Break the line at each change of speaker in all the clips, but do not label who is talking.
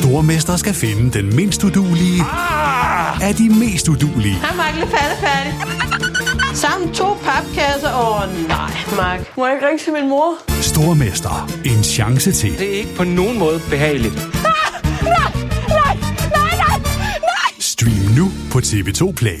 Stormester skal finde den mindst udulige ah! af de mest udulige.
Hej, Mark. Lidt færdig. Sammen to papkasser. Åh, oh, nej, Mark. Må jeg ikke ringe til min mor?
Stormester. En chance til.
Det er ikke på nogen måde behageligt.
Stream nu på TV2 Play.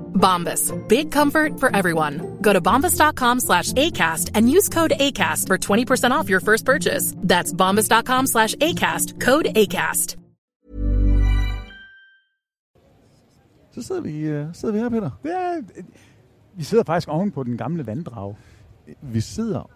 Bombas. Big comfort for everyone. Go to bombas.com slash ACAST and use code ACAST for 20% off your first purchase. That's bombas.com slash ACAST. Code ACAST.
Så sidder vi, øh, sidder vi her, Peter.
Ja, øh, vi sidder faktisk oven på den gamle vanddrag.
Vi sidder...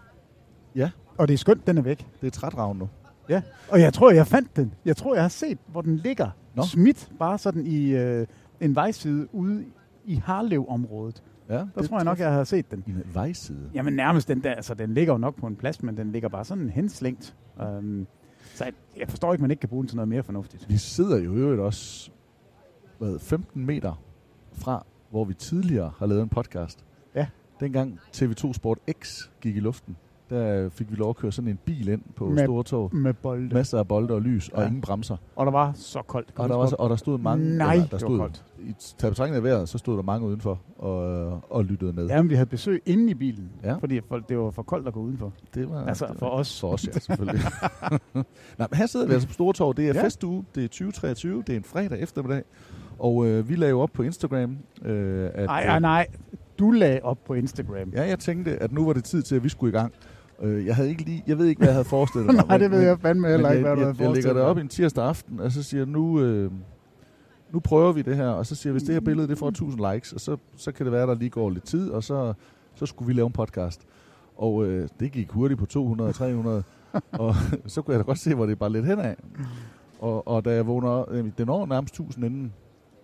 Ja,
Og det er skønt, den er væk.
det er trætraven nu.
Ja, og jeg tror, jeg fandt den. Jeg tror, jeg har set, hvor den ligger.
Nå.
Nå. Smidt bare sådan i øh, en vejside ude i Harlev-området.
Ja,
Der tror jeg nok, jeg har set den.
I en vejside.
Jamen nærmest den der, altså den ligger jo nok på en plads, men den ligger bare sådan henslængt. Um, så jeg, jeg forstår ikke, man ikke kan bruge den til noget mere fornuftigt.
Vi sidder jo i øvrigt også hvad, 15 meter fra, hvor vi tidligere har lavet en podcast.
Ja.
Dengang TV2 Sport X gik i luften, der fik vi lov at køre sådan en bil ind på
Med-
Stortorv.
Med bolde.
Masser af bolde og lys ja. og
Ja.
ingen bremser.
Og der var så koldt. Kan
Og
du
der, var,
huske,
så- og der stod mange...
Nej,
der, der
det var
stod,
koldt.
I taget betragtning af vejret, så stod der mange udenfor og, og lyttede med.
hvor- Jamen, vi havde besøg inde i bilen,
Ja.
ja. fordi folk, det var for koldt at gå udenfor.
Det var,
Altså,
det var
for os.
For os, ja, selvfølgelig. Nej, men her sidder vi altså på Stortorv. Det er ja.
Ja.
festuge. Det er 2023. Det er en fredag eftermiddag. Og øh, vi lagde jo op på Instagram, øh, at...
Nej, nej,
øh,
nej. Du lagde op på Instagram.
Ja, jeg tænkte, at nu var det tid til, at vi skulle i gang. Øh, jeg havde ikke lige... Jeg ved ikke, hvad jeg havde forestillet mig.
Nej, det ved
men-
jeg fandme heller
men
ikke, hvad
jeg,
du
jeg, jeg lægger det op en tirsdag aften, og så siger jeg, nu, øh, nu prøver vi det her, og så siger jeg, hvis det her billede det får 1000 likes, og så, så kan det være, der lige går lidt tid, og så, så skulle vi lave en podcast. Og øh, det gik hurtigt på 200 og 300, og så kunne jeg da godt se, hvor det bare lidt henad. Og, og da jeg vågner, øh, det når nærmest 1000 inden,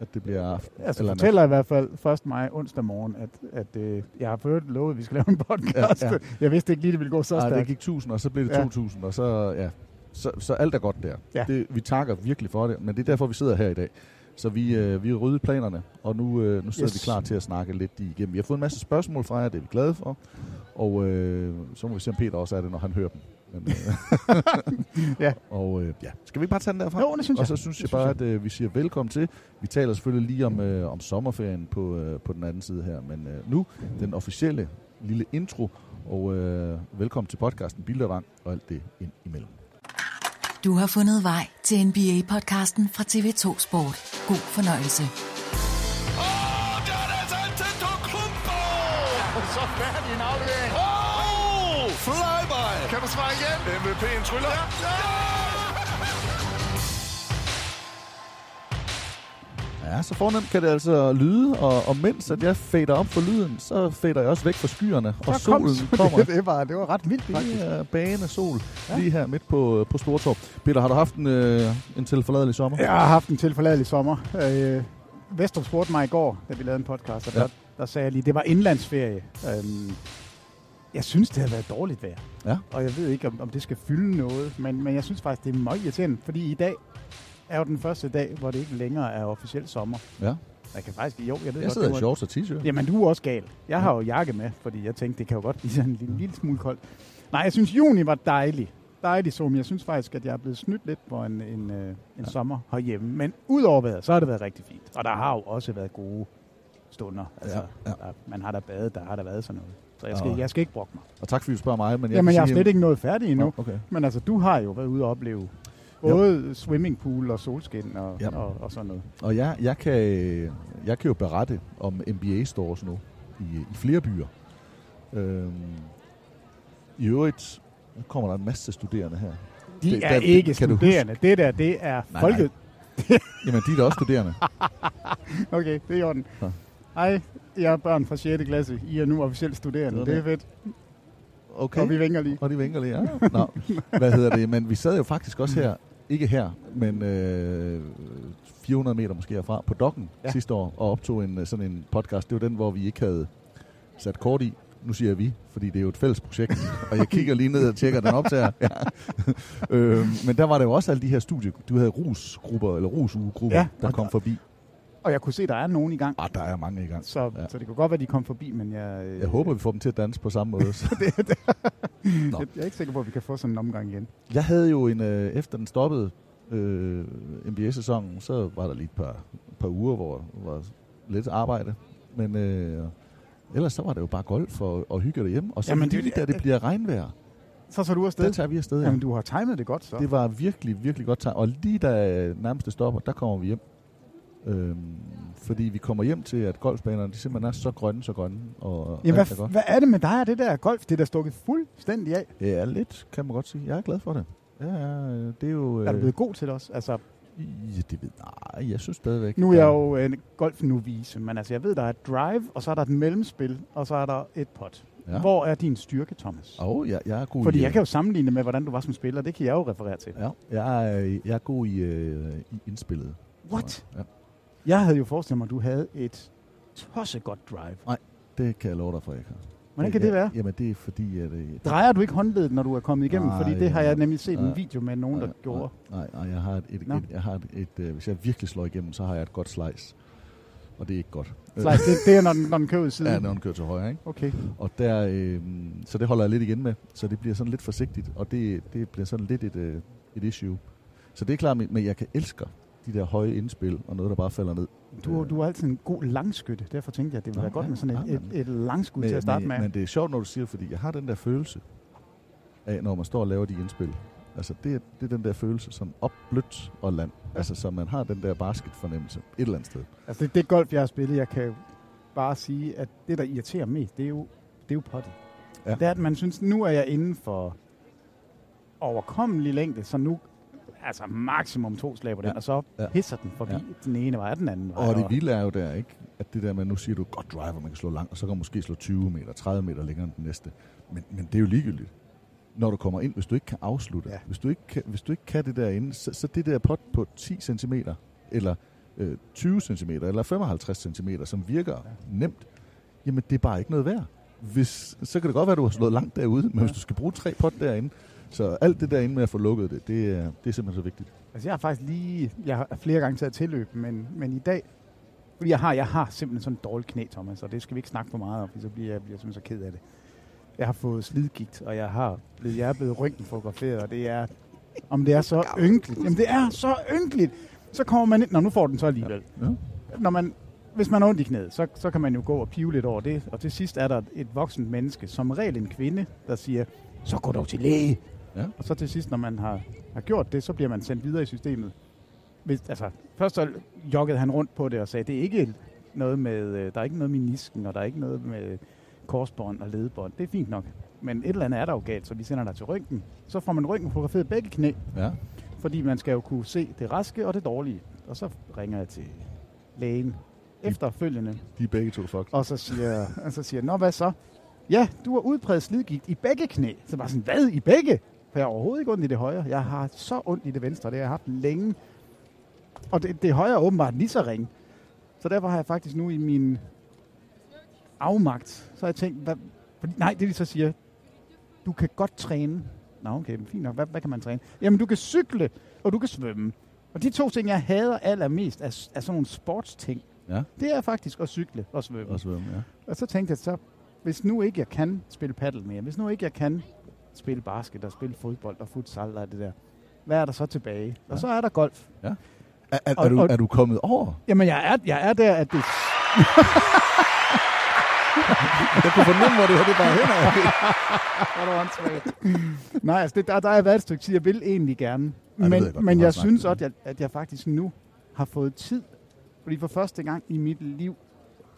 at det bliver aften.
Altså,
eller
Eller
nat.
fortæller i hvert fald 1. maj onsdag morgen, at, at øh, jeg har fået lovet, at vi skal lave en podcast.
Ja, ja.
Ja, ja. Jeg vidste ikke lige, det ville gå så
Nej, Ah, det
stærkt.
gik 1000, og så blev det
Ja.
2000, og så, ja. Så, så alt er godt der.
Ja.
Det, vi takker virkelig for det, men det er derfor, vi sidder her i dag. Så vi, øh, vi har ryddet planerne, og nu, øh, nu sidder yes.
Yes.
vi klar til at snakke lidt de igennem. Vi har fået en masse spørgsmål fra jer, det er vi glade for. Og øh, så må vi se, om Peter også er det, når han hører dem. Men, øh,
Ja.
Og øh, ja, skal vi ikke bare tage den derfra?
Jo, det synes
og
jeg.
så synes jeg
Det
bare,
synes
at øh, vi siger velkommen til. Vi taler selvfølgelig lige om, øh, om sommerferien på, øh, på den anden side her, men øh, nu den officielle lille intro, og øh, velkommen til podcasten Bildervang og alt det ind imellem.
Du har fundet vej til NBA-podcasten fra TV2 Sport. God fornøjelse.
Ja, så fornemt kan det altså lyde, og, og mens at jeg fader op for lyden, så fader jeg også væk fra skyerne, og
Så kom
solen
solen.
kommer.
det, var, det var ret vildt.
Det er bane sol ja. lige her midt på, på Stortorv. Peter, har du haft en, øh, en tilforladelig sommer?
Jeg har haft en tilforladelig sommer. Øh, Vestrup spurgte mig i går, da vi lavede en podcast, og
Ja.
ja. der, der sagde jeg lige, det var indlandsferie. Øhm, jeg synes, det har været dårligt vejr.
Ja.
Og jeg ved ikke, om, om det skal fylde noget, men, men jeg synes faktisk, det er meget irriterende, fordi i dag er jo den første dag, hvor det ikke længere er officiel sommer.
ja.
Jeg kan faktisk, jo, jeg ved
Jeg
godt,
sidder
du
i
er-
shorts og t-shirt.
Jamen, du er også gal. Jeg har jo jakke med, fordi jeg tænkte, det kan jo godt blive sådan en lille, lille smule koldt. Nej, jeg synes, juni var dejlig. Dejlig som. Jeg synes faktisk, at jeg er blevet snydt lidt på en, en, øh, en ja. sommer herhjemme. Men udover vejret, så har det været rigtig fint. Og der har jo også været gode stunder. Altså, ja, ja. Der, man har da badet, der har der været sådan noget. Så jeg skal,
Og-
jeg skal ikke brokke mig.
Og tak fordi du spørger mig. Men jeg
Jamen,
kan
jeg er
sige,
slet ikke nået færdig endnu.
Nå, okay.
Men altså, du har jo været ude og opleve både swimmingpool og solskin og,
Ja.
og, og sådan noget.
Og jeg, jeg, kan, jeg kan jo berette om MBA-stores nu i, i flere byer. Øhm, I øvrigt, nu kommer der en masse studerende her.
De
Det-
det, er
der-
ikke
kan du huske-
studerende. Det der, det er
Nej,
folket.
nej. Jamen, de er da også studerende.
Okay, det er i orden.
Så.
Hej, jeg er børn fra 6. klasse. I er nu officielt studerende. Det er fedt.
Okay.
Og vi vinker lige.
Og de vinker lige, ja. Nå, hvad hedder det? Men vi sad jo faktisk også her, ikke her, men øh, 400 meter måske herfra, på dokken ja.
Ja.
sidste år, og optog en, øh, sådan en podcast. Det var den, hvor vi ikke havde sat kort i. Nu siger jeg vi, fordi det er jo et fælles projekt, og jeg kigger lige ned og tjekker, den optager. Ja. øhm, men der var der jo også alle de her studier. Du havde rusgrupper, eller rusugegrupper, ja,
Ja,
der
og
kom forbi.
Og jeg kunne se, der er nogen i gang.
Ah, der er mange i gang.
Så, ja. så det kunne godt være, de kom forbi, men jeg, øh,
Jeg håber, vi får dem til at danse på samme måde. Så. Nå.
jeg, jeg er ikke sikker på, at vi kan få sådan en omgang igen.
Jeg havde jo en, øh, efter den stoppede øh, NBA-sæsonen, så var der lige et par, par uger, hvor der var lidt arbejde. Men øh, ellers så var det jo bare golf og, og hygge derhjemme. Og så Jamen,
Jamen, det er
lige, det,
jo
da
det-
det bliver regnvejr,
Så så du afsted.
der tager vi afsted.
Jamen, du har timet det godt, så.
Det var virkelig, virkelig godt time. Og lige da øh, nærmest det stopper, der kommer vi hjem. Øhm, fordi vi kommer hjem til, at golfbanerne de simpelthen er så grønne, så grønne. Og
Jamen,
alt er
hvad,
godt.
hvad er det med dig og det der golf? Det er da stukket fuldstændig af.
Ja, lidt, kan man godt sige. Jeg er glad for det. Ja, ja, øh, det er jo...
Er du blevet god til det også? Altså,
Ja, det ved Nej, jeg synes stadigvæk...
nu er jeg
der-
jo en golfnovise, men altså, jeg ved, der er et drive, og så er der et mellemspil, og så er der et pot.
Ja.
Ja. Hvor er din styrke, Thomas?
Åh, oh, jeg, jeg er god
Fordi
i,
jeg kan jo sammenligne med, hvordan du var som spiller. Det kan jeg jo referere til.
Ja, jeg er, jeg er god i, øh, i indspillet.
What?
Ja.
Jeg havde jo forestillet mig, at du havde et tosset godt drive.
Nej, det kan jeg love dig for, jeg kan.
Hvordan kan det være?
Jamen, det er fordi, at... Øh,
Drejer du ikke håndledet, når du er kommet igennem?
Nej,
Nej, Fordi det har jeg
nej.
nemlig set
Nej.
en video med nogen, der
nej,
gjorde.
Nej, nej, jeg har et... et,
Nå.
et, jeg har et, et øh, hvis jeg virkelig slår igennem, så har jeg et godt slice. Og det er ikke godt.
Så det, det er, når den, når den kører ud i siden.
Ja, når den kører til højre, ikke?
Okay.
Og der, øh, så det holder jeg lidt igen med, så det bliver sådan lidt forsigtigt, og det, det bliver sådan lidt et, øh, et issue. Så det er klart, men men jeg kan elsker de der høje indspil, og noget, der bare falder ned.
Du, du er altid en god langskytte. Derfor tænkte jeg, at det ville
Øh. Nå,
være godt
ja,
med sådan et,
ja,
et, et langskud
Men-
til at starte
men,
med.
Men det er sjovt, når du siger, fordi jeg har den der følelse af, når man står og laver de indspil. Altså, det er, det er den der følelse, som opblødt og land. Altså, så man har den der basketfornemmelse et eller andet sted.
Altså det, det golf, jeg har spillet, jeg kan jo bare sige, at det, der irriterer mest, det er jo, det er jo pottet.
Ja.
Ja. Det er, at man synes, nu er jeg inden for overkommelig længde, så nu altså maksimum to slag på den,
Ja.
ja. og så
Ja.
ja. pisser den forbi
Ja.
ja. den ene vej og den anden vej.
Og det vilde er jo der, ikke? At det der med, nu siger du, godt driver, man kan slå langt, og så kan man måske slå 20 meter, 30 meter længere end den næste. Men, men det er jo ligegyldigt. Når du kommer ind, hvis du ikke kan afslutte, ja.
Ja.
hvis, du ikke kan, hvis du ikke kan det derinde, så, så det der pot på 10 cm, eller øh, 20 cm, eller 55 cm, som virker ja. nemt, jamen det er bare ikke noget værd. Hvis, så kan det godt være, at du har slået langt derude, men ja. hvis du skal bruge tre pot derinde, så alt det derinde med at få lukket det, det er, det er simpelthen så vigtigt.
Altså jeg har faktisk lige, jeg har flere gange taget tilløb, men, men i dag, fordi jeg har, jeg har simpelthen sådan en dårlig knæ, Thomas, og det skal vi ikke snakke for meget om, for så bliver jeg bliver jeg simpelthen så ked af det. Jeg har fået slidgigt, og jeg, har blevet, jeg er blevet røntgenfotograferet, og det er, om det er så ynkeligt. Jamen det er så ynkeligt. Så kommer man ind, når nu får den så alligevel.
Ja.
Når man, hvis man har ondt i knæet, så, så kan man jo gå og pive lidt over det. Og til sidst er der et voksent menneske, som regel en kvinde, der siger, så gå dog til læge.
Ja.
Og så til sidst, når man har, har gjort det, så bliver man sendt videre i systemet. Hvis, altså, først så joggede han rundt på det og sagde, det er ikke noget med, øh, der er ikke noget med nisken, og der er ikke noget med korsbånd og ledbånd. Det er fint nok. Men et eller andet er der jo galt, så vi sender dig til røntgen. Så får man røntgen fotograferet begge knæ,
Ja.
fordi man skal jo kunne se det raske og det dårlige. Og så ringer jeg til lægen efterfølgende,
De er begge to fucked.
og så siger, og så siger jeg, nå hvad så? Ja, du har udpræget slidgigt i begge knæ. Så bare sådan, hvad i begge? For jeg har overhovedet ikke ondt i det højre. Jeg har så ondt i det venstre, det har jeg haft længe. Og det, det højre er åbenbart lige så ringe. Så derfor har jeg faktisk nu i min afmagt, så har jeg tænkt, hvad, fordi, nej, det de så siger, du kan godt træne. Nå, okay, men fint nok. Hvad, hvad kan man træne? Jamen, du kan cykle, og du kan svømme. Og de to ting, jeg hader allermest, er, er sådan nogle sportsting.
Ja.
Det er faktisk at cykle og svømme.
Og svømme, ja.
Og så tænkte jeg så, hvis nu ikke jeg kan spille paddle mere, hvis nu ikke jeg kan spille basket og spille fodbold og futsal og det der, hvad er der så tilbage? Og så er der golf.
Ja. Er, er, er, du, er du kommet over?
Jamen, jeg er, jeg er der, at det...
Jeg kunne fornemme, hvor det var det bare hen over.
Nej, altså, det, der, der har været et stykke tid, jeg vil egentlig gerne.
ved
men
jeg
jeg,
godt,
men
du har snakket
jeg synes
om.
også, at jeg, at jeg faktisk nu har fået tid. Fordi for første gang i mit liv,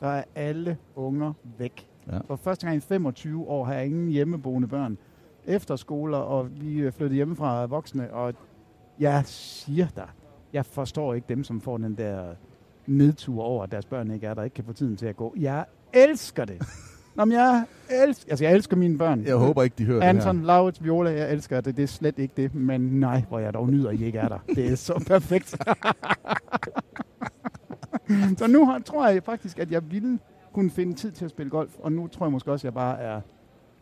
der er alle unger væk.
Ja.
For første gang i 25 år har jeg ingen hjemmeboende børn. Efterskoler, og vi er flyttet hjemmefra af voksne, og jeg siger dig, jeg forstår ikke dem, som får den der nedtur over, at deres børn ikke er der, ikke kan få tiden til at gå. Jeg elsker det. Nå, men jeg elsker, altså, jeg elsker mine børn.
Jeg håber ikke, de hører det
Anton, Laurits, Viola, jeg elsker det. Det er slet ikke det, men nej, hvor jeg dog nyder, at I ikke er der. Det er så perfekt. så nu har, tror jeg faktisk, at jeg ville kunne finde tid til at spille golf, og nu tror jeg måske også, at jeg bare er,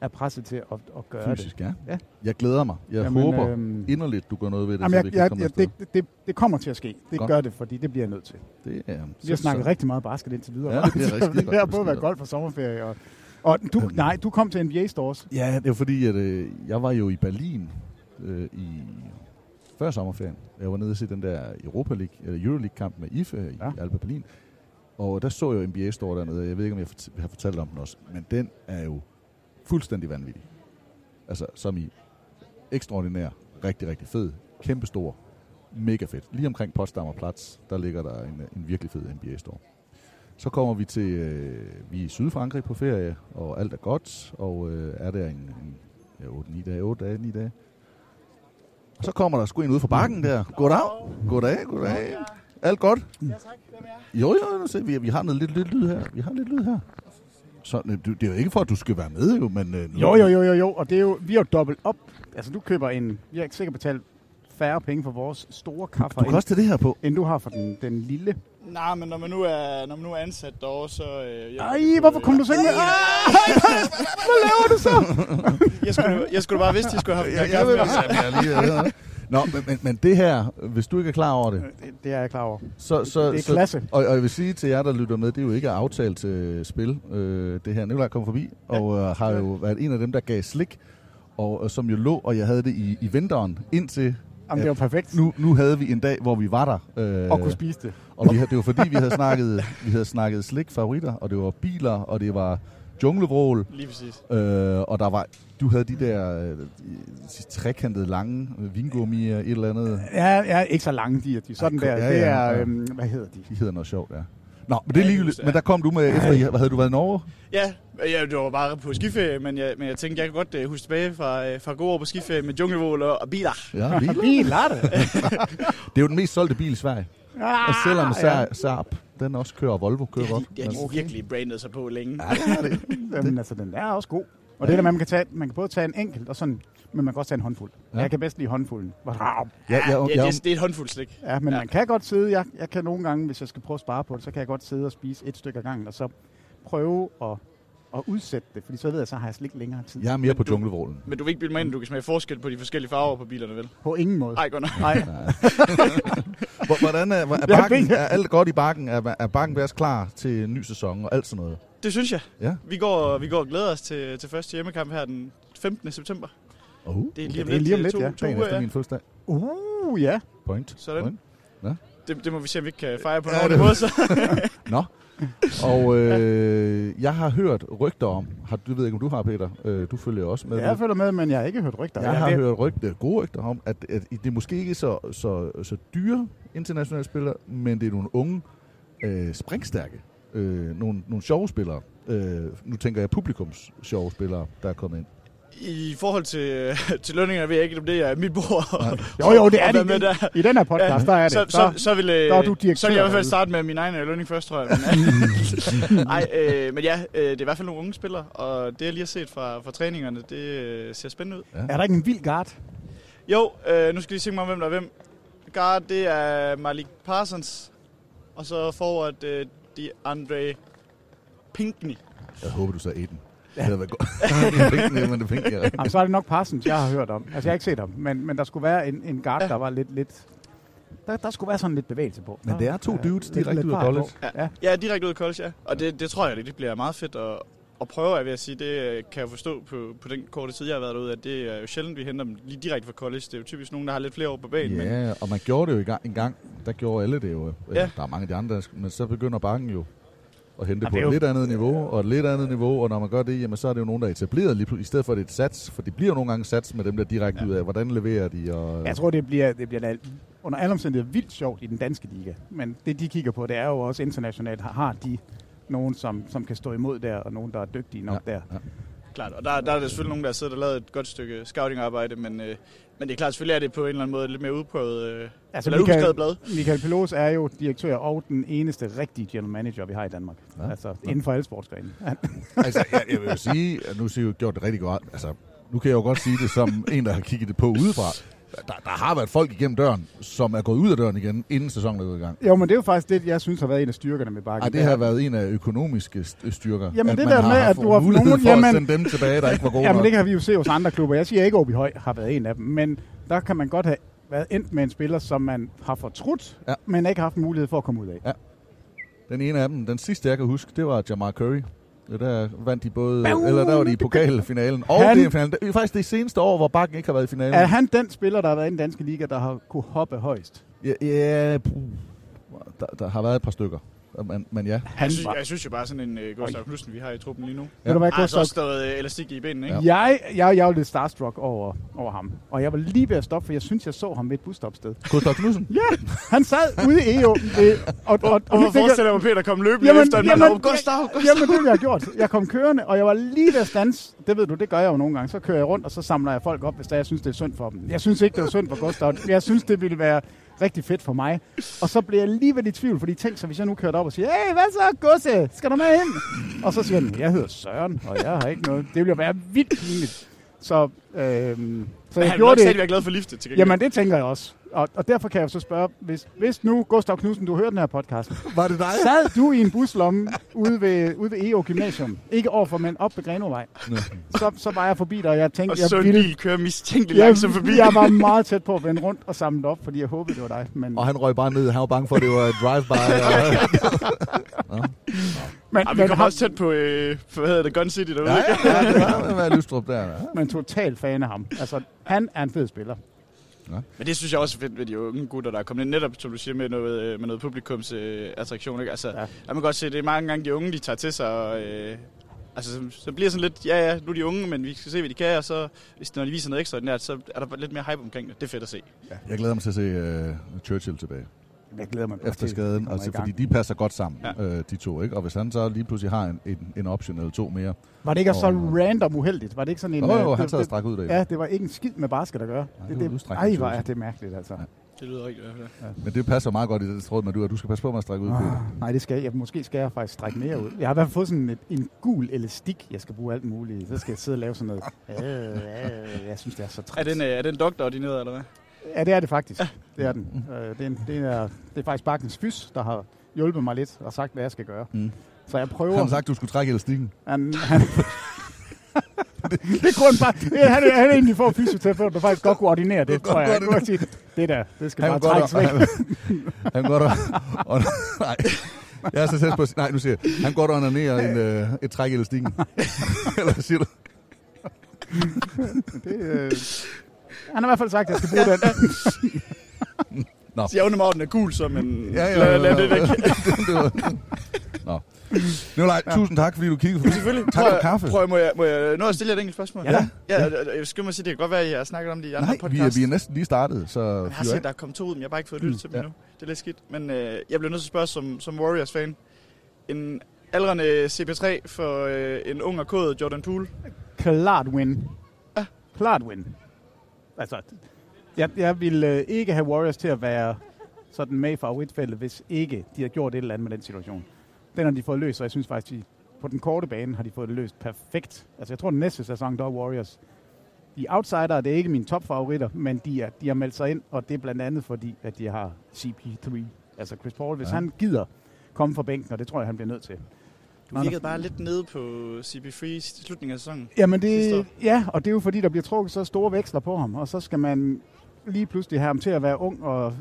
er presset til at, at gøre
Fysisk,
det.
ja.
ja.
Jeg glæder mig. Jeg
Jamen,
håber
øhm,
inderligt, du gør noget ved det,
Jamen,
så
jeg,
vi kan
jeg,
komme
jeg,
afsted.
det, det, det kommer til at ske. Det
Godt.
Godt. gør det, fordi det bliver jeg nødt til.
Det er-
Vi har
så-
snakket
så-
rigtig meget basket indtil videre.
Ja, det er rigtig
Så
godt, Øhm.
det har
du snakker.
både været golf og sommerferie. Og, og du, nej, du kom til NBA Stores.
Ja, det var fordi, at øh, jeg var jo i Berlin øh, i før sommerferien. Jeg var nede og se den der Europa League, eller Euroleague-kamp med IFE i ja. Alba Berlin. Og der så jeg NBA står dernede. Jeg ved ikke, om jeg fort- har fortalt om den også. Men den er jo fuldstændig vanvittig. Altså, som i ekstraordinær, rigtig, rigtig fed, kæmpestor, mega fedt. Lige omkring Potsdamer Plads, der ligger der en, en virkelig fed NBA-store. Så kommer vi til, øh, vi er i Sydfrankrig på ferie, og alt er godt, og øh, er der en, en ja, 8-9 dage, 8 dage, 9 dage. Og så kommer der sgu en ude fra bakken der. Goddag, goddag, goddag. Alt godt? Ja, tak. Jo, jo, nu se, vi, vi har noget lidt, lidt lyd her. Vi har lidt lyd her. Så, øh, du- det er jo ikke for, at du skal være med, jo, men... Øh, nu-
Jo, jo, jo, jo, jo. Og det er jo, vi har jo dobbelt op. Altså, du køber en... Jeg er ikke sikker på at betale færre penge for vores store kaffe.
Du kan også tage det her på.
End du har for den, den lille.
Nej, men når man nu er, når man nu er ansat derovre, så... Øh, jeg,
Ej, hvorfor kom du så ikke med? Ah, Hvad laver du så?
jeg, skulle, jeg skulle bare vidste, at jeg skulle have haft
Jeg,
den
jeg,
her
jeg,
kaffe.
jeg, jeg, jeg, jeg, Nå, men, men, men det her, hvis du ikke er klar over Øh, det,
Det, det er jeg klar over.
så, så,
det er
så,
klasse.
Og, og jeg vil sige til jer, der lytter med, det er jo ikke aftalt til spil, øh, det her. Nikolaj kom forbi, og øh, har jo været en af dem, der gav slik, og, og som jo lå, og jeg havde det i, i vinteren, indtil...
Jamen, det var perfekt.
Nu, nu havde vi en dag, hvor vi var der. Øh,
Og kunne spise det.
Og vi, havde- det var fordi, vi havde snakket, vi havde snakket slik favoritter, og det var biler, og det var junglevrål.
Lige præcis.
Øh, og der var, du havde de der øh, de trekantede lange øh, vingummier, et eller andet.
Ja, ja, ikke så lange de er. De er sådan
Ej,
Øh, der.
ja,
det
ja,
er,
ja.
Øhm, hvad hedder de?
De hedder noget sjovt, ja. Nå, men det er ligegyldigt. Men der kom du med efter, I- hvad havde du været i Norge?
Ja, jeg, det var bare på skiferie, men jeg, men jeg tænkte, jeg kan godt øh, huske tilbage fra, øh, fra gode år på skiferie med junglevål og, og biler.
Ja, biler.
biler det.
Det er jo den mest solgte bil i Sverige.
Ah,
og selvom
ja.
Sa- Saab, den også kører, og Volvo kører godt.
Det har de virkelig brandet sig på længe.
Jamen, altså, den er også god. Og det der med, at man kan, tage, man kan både tage en enkelt, og sådan, men man kan også tage en håndfuld.
Ja.
Ja. Jeg kan bedst lide håndfulden. Ja,
Ja, ja, det, er- det er et håndfuldt slik.
Ja, men ja. man kan godt sidde, jeg, jeg kan nogle gange, hvis jeg skal prøve at spare på det, så kan jeg godt sidde og spise et stykke ad gangen, og så prøve at, at udsætte det, fordi så ved jeg, så har jeg slik længere tid.
Jeg er mere på junglevrålen.
Men du vil ikke bilde mig ind, at du kan smage forskel på de forskellige farver på bilerne, vel?
På ingen måde.
Nej, godt nok.
Nej.
Hvor- Hvordan er, er,
Jeg
bakken,
ved-
er alt godt i bakken? Er, er bakken ved os klar til en ny sæson og alt sådan noget?
Det synes jeg.
Ja.
Vi går, vi går og glæder os til, til første hjemmekamp her den 15. september.
Oh.
Det er
Ja,
lige om
det er
lidt.
lige om
øh,
lidt,
to,
ja.
to
Dagen
uger,
efter
ja.
min fødselsdag.
Uh, ja.
Point.
Sådan.
Point. Ja.
Det, det må vi se, om vi ikke kan fejre på
Ja,
ja, nogen
det-
måde. Så.
Nå. Og øh, jeg har hørt rygter om, har, du ved ikke, om du har, Peter, øh, du følger også med.
Jeg følger med, men jeg har ikke hørt rygter.
Jeg
Jeg
har
ved-
hørt rygter, gode rygter om, at, at det er måske ikke så, så, så dyre internationale spillere, men det er nogle unge, øh, springstærke, øh, nogle, nogle sjove spillere. Øh, nu tænker jeg publikums sjove spillere, der er kommet ind.
I forhold til, til lønninger ved jeg ikke, om det er mit bord.
Jo, jo, det er
Og
det.
hvad med
I- i den her podcast, der er det.
Så, så,
Der-
så, vil, øh,
der er du direktør
så vil jeg i hvert fald
derude.
starte med min egen øh, lønning først, tror jeg. Men, øh, Ej, øh, men ja, øh, det er i hvert fald nogle unge spillere, og det jeg lige har set fra, fra træningerne, det øh, ser spændende ud.
Er der ikke en vild guard?
Jo, øh, nu skal jeg lige tænke mig om, hvem der er hvem. Guard, det er Malik Parsons, og så forward, øh, de Andre Pinkney.
Jeg håber, du så Eden. Det havde været godt. Det er pink, det er- men det er pink, ja.
Jamen, så er det nok Parsons, jeg har hørt om. Altså, jeg har ikke set ham, men, men der skulle være en, en guard, der var lidt, lidt Der, der skulle være sådan lidt bevægelse på.
Men det er to dudes direkte ud af college.
Ja. ja, direkte ud af college, ja. Og det, det tror jeg, det bliver meget fedt at, at prøve, jeg vil sige. Det øh, kan jeg forstå på, på den korte tid, jeg har været derude, at det er jo sjældent, vi henter dem lige direkte fra college. Det er jo typisk nogen, der har lidt flere år på banen. men-
Ja, og man gjorde det jo i gang, en gang. Der gjorde alle det jo.
Ja.
Ja. Der er mange af de andre, der sk- men så begynder banken jo at hente
Jamen,
på et
det er jo-
lidt andet niveau, og et lidt andet niveau, og når man gør det, jamen, så er det jo nogen, der er etableret lige pludselig, i stedet for at det er et sats, for det bliver jo nogle gange sats med dem, der direkte ja. ud af, hvordan leverer de, og
Jeg tror, det bliver, det bliver da under alle omstændigheder vildt sjovt i den danske liga. Men det, de kigger på, det er jo også internationalt. Har- Har de nogen, som, som kan stå imod der, og nogen, der er dygtige nok ja, der? Ja.
Klart, og der, der er der selvfølgelig nogen, der sidder og lavet et godt stykke scouting-arbejde, men, øh, men det er klart, selvfølgelig er det på en eller anden måde lidt mere udprøvet, øh, altså, eller
Michael,
udskrevet blad.
Michael Pelos er jo direktør og den eneste rigtige general manager, vi har i Danmark. Ja. Altså inden for alle sportsgrene.
altså, jeg, jeg vil jo sige, at nu siger jeg jo gjort det rigtig godt. Altså, nu kan jeg jo godt sige det som en, der har kigget det på udefra. Der, der har været folk igennem døren, som er gået ud af døren igen, inden sæsonen er gået i gang.
Jo, men det er jo faktisk det, jeg synes har været en af styrkerne med Bakken.
Ej, Ah, det har været en af økonomiske st- øh, styrker.
Jamen
at
det
man
der
har
med,
haft
at du har haft
mulighed
nogen-
for at
jamen-
sende dem tilbage, der ikke var gode
Jamen
nok.
det kan vi jo se hos andre klubber. Jeg siger ikke, at Åby Høj har været en af dem, men der kan man godt have været endt med en spiller, som man har fortrudt, ja. men ikke haft mulighed for at komme ud af.
Ja. Den ene af dem, den sidste jeg kan huske, det var Jamal Curry. Ja, Der vandt de både,
Bam!
eller der var de i pokalfinalen og
Han-
han, finalen. Det er faktisk det seneste år, hvor Bakken ikke har været i finalen.
Er han den spiller, der har været i den danske liga, der har kunne hoppe højst?
Ja, ja puh. der, der, har været et par stykker. Men, men ja.
Han jeg, synes, jeg synes jo bare sådan en øh, Gustav Knudsen, vi har i truppen lige nu.
Ved du hvad,
Har altså
Gustav-
også stået øh, elastik i benene, ikke?
Ja. Jeg, jeg, jeg var lidt starstruck over, over ham. Og jeg var lige ved at stoppe, for jeg synes, jeg så ham ved et busstopsted.
Gustav Knudsen?
ja, han sad ude i EU. Øh, og, og, og,
Og
nu tænker
hvorfor
jeg-
forestiller jeg mig, Peter kom løbende efter en mand? Åh, Gustav, Gustav!
Jamen, det ville jeg have gjort. Jeg kom kørende, og jeg var lige ved at stanse. Det ved du, det gør jeg jo nogle gange. Så kører jeg rundt, og så samler jeg folk op, hvis der, jeg synes, det er synd for dem. Jeg synes ikke, det var synd for Gustav. Jeg synes, det ville være rigtig fedt for mig. Og så bliver jeg alligevel i tvivl, fordi tænk så, hvis jeg nu kørte op og siger, hey, hvad så, Gusse? Skal du med ind? Og så siger han, jeg hedder Søren, og jeg har ikke noget. Det ville jo være vildt pinligt. Så, øhm, så
Men
jeg
han vil nok
gjorde det.
stadig være glad for liftet, til gengæld.
Jamen, det tænker jeg også. Og, og derfor kan jeg så spørge, hvis, hvis nu, Gustav Knudsen, du hører den her podcast.
Var det dig?
Sad du i en buslomme ude ved, ude ved EO Gymnasium? Ikke overfor, men op ved Grenovej. Så, så var jeg forbi dig, og jeg tænkte,
Og
jeg
så en
ville-
bil kører mistænkeligt
jeg,
langsomt forbi.
Jeg var meget tæt på at vende rundt og samle det op, fordi jeg håbede, det var dig. Men,
Og han røg bare ned. Han var bange for, at det var et drive-by. og... Nå.
men,
Ej, vi
men,
kom
ham-
også tæt på, øh, hvad hedder det, Gun City derude,
Ja, ja,
ikke?
ja, det var-
Det var Lystrup der. Ja.
men total fan af ham. Altså, han er en fed spiller.
Men det synes jeg også er fedt ved de unge gutter, der er kommet ind netop, som du siger, med noget, øh, med noget publikums øh, attraktion. Ikke? Altså, ja. der kan man godt se, det er mange gange de unge, de tager til sig. Og, øh, altså, så- så bliver det sådan lidt, ja ja, nu er de unge, men vi skal se, hvad de kan. Og så, hvis, når de viser noget ekstraordinært, så er der lidt mere hype omkring det. Det er fedt at se. Ja.
Jeg glæder mig til at se uh, Churchill tilbage.
Jeg glæder mig godt til,
Efter
at de
skaden,
kommer
altså,
i gang.
fordi de passer godt sammen, ja. øh, de to. Ikke? Og hvis han så lige pludselig har en, en, en option eller to mere.
Var det ikke også
og-
så random uheldigt? Var det ikke sådan en...
Jo, jo,
øh,
han
det-
sad og
det-
strak ud derinde.
Ja, det var ikke en skid med basket at gøre.
det
det,
var
det,
udstrækning,
ej,
så
hvor
at
er
sige.
det mærkeligt, altså.
Det lyder rigtigt i hvert fald.
Men det passer meget godt i det tråd med, du, at du skal passe på med at strække ud, Peter.
Ah, Nej, det skal jeg. Måske skal jeg faktisk strække mere ud. Jeg har i hvert fald fået sådan et, en gul elastik, jeg skal bruge alt muligt. i. Så skal jeg sidde og lave sådan noget. Øh, øh, jeg synes, det er så
Er
træt.
den, øh, er den doktordineret, eller hvad?
Ja, det er det faktisk. Det er den.
Mm.
Øh, det, er, en- det, er, det er faktisk Bakkens Fys, der har hjulpet mig lidt og sagt, hvad jeg skal gøre.
Mm.
Så jeg prøver...
Han har sagt, du skulle trække elastikken.
Han, han det kunne han bare... Ja, Han er, han er egentlig for fysioterapeut, der faktisk godt kunne ordinere det, tror jeg. jeg. kunne godt sige, det der, det skal
Han
bare
kunne godt
trækkes væk.
Han kan godt... Og, nej. Jeg er så tæt på... at sige- Nej, nu siger jeg. Han kan godt onanere en, øh, et træk i elastikken. Eller hvad siger du?
det, øh, han har i hvert fald sagt, at jeg skal bruge den.
Nå.
Så jeg undrer mig, over, den er gul, så, men
Ja, ja,
lad,
ja,
lad det
ja.
væk.
Det var- Nå. Nikolaj, ja. tusind tak, fordi du kiggede forbi.
Selvfølgelig.
Tak
Prøv
for
at-
kaffe.
Prøv, at- må jeg, må jeg nå at stille jer et enkelt spørgsmål?
Ja.
ja. ja. Jeg skal mig sige, det kan godt være, at jeg har snakket om det i andre
Nej, vi er,
podcasts.
vi er næsten lige startet, så...
Jeg har set, der er kommet to ud, men jeg har bare ikke fået lyttet
Mm,
til dem
ja.
endnu. Det er lidt skidt. Men øh, jeg bliver nødt til at spørge som, som Warriors-fan. En aldrende CP3 for øh, en ung og kodet Jordan Poole.
Klart win. Klart win. Altså, jeg, jeg ville øh, ikke have Warriors til at være sådan med i favoritfældet, hvis ikke de havde gjort et eller andet med den situation. Den har de fået løst, og jeg synes faktisk, de, på den korte bane har de fået det løst perfekt. Altså, jeg tror, den næste sæson, der er Warriors. De er outsider, det er ikke mine topfavoritter, men de, er, de har meldt sig ind, og det er blandt andet fordi, at de har CP3. Altså Chris Paul, hvis
Ja.
ja. han gider komme fra bænken, og det tror jeg, han bliver nødt til.
Du virkede bare lidt nede på CP3 i slutningen af sæsonen.
Jamen
Sidste
det,
år.
ja, og det er jo fordi, der bliver trukket så store veksler på ham, og så skal man lige pludselig have ham til at være ung og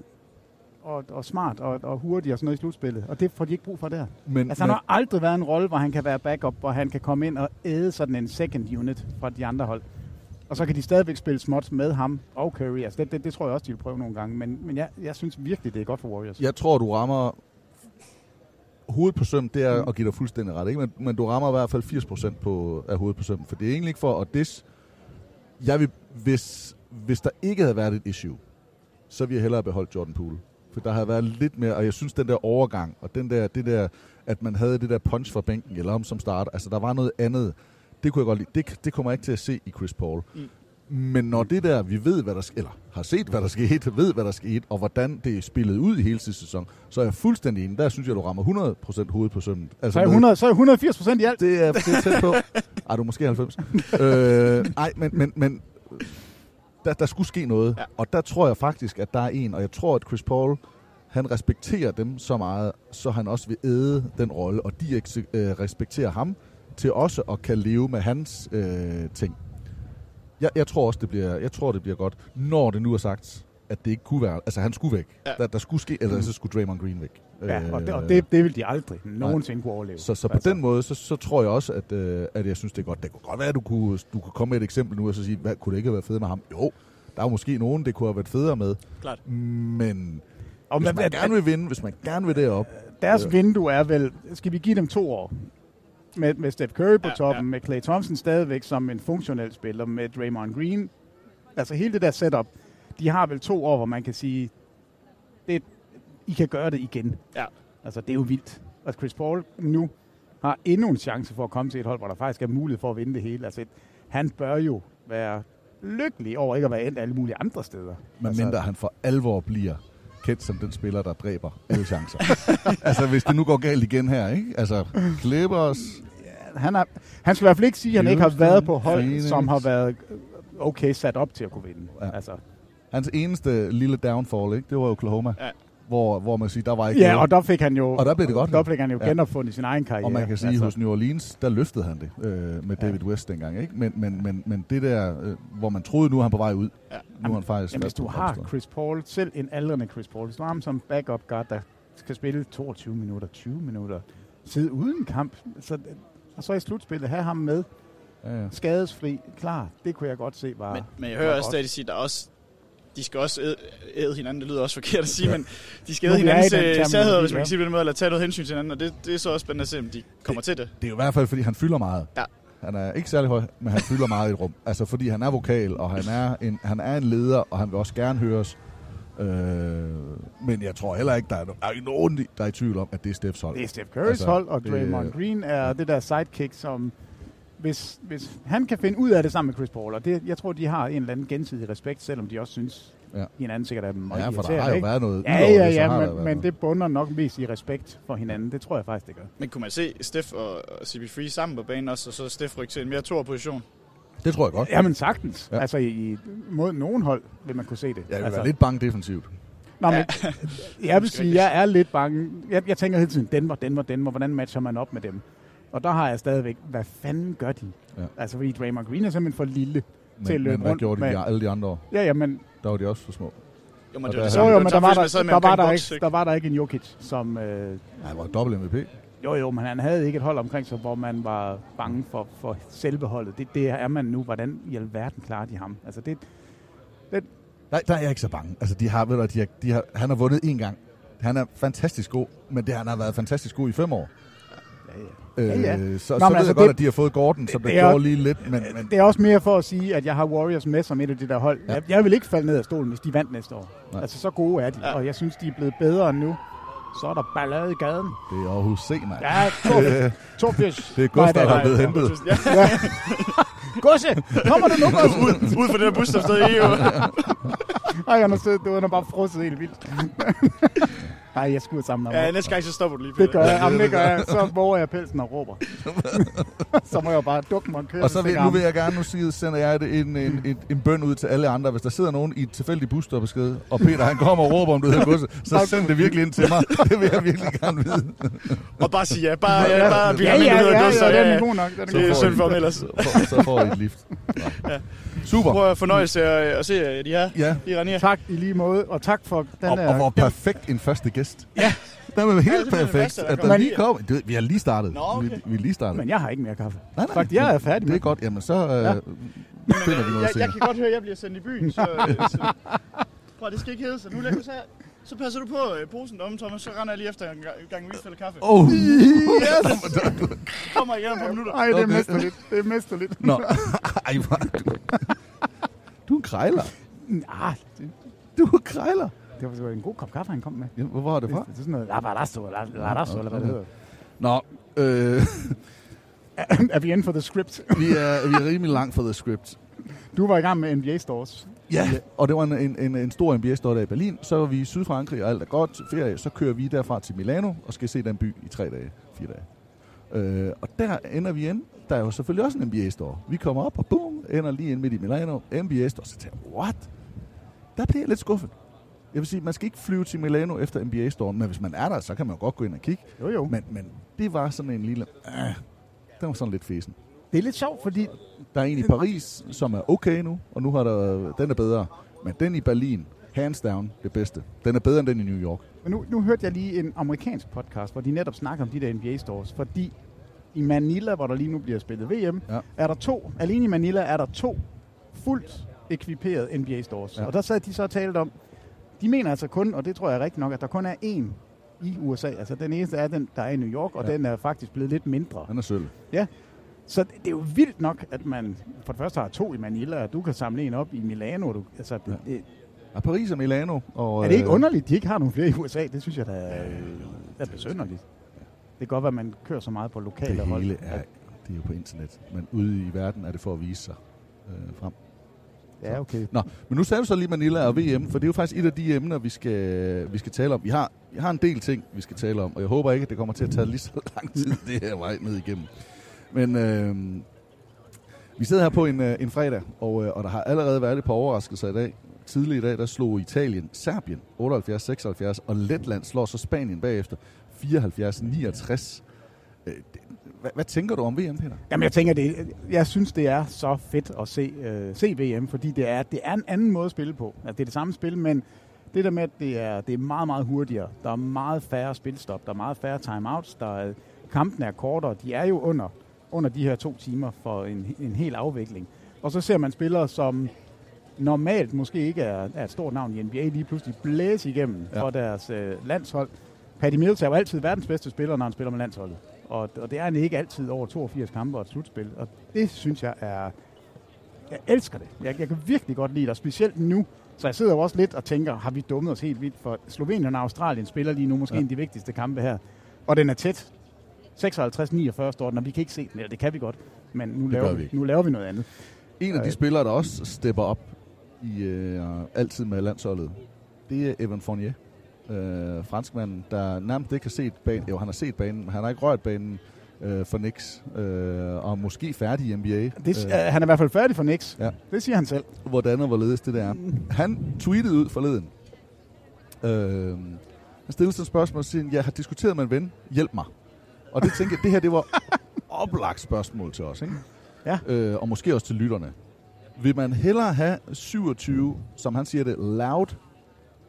og, og smart og, og hurtig og sådan noget i slutspillet. Og det får de ikke brug for der.
Men-
Men, altså, han
men-
har aldrig været en rolle, hvor han kan være backup, hvor han kan komme ind og æde sådan en second unit fra de andre hold. Og så kan de stadigvæk spille småt med ham og Curry. Altså, det, det, det tror jeg også, de vil prøve nogle gange. Men, men jeg, jeg synes virkelig, det er godt for Warriors.
Jeg tror, du rammer... Hovedet på søm, det er at give dig fuldstændig ret, ikke? Men, men du rammer i hvert fald 80% på, af hovedet på søm, for det er egentlig ikke for at dis. Jeg vil, hvis, hvis der ikke havde været et issue, så ville jeg hellere have beholdt Jordan Poole. For der havde været lidt mere, og jeg synes, den der overgang, og den der, det der, at man havde det der punch fra bænken, eller om som start, altså der var noget andet. Det kunne jeg godt lide. Det, det kommer jeg ikke til at se i Chris Paul.
Mm.
Men når det der, vi ved, hvad der sk- eller har set, hvad der skete, ved, hvad der skete, og hvordan det er spillet ud i hele sidste sæson, så er jeg fuldstændig enig. Der synes jeg, du rammer 100% hovedet på sømmen.
Så er, jeg 100, så er jeg 180 procent i alt.
Altså, Det er, det er tæt på. Ej, du er måske 90. øh, ej, men, men, men der, der skulle ske noget. Ja. Og der tror jeg faktisk, at der er en, og jeg tror, at Chris Paul, han respekterer dem så meget, så han også vil æde den rolle, og de ekse- øh, respekterer ham til også at kan leve med hans øh, ting. Jeg, jeg tror også, det bliver, jeg tror, det bliver godt, når det nu er sagt, at det ikke kunne være, altså han skulle væk. Ja. Mm. Der, der skulle ske, eller så skulle Draymond Green væk.
Ja, og det- og
Øh,
det- det vil de aldrig
nej.
nogensinde kunne overleve.
Så, så på
Altså.
den måde, så, så tror jeg også, at, øh, at jeg synes, det er godt. Det kunne godt være, at du kunne, du kunne komme med et eksempel nu, og så sige, hvad, kunne det ikke have været federe med ham? Jo, der er jo måske nogen, det kunne have været federe med.
Klart.
Mm. Men
og
hvis
man-
man
at-
gerne vil vinde, hvis man gerne vil derop.
Deres vindue er vel, skal vi give dem to år? Med, med Steph Curry på toppen, med Clay Thompson stadigvæk som en funktionel spiller, med Draymond Green. Altså hele det der setup, de har vel to år, hvor man kan sige, det, I kan gøre det igen.
Ja.
Altså det er jo vildt. Og Chris Paul nu har endnu en chance for at komme til et hold, hvor der faktisk er mulighed for at vinde det hele. Altså han bør jo være lykkelig over ikke at være endt alle mulige andre steder.
Men
altså,
mindre han for alvor bliver kendt som den spiller, der dræber alle chancer. altså, hvis det nu går galt igen her, ikke? Altså, klipper os.
han, er, han skal i hvert fald ikke sige, at han ikke har
Houston,
været på hold,
Phoenix.
som har været øh, okay sat op til at kunne vinde. Ja. Altså.
Hans eneste lille downfall, ikke? Det var Oklahoma.
Ja.
Hvor, hvor man siger, der var ikke
Ja,
noget.
og der fik han jo,
Og der blev det godt.
Der fik han jo
Ja.
genopfundet sin egen karriere.
Og man kan sige, altså. hos
altså.
New Orleans, der løftede han det øh, med David ja. West dengang. Ikke? Men, men, men, men det der, øh, hvor man troede, nu er han på vej ud. Ja. Nu er han faktisk
Jamen, hvis
fast
du
på
har
fremstået.
Chris Paul, selv en aldrende Chris Paul, hvis du har ham som backup guard, der skal spille 22 minutter, 20 minutter, sidde uden kamp, så, og så i slutspillet have ham med,
ja, ja.
skadesfri, klar, det kunne jeg godt se var
Men,
Ah,
men jeg
var
hører
godt.
også stadig sige, der er også de skal også æde, æde hinanden. Det lyder også forkert at sige,
Ja.
men de skal
Nu
æde
vi er i
hinandens
den
øh,
terminologi,
særheder, hvis man
ja.
kan sige på den måde, eller tage noget hensyn til hinanden, og det, det er så også spændende at se, om de kommer til det.
Det er jo i hvert fald, fordi han fylder meget.
Ja.
Han er ikke særlig høj, men han fylder meget i et rum. Altså, fordi han er vokal, og han er en, han er en leder, og han vil også gerne høres. Øh, men jeg tror heller ikke, der er, no- der er ikke nogen, der er i tvivl om, at det er Steffs hold.
Det er Steph Currys altså, hold, og Draymond det, Green er det der sidekick, som hvis, hvis han kan finde ud af det sammen med Chris Paul, og det, jeg tror, de har en eller anden gensidig respekt, selvom de også synes,
Ja.
ja. hinanden sikkert er meget
Ja, for der
irriterende,
har jo
ikke?
været noget
Ja,
udover
ja,
det, så har
ja,
der
men,
været
men
noget.
det bunder nok mest i respekt for hinanden. Det tror jeg faktisk, det gør.
Men kunne man se Steff og og CB3 sammen på banen også, og så Steff rykke til en mere tor position?
Det tror jeg godt.
Jamen sagtens.
Ja.
Ja. Altså, i, mod nogen hold vil man kunne se det.
Jeg vil
altså,
være lidt bange defensivt.
Nå, men, jeg vil
Måske
sige, jeg er lidt bange. Jeg, jeg tænker hele tiden, Denver, Denver, Denver, hvordan matcher man op med dem? Og der har jeg stadigvæk, hvad fanden gør de?
Ja.
Ja. Altså, fordi Draymond Green er simpelthen for lille
Men,
til at løbe
men hvad
rundt
gjorde de
med.
de alle de andre år?
Ja, ja, men,
Der var de også for små.
Jo,
Og
men det
der-
er det
jo,
samme.
jo, men
Det
der
var samme,
var
hvis man
der,
sad med
der, var
omkring
der,
boks,
ikke, der var der ikke en Jokic, som... Øh,
Han var dobbelt MVP.
jo, jo, men han havde ikke et hold omkring sig, hvor man var bange for, for selve holdet. Det, det er man nu. Hvordan i alverden klarer de ham? Altså, det,
Nej, der er jeg ikke så bange. Altså, de har, ved du, de har, de har, han har vundet én gang. Han er fantastisk god, men det, han har været fantastisk god i fem år. Ja, ja. Øh,
Ja, ja.
Så, Nå,
Nå,
så
men
ved altså,
altså,
jeg godt,
det-
at de har fået Gordon, som der
det er-
gjorde lige lidt, men, men
det er også mere for at sige, at jeg har Warriors med som et af de der hold.
Ja.
Ja. Jeg, jeg vil ikke falde ned af stolen, hvis de vandt næste år.
Nej.
Nej. Altså, så gode er de, ja. og jeg synes, de er blevet bedre nu. Så er der ballade i gaden.
det er Aarhus C, mand.
Ja,
Øh,
82.
det er Gustav, der er blevet
Ja,
hentet.
ja.
Gusse, kommer du nu, Gusse?
ud, ud fra det der bus, der stod i EU.
Ej, han har siddet, du har bare frosset helt vildt. Nej, jeg skulle sammen
Ja, næste gang, så stopper du lige,
Det
Peter.
gør jeg. Jamen, det gør jeg. Så våger jeg pelsen og råber. så må jeg jo bare dukke mig og køre.
Og så
til
vil, nu
armen.
vil jeg gerne, nu siger, sender jeg et- en, en, en, en bøn ud til alle andre. Hvis der sidder nogen i et tilfældigt busstoppeskede, og Peter han kommer og råber, om du hedder Gusse, så send det virkelig ind til mig. Det vil jeg virkelig gerne vide.
Og bare sige ja. Bare, ja, bare blive
Ja,
ham ind,
ja,
du hedder
ja,
Gus,
ja,
og
den er god nok, den er
Det er
god.
synd for ham ellers.
Så- så får I et lift.
Ja.
Super.
Prøv at fornøjelse at, at se øh, de her.
Ja.
De Rania.
Tak i lige måde, og tak for den
Og,
der...
og hvor perfekt en første gæst. Ja. Det var
Ja,
helt
det er den
perfekt,
første, der
at der
kommer.
lige kom. Det, vi har lige startet. Nå, okay. vi, vi er lige startet.
Men jeg har ikke mere kaffe.
Nej, nej.
Fuck, jeg er
færdig Det er godt. Jamen, så øh,
Ja.
finder vi noget
Jeg, jeg
senere.
kan godt høre, at jeg bliver sendt i byen, så... øh, så prøv, det skal ikke hedde sig. Nu lægger så, så passer du på øh, posen deromme, Thomas, så render jeg lige efter en ga- gang refill kaffe.
Oh.
Yes! Kommer igen om et par minutter.
Ej, det er
Okay.
mesterligt. Det er mesterligt.
Nå. Ej, hvor er du... Du er en krejler.
Nej, det...
Du er krejler.
Ah. Det var, det var en god kop kaffe, han kom med.
Ja, hvor var det fra?
Det, det er sådan noget lavarasso, la- lavarasso, eller hvad det hedder.
Nå, øh,
er vi inde for the script?
vi, er, vi er rimelig langt fra The Script.
Du var i gang med NBA Stores.
Ja, og det var en, en, en, en stor nba store i Berlin. Så var vi i Sydfrankrig, og alt er godt. Ferie, så kører vi derfra til Milano og skal se den by i tre dage, fire dage. Øh, og der ender vi ind. Der er jo selvfølgelig også en NBA-store. Vi kommer op, og boom, ender lige ind midt i Milano. NBA-store, så tænker jeg, what? Der bliver jeg lidt skuffet. Jeg vil sige, man skal ikke flyve til Milano efter NBA-storen, men hvis man er der, så kan man jo godt gå ind og kigge.
Jo, jo.
Men, men det var sådan en lille... Øh, den var sådan lidt fesen.
Det er lidt sjovt, fordi...
Der er en i Paris, som er okay nu, og nu har der, den er bedre. Men den i Berlin, hands down, det bedste. Den er bedre end den i New York.
Men nu, nu hørte jeg lige en amerikansk podcast, hvor de netop snakker om de der NBA Stores, fordi i Manila, hvor der lige nu bliver spillet VM,
ja.
er der to, alene i Manila er der to fuldt ekviperede NBA Stores.
Ja.
Ja. Og der sad de så og talte om, de mener altså kun, og det tror jeg er rigtigt nok, at der kun er én i USA. Altså den eneste er den, der er i New York, og
Ja.
ja. den er faktisk blevet lidt mindre.
Den er sølv.
Ja. Så det det er jo vildt nok, at man for det første har to i Manila, og du kan samle en op i Milano. og Du, altså, det, ja. det,
Ja, Paris og Milano. Og,
er det ikke
øh,
underligt, at de ikke har nogen flere i USA? Det synes jeg da er, er besynderligt. Det kan godt være, at man kører så meget på lokale
Det
hold.
hele er, det er jo på internet, men ude i verden er det for at vise sig øh, frem.
Ja, okay.
Nå, men nu sagde du så lige Manila og VM, for det er jo faktisk et af de emner, vi skal, vi skal tale om. Vi har, vi har en del ting, vi skal tale om, og jeg håber ikke, at det kommer til at tage lige så lang tid, det her vej ned igennem. Men øh, vi sidder her på en, øh, en fredag, og, øh, og der har allerede været et par overraskelser i dag. Tidligere i dag, der slog Italien Serbien 78-76, og Letland slår så Spanien bagefter 74-69. Øh, det- hvad, hvad tænker du om VM, Peter?
Jamen, jeg tænker, det, jeg synes, det er så fedt at se, øh, se VM, fordi det er, det er en anden måde at spille på. Altså, det er det samme spil, men det der med, at det er, det er meget, meget hurtigere. Der er meget færre spilstop, der er meget færre timeouts, der er, kampen er kortere. De er jo under, under de her to timer for en, en hel afvikling. Og så ser man spillere, som normalt måske ikke er, er et stort navn i NBA, lige pludselig blæse igennem ja. for deres øh, landshold. Patty Mills er jo altid verdens bedste spiller, når han spiller med landsholdet. Og, og det er han ikke altid over 82 kampe og et slutspil. Og det synes jeg er... Jeg elsker det. Jeg, jeg kan virkelig godt lide det, og specielt nu. Så jeg sidder jo også lidt og tænker, har vi dummet os helt vildt? For Slovenien og Australien spiller lige nu måske ja. en af de vigtigste kampe her. Og den er tæt. 56-49 står den, og vi kan ikke se den. Eller det kan vi godt, men nu,
Det gør
laver,
vi
vi.
ikke.
nu laver vi noget andet.
En af de
Øh.
spillere, der også stepper op i øh, altid med landsholdet, det er Evan Fournier. Øh, franskmanden, der nærmest ikke har set banen. Jo, han har set banen, men han har ikke rørt banen øh, for Knicks. Øh, og måske færdig i NBA.
Det, øh. Han er i hvert fald færdig for Knicks.
Ja.
Det siger han selv.
Hvordan og hvorledes det der er. Han tweetede ud forleden. Øh, han stillede sig et spørgsmål og siger, jeg har diskuteret med en ven, hjælp mig. Og det tænker jeg, det her det var oplagt spørgsmål til os, ikke?
Ja.
Øh, og måske også til lytterne. Vil man hellere have 27, som han siger det, loud,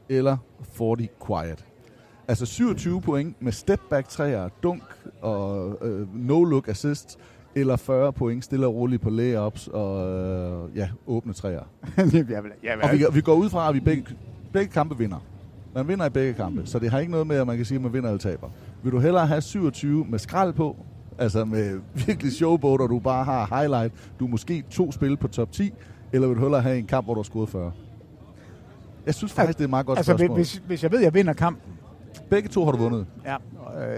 eller 40 quiet? Altså 27 point med step back træer, dunk og øh, no-look assist, eller 40 point stille og roligt på layups og øh, ja, åbne træer.
jeg vil, jeg vil,
Og vi, vi går ud fra, at vi begge, begge kampe vinder. Man vinder i begge kampe, så det har ikke noget med, at man kan sige, at man vinder eller taber. Vil du hellere have 27 med skrald på, altså med virkelig showboat, og du bare har highlight, du er måske to spil på top 10, eller vil du hellere have en kamp, hvor du har scoret 40? Jeg synes faktisk, det er et meget godt
altså,
spørgsmål.
hvis, hvis jeg ved, at jeg vinder kampen,
Begge to har du vundet.
ja,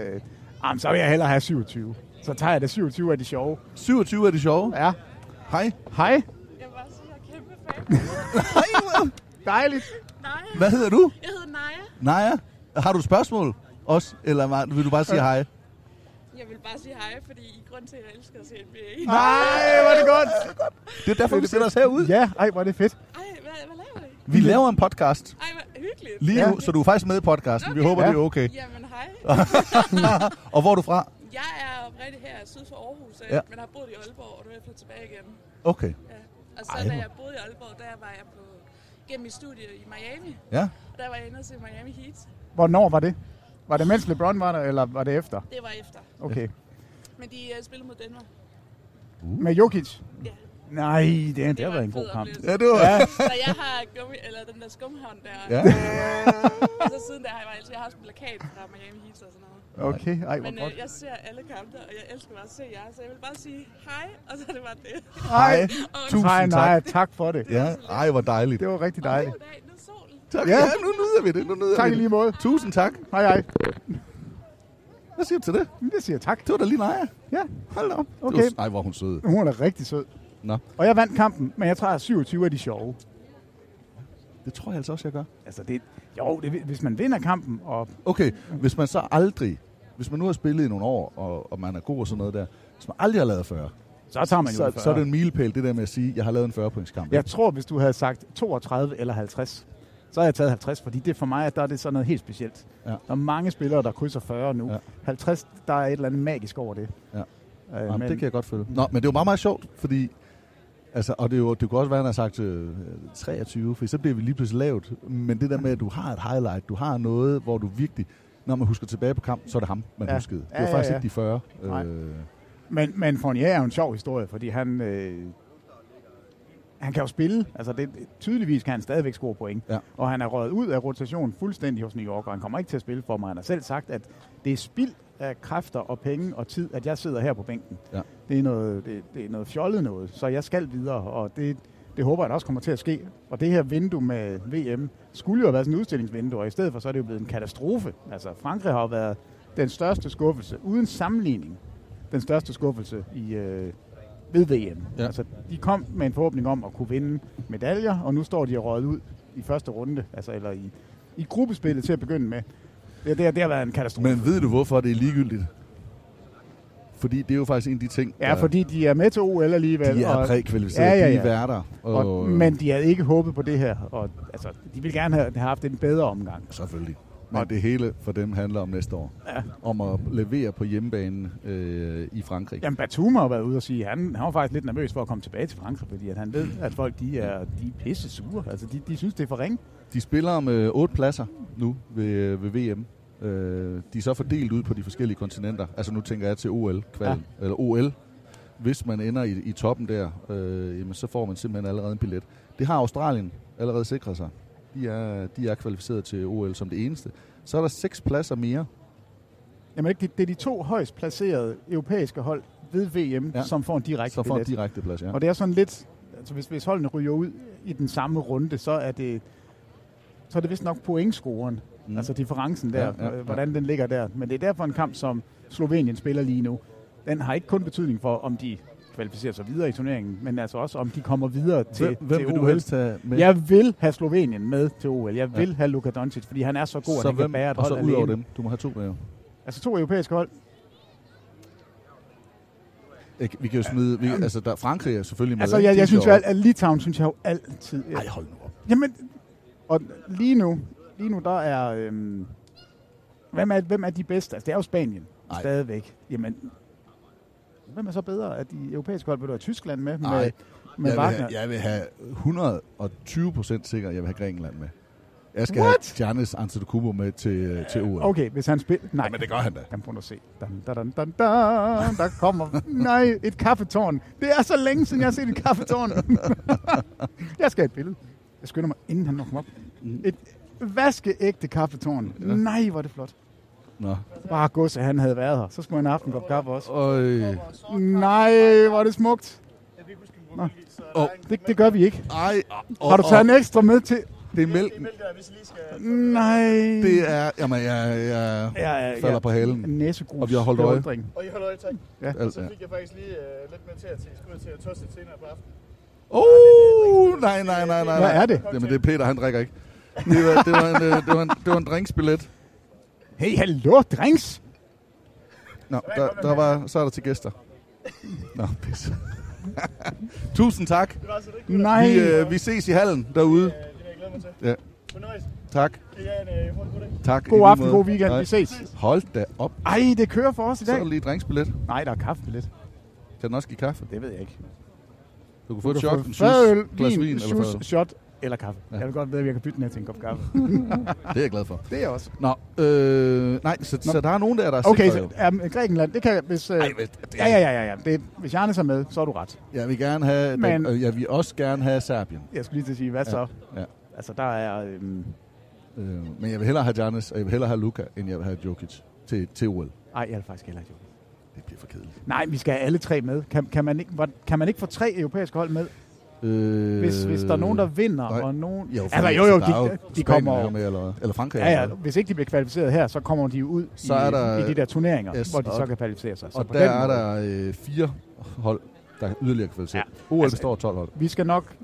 øh, jamen, så vil jeg hellere have 27. Så tager jeg det 27 af de sjove.
27 af de sjove?
Ja.
Hej.
Hej.
Jeg vil bare sige, jeg er kæmpe fan.
Nej,
Dejligt.
Naja.
Hvad hedder du?
Jeg hedder Naja.
Naja? Har du et spørgsmål også, eller var- vil du bare
Øh,
sige hej?
Jeg vil bare sige hej, fordi I er grund til, at jeg elsker at se NBA.
Nej, hvor er det godt!
Det er derfor, vi finder os herude.
Ja, ej, hvor er det fedt.
Ej, hvad, hvad laver I?
Vi laver en podcast.
Ej, hvor hyggeligt.
Lige nu, så du er faktisk med i podcasten. Vi håber, det er okay.
Jamen, hej.
og hvor er du fra?
Jeg er oprigtig her syd for Aarhus,
Ja.
ja. men har boet i Aalborg, og nu er jeg flyttet tilbage igen.
Okay.
Ja. Og så
Ej,
Ej, da
hvor-
jeg boede i Aalborg, der var jeg på gennem mit studie i Miami.
Ja.
Og der var jeg inde og se Miami Heat.
Hvornår var det? Var det mens LeBron var der, eller var det efter?
Det var efter.
Okay.
Men de uh, spillede mod Danmark.
Uh. Med Jokic? Ja. Nej, det, det, det har
var
været en god kamp.
oplevelse.
Ja, det var. Ja.
Så jeg har gummi, eller den der skumhavn der.
Ja.
og så siden der har jeg bare altid, jeg har også en plakat fra Miami Heat og sådan noget.
Okay, ej, hvor
Men
godt.
øh, jeg ser alle kampe, og jeg elsker bare at se jer, så jeg vil bare sige hej, og så er det bare det.
Hej. Tusind
nej, nej,
tak.
tak for det.
Ja, ej, hvor dejligt.
Det var rigtig dejligt.
Tak.
Ja.
Ja, nu nyder vi det. Nu nyder
Tak
vi
i
det.
lige måde.
Tusind tak.
Hej, hej.
Hvad siger du til det?
Jeg siger tak.
Det var da lige Naja.
Ja.
Hold da op.
Okay.
Det var- Ej, hvor er hun sød.
Hun er rigtig sød.
Nå.
Og jeg vandt kampen, men jeg tror, at 27 er de sjove.
Det tror jeg altså også, jeg gør.
Altså, det, jo, det, hvis man vinder kampen, og
Okay, hvis man så aldrig, hvis man nu har spillet i nogle år, og, og man er god og sådan noget der, hvis man aldrig har lavet 40,
så tager man jo
så,
en 40.
så er det en milepæl, det der med at sige, jeg har lavet en 40-pointskamp.
Jeg tror, hvis du havde sagt 32 eller 50, så havde jeg taget 50, fordi det for mig, der er det sådan noget helt specielt.
Ja.
Der er mange spillere, der krydser 40 nu. Ja. 50, der er et eller andet magisk over det.
Ja.
Øh,
Jamen,
men-
det kan jeg godt følge. Nå, men det er jo meget, meget sjovt, fordi... Altså, og det, er jo, det kunne også være, at han har sagt øh, 23, for så bliver vi lige pludselig lavt. Men det der med, at du har et highlight, du har noget, hvor du virkelig... Når man husker tilbage på kampen, så er det ham, man
Ja.
huskede. Det var
Ja, ja,
faktisk
ja.
ikke de 40.
Nej.
Øh,
Men, men Fournier er jo en sjov historie, fordi han, øh, han kan jo spille. Altså det, tydeligvis kan han stadigvæk score point.
Ja.
Og han er røget ud af rotationen fuldstændig hos New York, og han kommer ikke til at spille for mig. Han har selv sagt, at det er spild af kræfter og penge og tid, at jeg sidder her på bænken.
Ja.
Det, er noget, det, det er noget fjollet noget, så jeg skal videre, og det, det håber jeg da også kommer til at ske. Og det her vindue med VM skulle jo have været sådan en udstillingsvindue, og i stedet for så er det jo blevet en katastrofe. Altså Frankrig har jo været den største skuffelse, uden sammenligning, den største skuffelse i, øh, ved VM. Ja. Altså, de kom med en forhåbning om at kunne vinde medaljer, og nu står de og røget ud i første runde, altså, eller i, i gruppespillet til at begynde med. Det, det, har- det har været en katastrofe.
Men ved du, hvorfor det er ligegyldigt? Fordi det er jo faktisk en af de ting,
Ja, fordi de er med til OL alligevel.
De er
og-
prækvalificerede, de er værter,
Og,
og-
men de havde ikke håbet på det her. Og, altså, de ville gerne have, have haft en bedre omgang.
Selvfølgelig. Men det hele for dem handler om næste år. Ja. Om at levere på hjemmebanen øh, i Frankrig.
Jamen, Batum har været ude og sige, at han, han var faktisk lidt nervøs for at komme tilbage til Frankrig, fordi at han ved, at folk de er, de er pisse sure. Altså, de, de synes, det er for ringe.
De spiller om øh, otte pladser nu ved, øh, ved VM. Øh, de er så fordelt ud på de forskellige kontinenter. Altså nu tænker jeg til OL, kvalen, ja. eller OL. Hvis man ender i, i toppen der, øh, jamen, så får man simpelthen allerede en billet. Det har Australien allerede sikret sig. De er, de er kvalificeret til OL som det eneste. Så er der seks pladser mere.
Jamen, ikke, det, det er de to højst placerede europæiske hold ved VM, ja. som får en direkte
så får
billet.
en direkte plads, ja.
Og det er sådan lidt, altså hvis, hvis holdene ryger ud i den samme runde, så er det, så er det vist nok pointscoren, mm. altså differencen der, ja, ja, ja. hvordan den ligger der. Men det er derfor en kamp, som Slovenien spiller lige nu, den har ikke kun betydning for, om de kvalificerer sig videre i turneringen, men altså også, om de kommer videre til,
Hvem- hvem
til
vil
OL.
du helst have med?
Jeg vil have Slovenien med til OL. Jeg vil
Ja.
ja. have Luka Doncic, fordi han er så god, at
så
han
hvem,
kan bære et
og
hold
så ud over
alene.
dem. Du må have to med, jo.
Altså to europæiske hold.
Ikke? Vi kan jo smide... Vi, altså, der, Frankrig er selvfølgelig med.
Altså,
ikke?
jeg,
De er
jeg synes jo,
sjove.
at at Litauen synes jeg jo altid...
Ej, hold nu op.
Jamen, og lige nu, lige nu der er... Øhm, hvem, er, hvem er de bedste? Altså, det er jo Spanien Ej. stadigvæk. Jamen, hvem er så bedre af de europæiske hold? Vil du have Tyskland med? med,
Nej,
med
jeg, vil
Wagner?
have, jeg vil have 120 procent sikker, at jeg vil have Grækenland med. Jeg skal
What?
have Giannis Antetokounmpo med til, til OL.
Okay, hvis han spiller... Nej.
Men det gør han da.
Jamen, prøv nu at se. Dan, dan, dan, dan, dan. Der kommer... Nej, et kaffetårn. Det er så længe siden, jeg har set et kaffetårn. jeg skal have et billede. Jeg skynder mig, inden han når kommer op. Et vaskeægte kaffetårn. Nej, hvor er det flot.
Nå.
Bare gods, at han havde været her. Så skulle han have haft en kop kaffe også.
Øj.
Nej, hvor er det smukt. Nå.
Oh.
Det, det gør vi ikke.
Ej,
Har du taget en ekstra med til?
Det er mælken.
Nej.
Det er... Jamen, jeg, jeg,
Ja, ja,
falder
ja.
på halen.
Næsegrus.
Og vi har holdt øje.
Beundring.
Og I holder øje, tak.
Ja.
Og så fik jeg faktisk lige øh, lidt mere til at tage skud til at tosse senere på aftenen.
Oh, nej, nej, nej, nej.
Hvad
nej.
er det?
Jamen, det er Peter, han drikker ikke. Det var, det var, en, øh, det var, en, det var en drinksbillet
Hey, hallo, drengs!
Nå, der, der var, så er der til gæster. Nå, pis. Tusind tak.
Nej.
Vi, øh, vi ses i hallen derude. Ja. Tak. øh, Tak. i
God
lige
aften,
måde.
god weekend.
Nej.
Vi ses.
Hold da op.
Ej, det kører for os i
Så er
dag.
der lige drinksbillet.
Nej, der er kaffebillet.
Kan den også give kaffe?
Det ved jeg ikke.
Du kan få
Du
et
kan
shot,
få
en
fadøl,
shoes, glas
vin,
vin eller
shoes,
fadøl.
shot eller kaffe.
Ja.
Ja. Jeg vil godt ved, at jeg kan bytte den her til en kop kaffe.
Ah, Det er jeg glad for.
Det er jeg også.
Nå, øh, nej, så,
Nå.
så der er nogen der, der er
Okay,
sikre,
så
jo.
um, Grækenland, det kan hvis... Uh, Ej,
det
ja, ja, ja, ja. ja. Det, hvis Jarnes er med, så er du ret.
Jeg vil gerne have,
Men-
Men... øh, jeg vil også gerne have Serbien.
Jeg skulle lige til at sige, hvad så?
Ja. ja.
Altså, der er... Øhm...
Øh, men jeg vil hellere have Giannis, og jeg vil hellere have Luka, end jeg vil have Jokic til, til OL.
Nej, jeg vil faktisk heller ikke. Jonas.
Det bliver for kedeligt.
Nej, vi skal have alle tre med. Kan, kan, man, ikke, hvor- kan man ikke få tre europæiske hold med?
Øh,
Hvis, øh, hvis der er nogen, der vinder,
nej.
og nogen...
Jo, for
altså, jo,
der
jo,
er jo
de, de
Spanien
kommer...
er jo med, eller- eller Frankrig er
Ja, ja,
med.
hvis ikke de bliver kvalificeret her, så kommer de jo ud
Så
i,
er der-
i de der turneringer,
Yes,
hvor de så
og-
kan kvalificere sig. Så
og
på
der
den
er
måde-
der øh, fire hold, der er yderligere kvalificeret. Ja. OL altså, består af 12 hold.
Vi skal nok...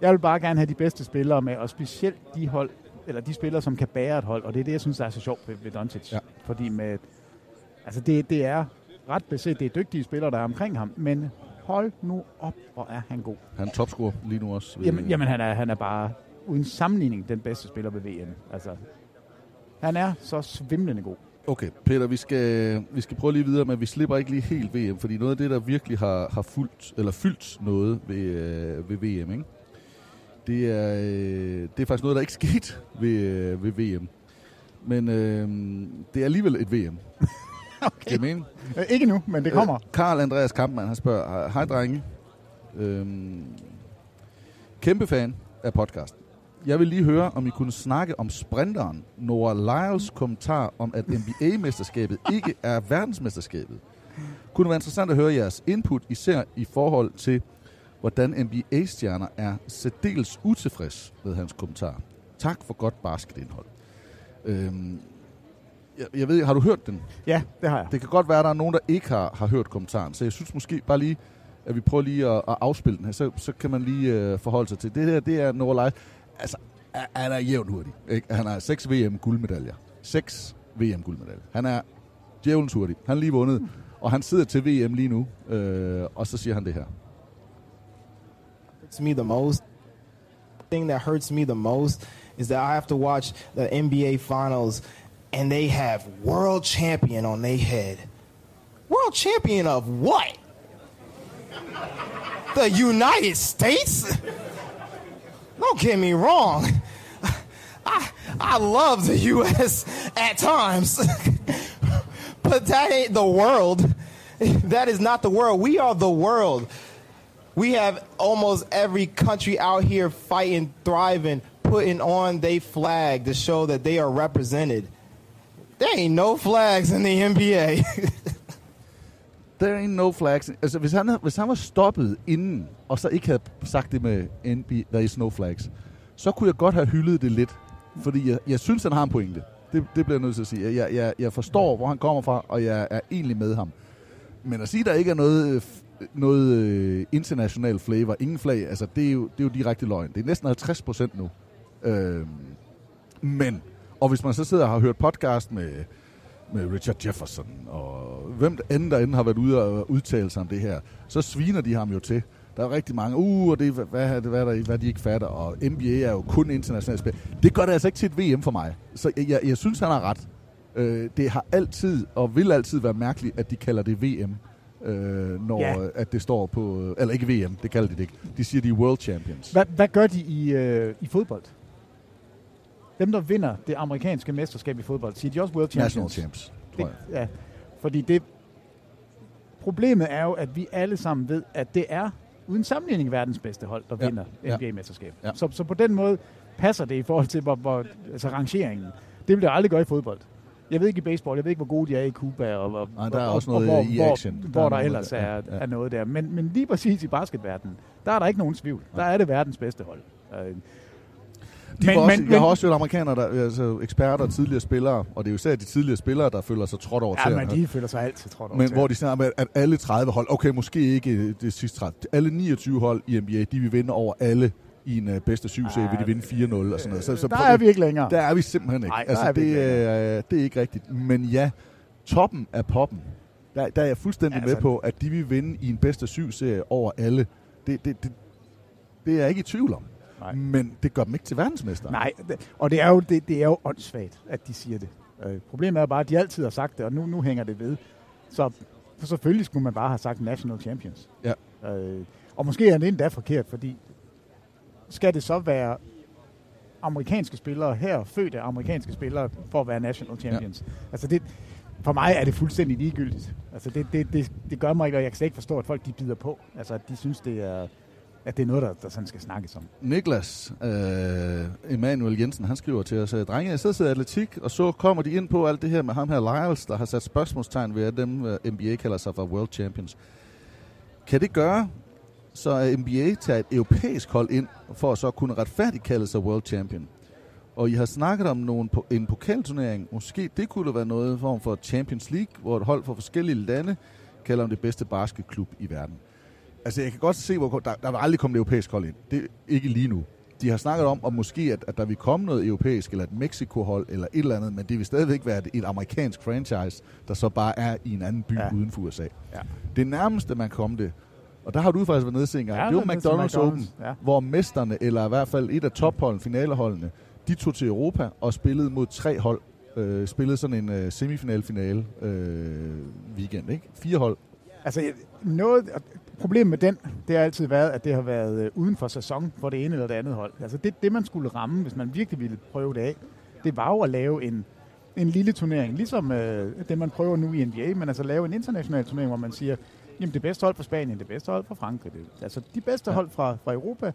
Jeg vil bare gerne have de bedste spillere med, og specielt de hold, eller de spillere, som kan bære et hold, og det er det, jeg synes, der er så sjovt ved, ved Doncic. Ja. Fordi med... Altså, det, det er ret beset, det er dygtige spillere, der er omkring ham, men hold nu op, hvor er han god.
Han er topscorer lige nu også. ved-
Jamen, jamen han, er, han er bare uden sammenligning den bedste spiller ved VM. Altså, han er så svimlende god.
Okay, Peter, vi skal, vi skal prøve lige videre, men vi slipper ikke lige helt VM, fordi noget af det, der virkelig har, har fulgt, eller fyldt noget ved, øh, ved VM, ikke? Det, er, øh, det er faktisk noget, der ikke skete ved, øh, ved VM. Men øh, det er alligevel et VM. okay. Det er meningen.
Øh, ikke nu, men det kommer.
Øh, Karl Andreas Kampmann, han spørger, hej drenge. Øhm, kæmpe fan af podcasten. Jeg vil lige høre, om I kunne snakke om sprinteren Nora Lyles kommentar om, at NBA-mesterskabet ikke er verdensmesterskabet. Kunne det være interessant at høre jeres input, især i forhold til, hvordan NBA-stjerner er særdeles utilfreds med hans kommentar. Tak for godt basketindhold. Øhm, jeg, jeg ved, ikke, har du hørt den?
Ja, det har jeg.
Det kan godt være, at der er nogen, der ikke har, har hørt kommentaren, så jeg synes måske bare lige, at vi prøver lige at, at afspille den her, så, så kan man lige øh, forholde sig til. Det her, det er Nora Lyles. Altså, han- han er jævn hurtig. Ikke? Han har seks VM-guldmedaljer. Seks VM-guldmedaljer. Han er djævelens hurtig. Han har lige vundet, og han sidder til VM lige nu, øh, og så siger han det her.
hurts me the most thing that hurts me the most is that I have to watch the NBA finals and they have world champion on their head. World champion of what? The United States? Don't get me wrong. I I love the US at times. but that ain't the world. That is not the world. We are the world. We have almost every country out here fighting, thriving, putting on they flag to show that they are represented. There ain't no flags in the NBA.
There ain't no flags. Altså, hvis han, havde- hvis han var stoppet inden, og så ikke havde sagt det med NBA, there is no flags, så kunne jeg godt have hyldet det lidt. Fordi jeg, jeg synes, han har en pointe. Det, det bliver jeg nødt til at sige. Jeg, jeg, jeg forstår, hvor han kommer fra, og jeg er egentlig med ham. Men at sige, der ikke er noget, øh, f- noget øh, international flavor, ingen flag, altså, det er, jo, det er jo direkte løgn. Det er næsten 50 procent nu. Øhm, men, og hvis man så sidder og har hørt podcast med med Richard Jefferson, og hvem end der end har været ude og udtale sig om det her, så sviner de ham jo til. Der er rigtig mange, uh, og det, er- hvad, er det- hvad, er der, hvad de ikke fatter, og NBA er jo kun internationalt spil. Det gør det altså ikke til et VM for mig. Så jeg, jeg, jeg synes, han har ret. Øh, det har altid, og vil altid være mærkeligt, at de kalder det VM, øh, når
Ja.
ja. at det står på... øh, Eller ikke VM, det kalder de det ikke. De siger, de er world champions.
Hvad, hvad gør de i, øh, i fodbold? Dem, der vinder det amerikanske mesterskab i fodbold, siger de også World Champions.
National champs, tror jeg.
Det, ja, fordi det... Problemet er jo, at vi alle sammen ved, at det er uden sammenligning verdens bedste hold, der
Ja,
vinder
ja.
NBA-mesterskabet. Ja. Så, så på den måde passer det i forhold til hvor, hvor, altså rangeringen. Det vil det aldrig gøre i fodbold. Jeg ved ikke i baseball, jeg ved ikke, hvor gode de er i Cuba, og, og,
Nej, der er
og,
også
og,
noget
og
i
hvor,
action.
Hvor,
Der
hvor
er
der
noget-
ellers er,
ja, ja.
er noget der. Men, men lige præcis i basketverdenen, der er der ikke nogen tvivl. Der er det verdens bedste hold. Øh,
De men, også, men, jeg har også hørt amerikanere, der, altså eksperter, tidligere spillere, og det er jo især de tidligere spillere, der føler sig trådt over
Ja,
tæerne.
men de føler sig altid trådt over
Men
tæerne.
hvor de snakker med, at øh, alle 30 hold, okay, måske ikke det sidste 30, alle 29 hold i NBA, de vil vinde over alle i en uh, bedste 7 serie vil de vinde 4-0 og sådan noget. Så, så
Der
prøv-
er vi ikke længere.
Der er vi simpelthen ikke.
Nej, der
altså,
er vi
det,
ikke
er, det er ikke rigtigt. Men ja, toppen af poppen, der, der er jeg fuldstændig
Ja,
ja, med
altså-
på, at de vil vinde i en bedste 7 serie over alle. Det, det, det, det er jeg ikke i tvivl om. Nej. Men det gør dem ikke til verdensmester.
Nej, det- og det er jo, det, det er jo åndssvagt, at de siger det. Øh, problemet er bare, at de altid har sagt det, og nu, nu hænger det ved. Så for selvfølgelig skulle man bare have sagt National Champions.
Ja.
Øh, og måske er det endda forkert, fordi skal det så være amerikanske spillere her, fødte amerikanske spillere, for at være National Champions? Ja. Altså det, for mig er det fuldstændig ligegyldigt. Altså det, det, det, det gør mig ikke, og jeg kan slet ikke forstå, at folk de bider på. Altså at de synes, det er, at det er noget, der, der sådan skal snakkes om.
Niklas øh, Emanuel Jensen, han skriver til os, øh, drenge, jeg sidder til atletik, og så kommer de ind på alt det her med ham her Lyles, der har sat spørgsmålstegn ved, at dem øh, NBA kalder sig for World Champions. Kan det gøre, så at NBA tager et europæisk hold ind, for at så kunne retfærdigt kalde sig World Champion? Og I har snakket om nogen på, en pokalturnering. Måske det kunne være noget form for Champions League, hvor et hold fra forskellige lande kalder om det bedste basketklub i verden. Altså, jeg kan godt se, hvor der, der vil aldrig komme et europæisk hold ind. Det er ikke lige nu. De har snakket om, om måske, at, at der vil komme noget europæisk, eller et Mexico-hold, eller et eller andet, men det vil stadigvæk være et, et amerikansk franchise, der så bare er i en anden by ja. uden for USA. Ja. Det nærmeste, man kom det, og der har du faktisk været nede og se en gang,
Ja,
ja, det var
men
McDonald's,
til
McDonald's
McDonald's,
Open,
ja.
ja. hvor mesterne, eller i hvert fald et af topholdene, finaleholdene, de tog til Europa og spillede mod tre hold. Øh, spillede sådan en øh, semifinal-finale øh, weekend, ikke? Fire hold.
Altså, jeg- noget, og problemet med den, det har altid været, at det har været øh, uden for sæson for det ene eller det andet hold. Altså, det, det man skulle ramme, hvis man virkelig ville prøve det af, det var jo at lave en, en lille turnering, ligesom øh, det, man prøver nu i NBA, men altså lave en international turnering, hvor man siger, jamen det bedste hold fra Spanien, det bedste hold fra Frankrig, det, altså de bedste hold fra, fra Europa,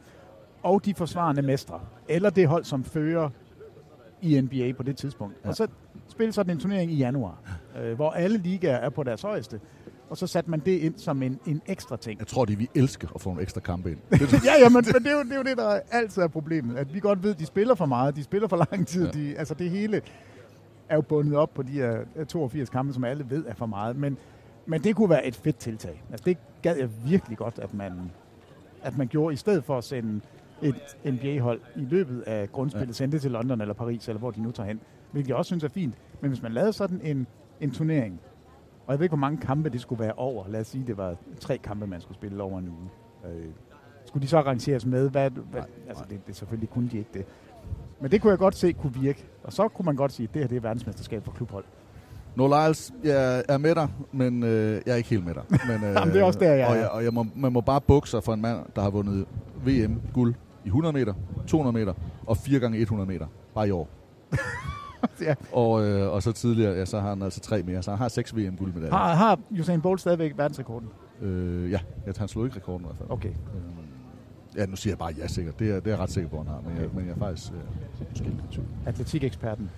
og de forsvarende mestre, eller det hold, som fører i NBA på det tidspunkt. Ja. Og så spille sådan en turnering i januar, øh, hvor alle ligaer er på deres højeste. Og så satte man det ind som en, en ekstra ting.
Jeg tror, de vi elsker at få nogle ekstra kampe ind.
ja, ja, men, men det, er jo, det er jo det, der altid er problemet. At vi godt ved, at de spiller for meget, de spiller for lang tid. Ja.
Ja.
De, altså det hele er jo bundet op på de her 82 kampe, som alle ved er for meget. Men, men det kunne være et fedt tiltag. Altså det gad jeg virkelig godt, at man, at man gjorde, i stedet for at sende et NBA-hold i løbet af grundspillet, ja.
Ja.
sende det til London eller Paris, eller hvor de nu tager hen, hvilket jeg også synes er fint. Men hvis man lavede sådan en, en turnering, og jeg ved ikke, hvor mange kampe det skulle være over. Lad os sige, det var tre kampe, man skulle spille over en uge. Øh, skulle de så arrangeres med? Hvad, hvad, altså, det, det, selvfølgelig kunne de ikke det. Men det kunne jeg godt se kunne virke. Og så kunne man godt sige, at det her det er verdensmesterskab for klubhold.
No Lyles, jeg er med dig, men øh, jeg er ikke helt med dig. Men, øh,
Jamen, det er også der, jeg er.
Og, jeg, og jeg må, man må bare bukke sig for en mand, der har vundet VM-guld i 100 meter, 200 meter og 4 gange 100 meter. Bare i år.
ja.
og, øh, og så tidligere, ja, så har han altså tre mere. Så han har seks VM-guldmedaljer.
Har, har Usain Bolt stadigvæk verdensrekorden?
Øh, ja, jeg- han slog ikke rekorden i hvert fald. Øh,
Okay.
Ja, nu siger jeg bare ja sikkert. Det er, det er jeg ret sikker på, han har. Men, jeg, men jeg er faktisk øh, måske lidt i tvivl.
Atletikeksperten.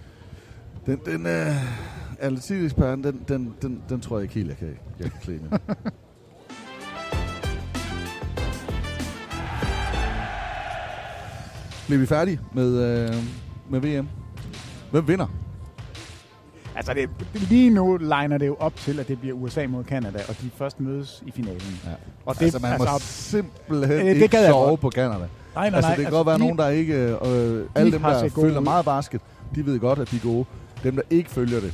Den, den øh, atletikeksperten, den, den, den, den tror jeg ikke helt, jeg kan, jeg kan klæde med. Bliver vi færdige med, øh, med VM? Hvem vinder?
Altså, det, lige nu liner det jo op til, at det bliver USA mod Kanada, og de først mødes i finalen.
Ja.
Og det,
altså, man må
Øh,
simpelthen
det
det ikke
gad jeg
sove
godt.
på Canada. altså,
nej,
det
nej,
kan
altså,
godt være
de-
nogen, der ikke... Øh, alle
de
dem,
har
der
set gode
følger
ud.
meget basket, de ved godt, at de er gode. Dem, der ikke følger det,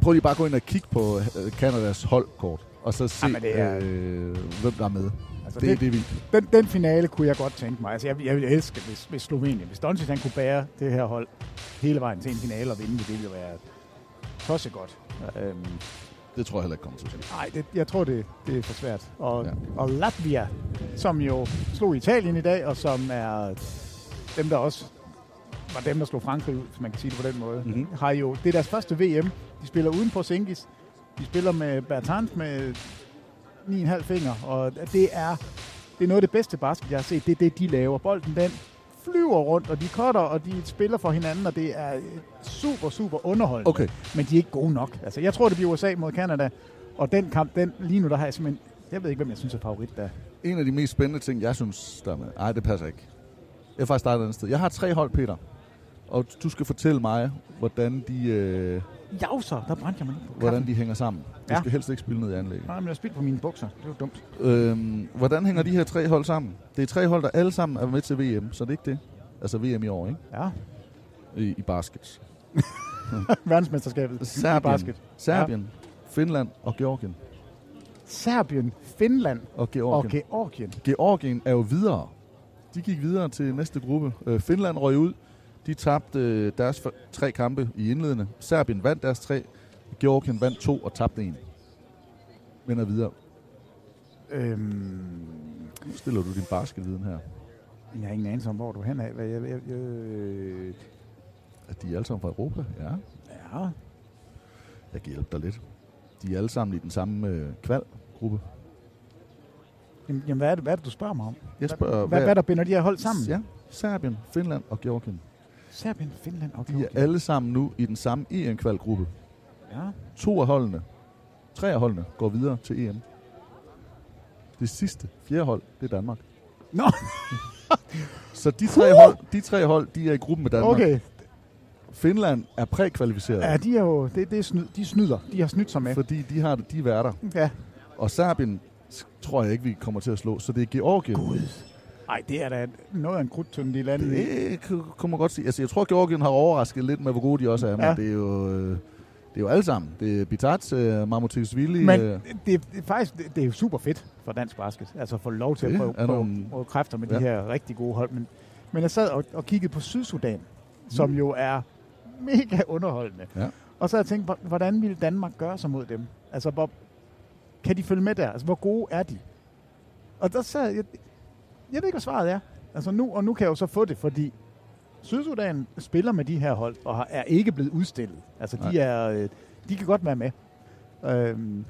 prøv lige bare at gå ind og kigge på øh, Canadas holdkort, og så se,
Jamen, det er-
øh, hvem der er med. Altså, det, det,
det-
det er vildt.
den, den finale kunne jeg godt tænke mig. Altså, jeg, jeg ville elske, hvis, hvis Slovenien, hvis Doncic han kunne bære det her hold hele vejen til en finale og vinde, det ville jo være tosset godt. Øhm,
Det tror jeg heller ikke kommer til.
Nej, det, jeg tror, det, det er for svært. Og, ja. og Latvia, som jo slog Italien i dag, og som er dem, der også var dem, der slog Frankrig ud, hvis man kan sige det på den måde,
Mhm.
mm-hmm. har jo, det er deres første VM. De spiller uden på Singis. De spiller med Bertrand med 9,5 fingre, og det er, det er noget af det bedste basket, jeg har set. Det er det, de laver. Bolden, den flyver rundt, og de cutter, og de spiller for hinanden, og det er øh, super, super underholdende.
Okay.
Men de er ikke gode nok. Altså, jeg tror, det bliver USA mod Kanada, og den kamp, den lige nu, der har jeg simpelthen... Jeg ved ikke, hvem jeg synes er favorit der.
En af de mest spændende ting, jeg synes, der er med... Ej, det passer ikke. Jeg er faktisk startet et andet sted. Jeg har tre hold, Peter. Og du skal fortælle mig, hvordan de, øh,
Javser, der brændte jeg mig lige på
hvordan
kaffen.
de hænger sammen. Du
Ja.
skal helst ikke spille ned i anlægget.
Nej, men jeg spildte på mine bukser. Det var dumt.
Øhm, hvordan hænger de her tre hold sammen? Det er tre hold, der alle sammen er med til VM, så det er ikke det. Altså VM i år, ikke?
Ja.
I, i basket.
Verdensmesterskabet. i
Serbien,
Basket.
Serbien Finland og Georgien.
Ja. Serbien, Finland
Og Georgien.
og Georgien.
Georgien er jo videre. De gik videre til næste gruppe. Øh, Finland røg ud. De tabte øh, deres f- tre kampe i indledende. Serbien vandt deres tre. Georgien vandt to og tabte en. Men er videre.
Øhm.
Nu stiller du din basketviden her.
Jeg har ingen anelse om, hvor du er henad. Hvad Jeg, jeg, jeg, øh,
At de er alle sammen fra Europa, ja.
Ja.
Jeg kan hjælpe dig lidt. De er alle sammen i den samme øh, kvalgruppe.
jamen, jamen, hvad, er det, hvad er det, du spørger mig om?
Jeg spørger,
hvad, hvad,
hvad-
hvad der binder de her hold sammen?
Ja, Serbien, Finland og Georgien.
Serbien, Finland og
De
Georgien.
er alle sammen nu i den samme EM-kvalgruppe.
Ja.
To af holdene, tre af holdene går videre til EM. Det sidste, fjerde hold, det er Danmark.
Nå!
Så de tre, hold, de tre hold, de er i gruppen med Danmark.
Okay.
Finland er prækvalificeret.
Ja, de er jo, det, det er snyd, de snyder. De har snydt sig med.
Fordi de har de er værter.
Ja.
Og Serbien s- tror jeg ikke, vi kommer til at slå. Så det er Georgien. Gud.
Ej, det er da noget af en krudtønde, de landede i.
Det k- kunne man godt sige. Altså, jeg tror, Georgien har overrasket lidt med, hvor gode de også er. Ja.
Ja.
Men det er jo... øh, Det er jo alle sammen. Det er Bitats, øh, Marmotisvili...
Men
øh,
det, det, er faktisk, det, det er jo super fedt for dansk basket. Altså at få lov til at
Det
prøve,
er
prøve,
nogle-
nogle... prøve kræfter med ja.
Ja.
de her rigtig gode hold. Men, men jeg sad og, og kiggede på Sydsudan, som
Mm.
jo er mega underholdende.
Ja.
Og så har jeg tænkt, hvor- hvordan ville Danmark gøre sig mod dem? Altså, hvor, kan de følge med der? Altså, hvor gode er de? Og der sad jeg, jeg ved ikke, hvad svaret er. Altså nu, og nu kan jeg jo så få det, fordi Sydsudan spiller med de her hold, og har, er ikke blevet udstillet. Altså
Nej.
de, er, øh, de kan godt være med. Øhm,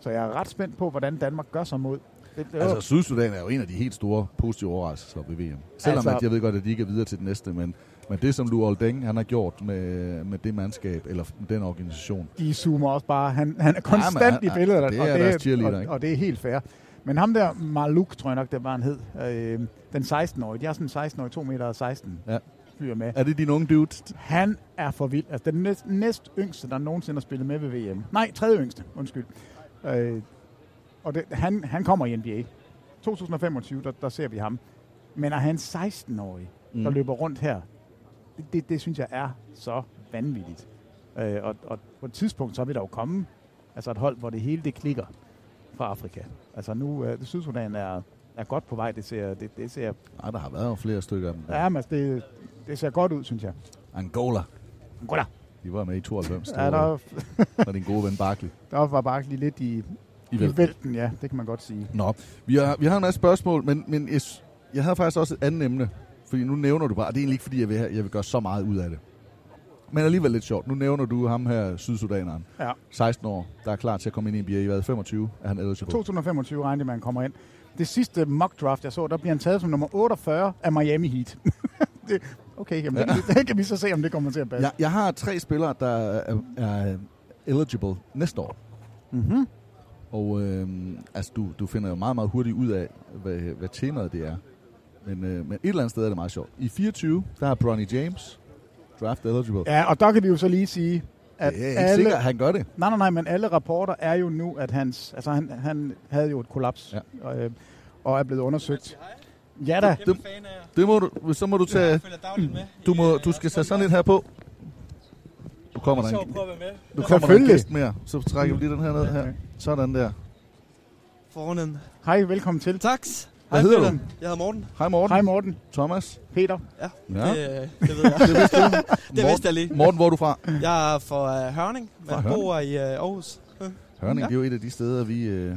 så jeg er ret spændt på, hvordan Danmark gør sig mod. Det, det
Altså, Sydsudan er jo en af de helt store positive overraskelser ved VM. Selvom altså,
Altså-
at jeg ved godt, at de ikke er videre til det næste, men, men det, som Luol Deng han har gjort med, med det mandskab, eller f- den organisation,
de zoomer også bare. Han, han er konstant
han-
i
han-
billederne.
det
og
er deres cheerleader,
og,
ikke?
og det er helt fair. Men ham der, Maluk, tror jeg nok, det var han hed, øh, den 16-årige, de har sådan en 16-årig, 2 meter og 16
ja.
fyr med.
Er det din unge dude?
Han er for vild. Altså den næst, næst yngste, der nogensinde har spillet med ved VM. Nej, tredje yngste, undskyld. Øh, og det, han, han kommer i NBA. 2025, der, der ser vi ham. Men at han 16-årig, mm. der
Mm.
løber rundt her, det, det, det synes jeg er så vanvittigt. Øh, og, og på et tidspunkt, så vil der jo komme altså et hold, hvor det hele det klikker fra Afrika. Altså nu, øh, Sydsudan er, er godt på vej, det ser, det, det ser,
Nej, der har været jo flere stykker af dem.
ja. men altså, det, det ser godt ud, synes jeg.
Angola.
Angola.
De var med i 92.
Ja, der var-
Og din gode ven Barkley.
Der var bare lige lidt i, i,
vælten. Mm.
vælten. ja, det kan man godt sige.
Nå, vi har, vi har en masse spørgsmål, men, men jeg, s- jeg havde faktisk også et andet emne. Fordi nu nævner du bare, det er egentlig ikke fordi, jeg vil, have- jeg vil gøre så meget ud af det. Men alligevel lidt sjovt. Nu nævner du ham her, sydsudaneren.
Ja.
16 år, der er klar til at komme ind i NBA. I hvad, 25 er han ellers
2025 regnede man kommer ind. Det sidste mock draft, jeg så, der bliver han taget som nummer 48 af Miami Heat. det, okay, jamen, ja. det, det, kan vi så se, om det kommer til at passe.
Jeg, jeg har tre spillere, der er, er eligible næste år.
Mm-hmm.
Og øh, altså, du, du finder jo meget, meget hurtigt ud af, hvad, hvad temaet det er. Men, øh, men et eller andet sted er det meget sjovt. I 24, der er Bronny James, draft eligible.
Ja, og der kan vi jo så lige sige, at
Det er ikke
alle,
sikkert, at han gør det.
Nej, nej, nej, men alle rapporter er jo nu, at hans, altså han, han havde jo et kollaps, ja. og, øh, og er blevet undersøgt. Ja da.
Det, det må du, så må du tage... Du, må,
øh,
du skal tage sådan lidt her på. Du kommer der en, du kommer der en
Selvfølgelig.
gæst mere. Så trækker vi lige den her ned her. Sådan der.
Fornem.
Hej, velkommen til.
Tak.
Hvad hedder du?
Jeg hedder Morten.
Hej Morten.
Hej Morten.
Thomas.
Peter.
Ja,
Ja.
Det, øh, det ved jeg.
Det vidste du.
det vidste jeg lige.
Morten- Morten, hvor er du fra?
Jeg er fra uh, Hørning,
Fra
men bor i uh, Aarhus. Øh.
Hørning,
Ja.
det er jo et af de steder, vi, øh,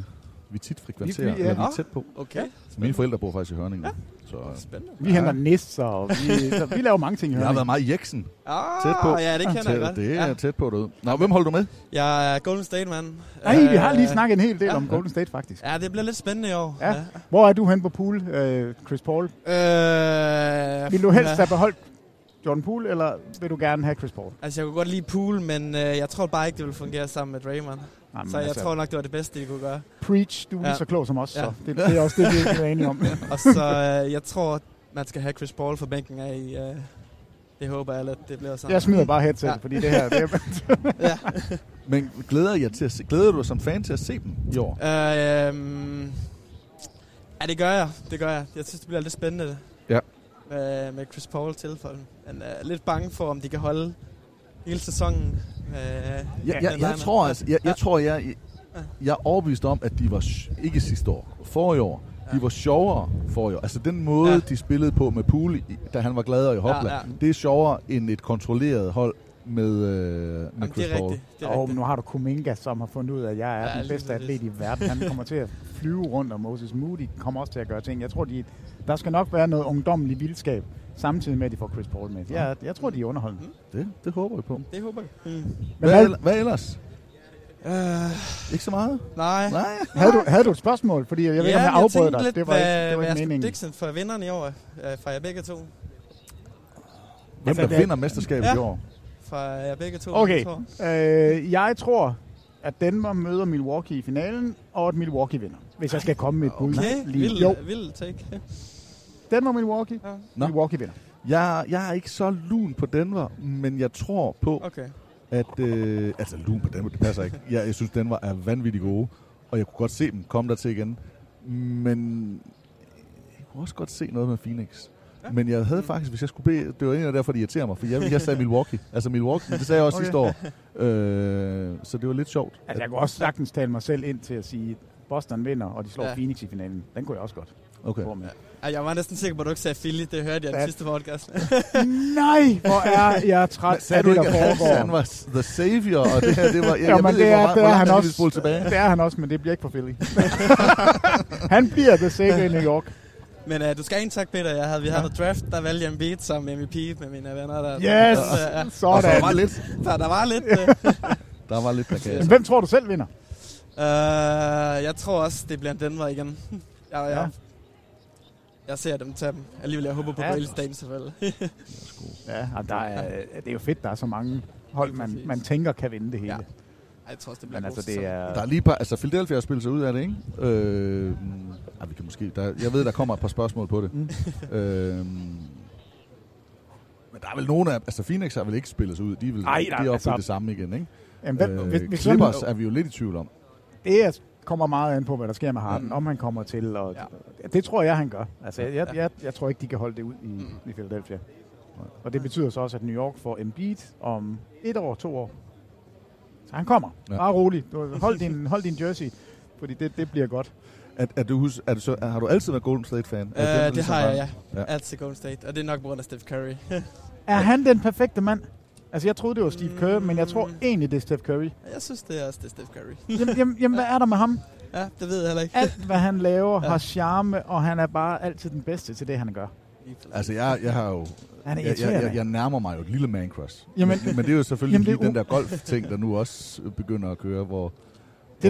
vi tit frekventerer,
Vi-
vi,
vi-
ja. eller
ja.
vi er tæt på.
Okay.
Så mine forældre bor faktisk i Hørning. Ja. Så, Spændende.
Vi henter nisser, og vi, så vi laver mange ting i
Jeg har
Hørning.
været meget i Jeksen.
Ah,
tæt på.
ja, det kender jeg
tæt,
godt.
Det er
Ja.
tæt på derude. Nå, hvem holder du med?
Jeg er Golden State, mand.
Nej, vi har lige
Øh,
snakket en hel del
ja.
om Golden State, faktisk.
Ja, det bliver lidt spændende i år.
Ja. Hvor er du hen på pool, øh, Chris Paul?
Øh,
Vil du helst
ja.
have beholdt Jordan Poole, eller vil du gerne have Chris Paul?
Altså, jeg kunne godt lide pool, men øh, jeg tror bare ikke, det ville fungere sammen med Draymond.
Nej, men
så jeg
altså-
tror nok, det var det bedste, de kunne gøre.
Preach, du er lige så klog som os, så det- det er også det, vi er enige om.
og så, øh, jeg tror, man skal have Chris Paul for bænken af i, øh, Det håber jeg lidt, det bliver sådan.
Jeg smider bare headset, fordi det her... Det er...
ja.
Men glæder, jeg til at se, glæder du dig som fan til at se dem i år?
Øh, øhm, ja, det gør jeg. Det gør jeg. Jeg synes, det bliver lidt spændende.
Ja.
Med, med Chris Paul tilfælde. Men jeg er lidt bange for, om de kan holde hele sæsonen. Øh, ja,
Jeg, jeg, jeg tror altså, jeg, jeg tror, jeg, jeg, jeg er overbevist om, at de var, sj- ikke sidste år, forrige år, de var sjovere for i år. Altså den måde, ja. de spillede på med Pool, i- da han var gladere i Hopland, ja,
ja.
ja. det er sjovere end et kontrolleret hold med, øh, med Jamen, Chris Paul.
Og nu har du Kuminga, som har fundet ud af, at jeg er
Ja,
ja, den
lige
bedste atlet i verden. Han kommer til at flyve rundt, og Moses Moody kommer også til at gøre ting. Jeg tror, de, der skal nok være noget ungdommelig vildskab, samtidig med, at de får Chris Paul med. Jeg, jeg tror, de er underholdende.
Det, det håber jeg på.
Mm. Det håber jeg. Mm.
Hvad,
hvad-
el- hvad ellers?
Øh,
Ikke så meget?
nej.
Nej.
Havde du, havde du et spørgsmål? Fordi jeg ved ikke, om jeg afbrød dig.
Lidt,
det var
hvad,
ikke, det
hvad
var ikke
jeg skal
meningen.
prediction for vinderne i år, øh, fra jer begge to.
Hvem der vinder mesterskabet i år?
Fra jer begge to.
Okay,
jeg tror.
øh, jeg tror, at Denver møder Milwaukee i finalen, og at Milwaukee vinder. Hvis jeg skal komme med et bud.
Okay, vild,
Jo,
vild take.
Denver Milwaukee. Ja.
Nå.
Milwaukee vinder.
Jeg, jeg er ikke så lun på Denver, men jeg tror på,
Okay.
at... Øh, altså, lun på Denver, det passer ikke. Jeg, jeg synes, Denver er vanvittigt gode, og jeg kunne godt se dem komme der til igen. Men jeg kunne også godt se noget med Phoenix. Ja. Men jeg
Mm.
havde faktisk, hvis jeg skulle bede, det var en af derfor, det irriterer mig, for jeg, jeg sagde Milwaukee. Altså Milwaukee, men det sagde jeg også okay.
Okay.
sidste år. Øh, så det var lidt sjovt.
Altså, jeg kunne også sagtens tale mig selv ind til at sige, at Boston vinder, og de slår
Ja.
ja. Phoenix i finalen. Den kunne jeg også godt.
Okay.
gå med.
Ej, jeg var næsten sikker på, at du ikke sagde Philly. Det hørte jeg i den
Ja.
sidste podcast.
Nej, hvor er jeg
Men
træt
sagde
af
du
det, der
ikke, at
foregår.
han var the savior, og det her, det var... Jeg,
Jo,
jeg
men
ved ikke, hvor,
det er,
meget-
det
hvor langt
er han
vi
også.
vil spole tilbage.
Det er han også, men det bliver ikke for Philly. han bliver det sikre i New York.
Men uh, du skal ind, tak Peter. Jeg havde, vi havde noget draft, der valgte jeg en beat som MVP med mine venner. Der, øh,
Yes!
der- ja.
Sådan. Og der var lidt.
Der, der var lidt. øh.
Der var lidt plakater.
Men hvem tror du selv vinder?
Øh, jeg tror også, det bliver en Denver igen. Jeg, jeg, ja. jeg ser dem tage dem. Alligevel, jeg håber på ja.
Ja.
Bale-staten selvfølgelig.
Ja, og der er, det er jo fedt, der er så mange hold, man, man tænker kan vinde det hele. Ja.
Ej, jeg tror også, det bliver
Men
en god
altså, det
sæson.
er...
Der er lige par, altså Philadelphia har spillet sig ud af det, ikke? Øh, ej, vi kan måske, der, jeg ved, der kommer et par spørgsmål på det. Mm. Øh, men der er vel nogen af, altså Phoenix har vel ikke spillet sig ud, de er vel
Ej,
Ej,
nej,
der, de er altså,
altså-
det samme igen, ikke?
Jamen, hvem-
øh,
hvis- hvis
Clippers
sådan-
er vi jo lidt i tvivl om. Mm.
Det er- kommer meget an på, hvad der sker med Harden, om han kommer til. Og ja. Det tror jeg, han gør. Altså, jeg, jeg, jeg, jeg tror ikke, de kan holde det ud i,
Mm.
i Philadelphia. Og det betyder så også, at New York får Embiid om et år, to år. Så han kommer.
Ja.
Ja. Bare rolig. Du- Hold din, hold din jersey, fordi det, det bliver godt.
Er, er du, hus- er du så, er, har du altid været Golden State-fan? Er den,
Øh,
der
det,
ligesom
har jeg,
bare-
ja. ja. Altid Golden State. Og det er nok på grund af Steph Curry.
Er han den perfekte mand? Altså, jeg troede, det var Steve
Mm.
Kerr, men jeg tror egentlig, det er Steph Curry.
jeg synes, det er også det er Steph Curry.
Jamen, jamen, jamen hvad er der med ham?
Ja, det ved jeg heller ikke.
Alt, hvad han laver, har charme, og han er bare altid den bedste til det, han gør.
Altså, jeg, jeg har jo...
Han er
jeg, jeg, jeg,
irriterende.
jeg nærmer mig jo et lille man crush.
Jamen-
men, men det er jo selvfølgelig
Jamen, det er
lige den
u-
der golf-ting, der nu også øh, begynder at køre, hvor...
Det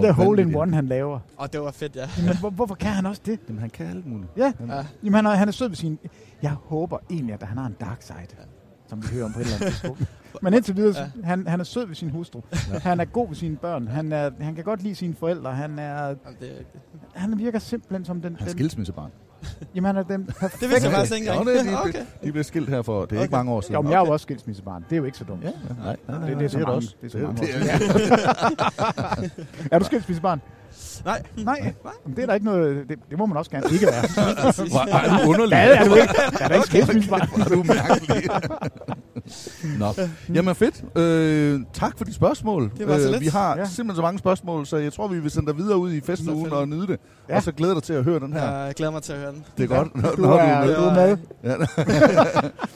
hvor
der hole in
vanvittigt-
one, han laver.
Og det var fedt, ja.
Jamen, hvor, hvorfor kan han også det?
Jamen, han kan alt muligt.
Ja,
Ja.
Jamen, han, er, han er sød ved sin... Jeg håber egentlig, at han har en dark side, som vi hører om på et eller andet tidspunkt. Men indtil videre, ja. han, han er sød ved sin hustru. Ja. Han er god ved sine børn. Han, er, han kan godt lide sine forældre. Han, er,
Jamen, det er rigtigt.
han virker simpelthen som den...
Han er
den-
skilsmissebarn.
Jamen, han er den perfekte...
vidste jeg faktisk ikke
Nå,
engang.
det, de,
Okay.
okay. de blev skilt her for, det er okay. ikke mange år siden.
Jo, men jeg er jo også skilsmissebarn. Det er jo ikke så dumt.
Ja, ja. Nej, nej, nej,
det, det
nej,
er
det er
så
det
mange,
også.
det er så
Det er-
mange
det
år siden. Er du skilsmissebarn?
Nej.
Nej, men det er der ikke noget... Det, det må man også gerne ikke være.
Hvor er du underlig.
Ja, det er du ikke. Jeg er da ikke skilsmissebarn.
Hvor er du mærkelig. Nå. Jamen fedt. Øh, tak for de spørgsmål.
Det var
Øh,
så lidt.
Øh, vi har
Ja.
ja. simpelthen så mange spørgsmål, så jeg tror, vi vil sende dig videre ud i festugen
fedt.
og nyde det.
Ja.
Ja. Og så glæder dig til at høre den her.
Jeg glæder mig til at høre den.
Det er godt.
Du er- du er med.
Ja.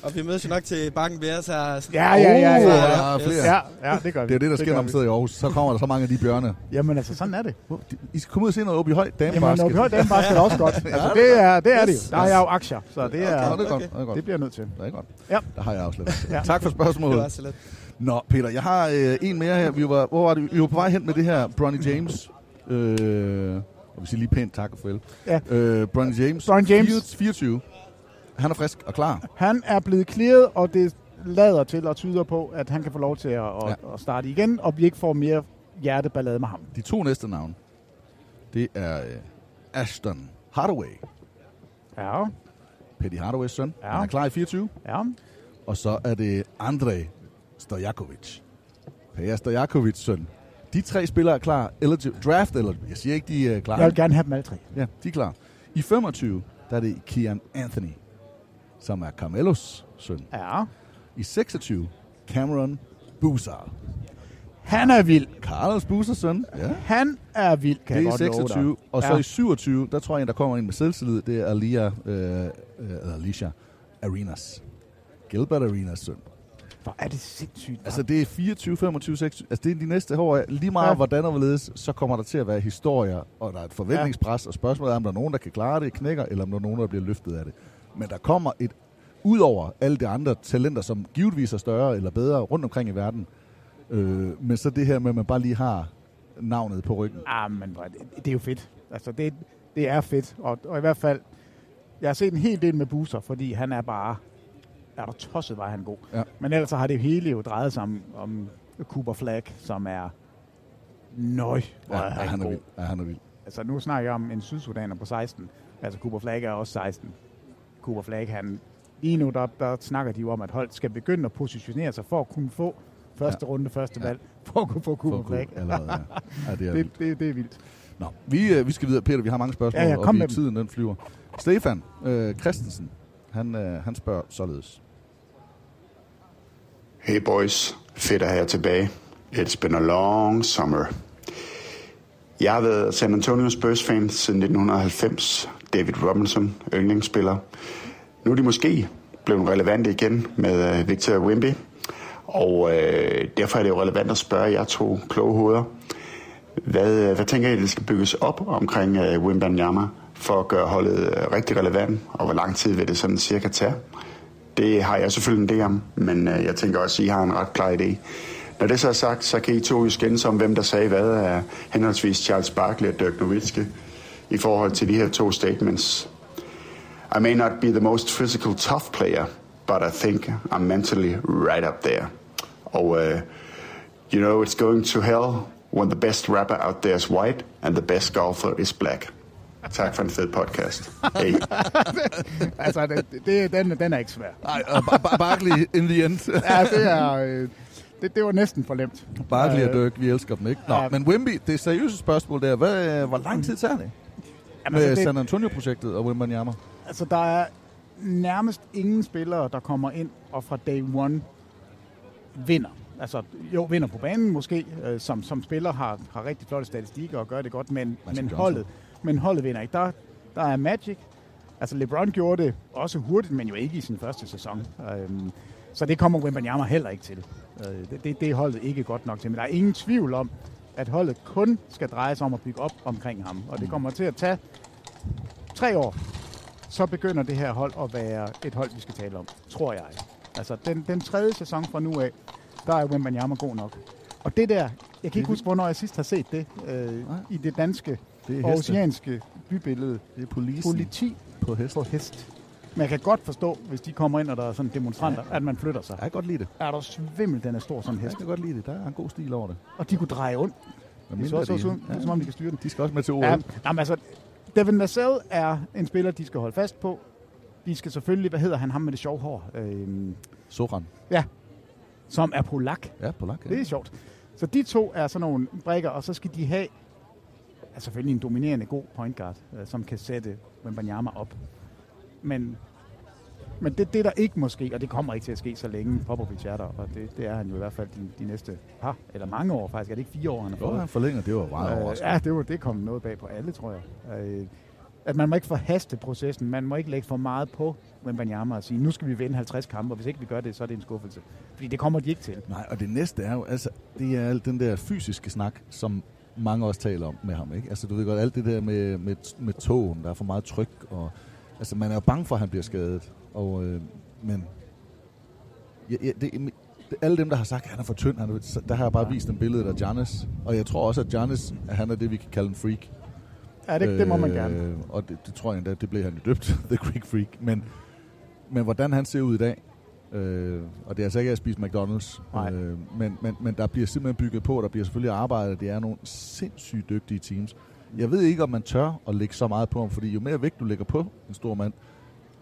og vi mødes jo nok til Bakken Bæres her.
Ja, ja, Oh, ja, ja,
Uh,
ja.
der er flere.
Ja, ja, det gør vi.
Det er det, der
Det
sker,
gør
når man
vi.
sidder i Aarhus. Så kommer der så mange af de bjørne.
Jamen altså, sådan er det.
I skal komme ud og se noget Åby Høj
Jamen,
damebasket.
Åby Høj Damebasket er også godt. Altså, det er det, er det jo. Der har jeg jo aktier, så det er...
Nå, det er godt. Det, er godt.
Det bliver jeg nødt til.
det er godt.
Ja.
Der har jeg også lidt.
Ja.
ja. Tak for spørgsmålet.
Det var så lidt.
Nå, Peter, jeg har øh, en mere her. Vi var, hvor var det? Vi var på vej hen med det her Bronny James. Øh, og vi siger lige pænt tak og farvel.
Ja.
Øh, Bronny James.
Bronny James.
24, 24. Han er frisk og klar.
Han er blevet clearet, og det lader til og tyder på, at han kan få lov til at, at, at starte igen, og vi ikke får mere hjerteballade med ham.
De to næste navne, det er øh, Ashton Hardaway.
Ja,
Petty Hardaways søn.
Ja.
Han er klar i 24.
ja.
Og så er det Andrej Stojakovic. Per Stojakovic søn. De tre spillere er klar. Eligible, draft, eller jeg siger ikke, de øh, er klar.
Jeg vil gerne have dem alle tre.
Ja, de er klar. I 25, der er det Kian Anthony, som er Carmelos søn.
Ja.
I 26, Cameron Buzar.
Han er vild.
Carlos Buzars søn. Ja.
Han er vild, kan
det
jeg
er i
godt love dig.
26, og så
Ja.
i 27, der tror jeg, en, der kommer ind med selvtillid, det er Alia, øh, øh, eller Alicia Arenas. Gilbert Arenas søn.
Hvor er det sindssygt.
Altså det er 24, 25, 26, altså det er de næste år. Lige meget
Ja.
ja. hvordan og hvorledes, så kommer der til at være historier, og der er et forventningspres, og spørgsmålet er, om der er nogen, der kan klare det, knækker, eller om der er nogen, der bliver løftet af det. Men der kommer et, ud over alle de andre talenter, som givetvis er større eller bedre rundt omkring i verden, øh, men så det her med, at man bare lige har navnet på ryggen.
Ah, men hvor er det, det er jo fedt. Altså, det, det er fedt. Og, og i hvert fald, jeg har set en hel del med Booster, fordi han er bare... Er der tosset, var han god.
Ja.
Men ellers så har det hele jo drejet sig om, om Cooper Flag, som er... Nøj, hvor
Ja,
er han,
han er
god.
vild. Ja, han er vild.
Altså, nu snakker jeg om en sydsudaner på 16. Altså, Cooper Flag er også 16. Cooper Flag, han... Lige nu, der, der snakker de jo om, at hold skal begynde at positionere sig for at kunne få første ja. runde, første valg, for at kunne få Cooper Flag.
Allerede, ja. ja, det er vildt.
det, det, det er vildt.
Nå, vi, øh, vi skal videre. Peter, vi har mange spørgsmål,
Ja, ja,
og
kom
vi,
med dem.
tiden den flyver. Stefan øh, Christensen, han, øh, han spørger således.
Hey boys, fedt at have jer tilbage. It's been a long summer. Jeg har været San Antonio Spurs fan siden 1990. David Robinson, yndlingsspiller. Nu er de måske blevet relevante igen med øh, Victor Wimby. Og øh, derfor er det jo relevant at spørge jer to kloge hoveder. Hvad, øh, hvad tænker I, det skal bygges op omkring øh, Wimbanyama for at gøre holdet øh, rigtig relevant? Og hvor lang tid vil det sådan cirka tage? Det har jeg selvfølgelig en idé om, men øh, jeg tænker også, at I har en ret klar idé. Når det så er sagt, så kan I to jo skændes om, hvem der sagde hvad af henholdsvis Charles Barkley og Dirk Nowitzki i forhold til de her to statements. I may not be the most physical tough player, but I think I'm mentally right up there. Og øh, you know, it's going to hell when the best rapper out there is white and the best golfer is black. Tak for en fed podcast. Hey.
altså, det, det, den, den er ikke svær.
Nej, Barkley in the end.
ja, det er... Øh, det, det var næsten for nemt.
Barkley og
Øh,
Dirk, vi elsker dem, ikke? Nå,
ja.
men Wimby, det er seriøse spørgsmål der. Hvad, øh, hvor lang tid tager det?
Jamen,
Jamen, med
altså, det-
San Antonio-projektet og Wimbanyama?
Altså, der er nærmest ingen spillere, der kommer ind og fra day one vinder. Altså, jo, vinder på banen måske, øh, som, som spiller har, har rigtig flotte statistikker og gør det godt, men, men,
Johnson.
holdet, men holdet vinder ikke. Der, der er Magic. Altså, LeBron gjorde det også hurtigt, men jo ikke i sin første sæson. Øhm, så det kommer Wimbanyama heller ikke til. Øh, det, det, det er holdet ikke godt nok til. Men der er ingen tvivl om, at holdet kun skal dreje sig om at bygge op omkring ham. Og det kommer til at tage tre år, så begynder det her hold at være et hold, vi skal tale om, tror jeg. Altså, den, den tredje sæson fra nu af, der er Wembanyama god nok. Og det der, jeg kan ikke huske, hvornår jeg sidst har set det, øh, i det danske
Det er
og
heste.
oceanske bybillede.
Det er politi.
Politi
på hest.
på hest. Men jeg kan godt forstå, hvis de kommer ind, og der er sådan demonstranter, at man flytter sig. Jeg
kan godt lide det.
Er der svimmel, den er stor som en hest.
Jeg kan godt lide det. Der er en god stil over det.
Og de kunne dreje ondt. Det
mindre
så også
de-
også ud,
ja.
som om de kan styre den.
De skal også med til OL.
Ja, jamen, altså, Devin Vassell er en spiller, de skal holde fast på. De skal selvfølgelig, hvad hedder han, ham med det sjove hår? Øhm,
Soran.
Ja, som er polak.
Ja, polak. Ja.
Det er sjovt. Så de to er sådan nogle brækker, og så skal de have ja, selvfølgelig en dominerende god point guard, øh, som kan sætte Wembanyama op. Men, men det, det er der ikke måske, og det kommer ikke til at ske så længe Popovic er der, og det, det er han jo i hvert fald de, de næste par, eller mange år faktisk. Er det ikke fire år, han har
Jo,
fået?
han forlænger. Det var meget
Øh,
overraskende.
Ja, det, var, det kom noget bag på alle, tror jeg. Øh, at man må ikke forhaste processen. Man må ikke lægge for meget på Wembanyama og sige, nu skal vi vinde 50 kampe, og hvis ikke vi gør det, så er det en skuffelse. Fordi det kommer de ikke til.
Nej, og det næste er jo, altså, det er al den der fysiske snak, som mange også taler om med ham, ikke? Altså, du ved godt, alt det der med, med, med togen, der er for meget tryk, og altså, man er jo bange for, at han bliver skadet, og, øh, men ja, ja, det, men det- alle dem, der har sagt, at han er for tynd, han, er- så- der har jeg bare vist en billede af Giannis, og jeg tror også, at Giannis, han er det, vi kan kalde en freak.
Ja, det- det må man gerne.
Øh, Og det, det tror jeg endda, det blev han jo døbt, The Greek Freak, men, men hvordan han ser ud i dag, øh, og det er altså ikke at spise McDonald's, øh, men, men, men der bliver simpelthen bygget på, og der bliver selvfølgelig arbejdet, det er nogle sindssygt dygtige teams. Jeg ved ikke, om man tør at lægge så meget på ham, fordi jo mere vægt du lægger på en stor mand,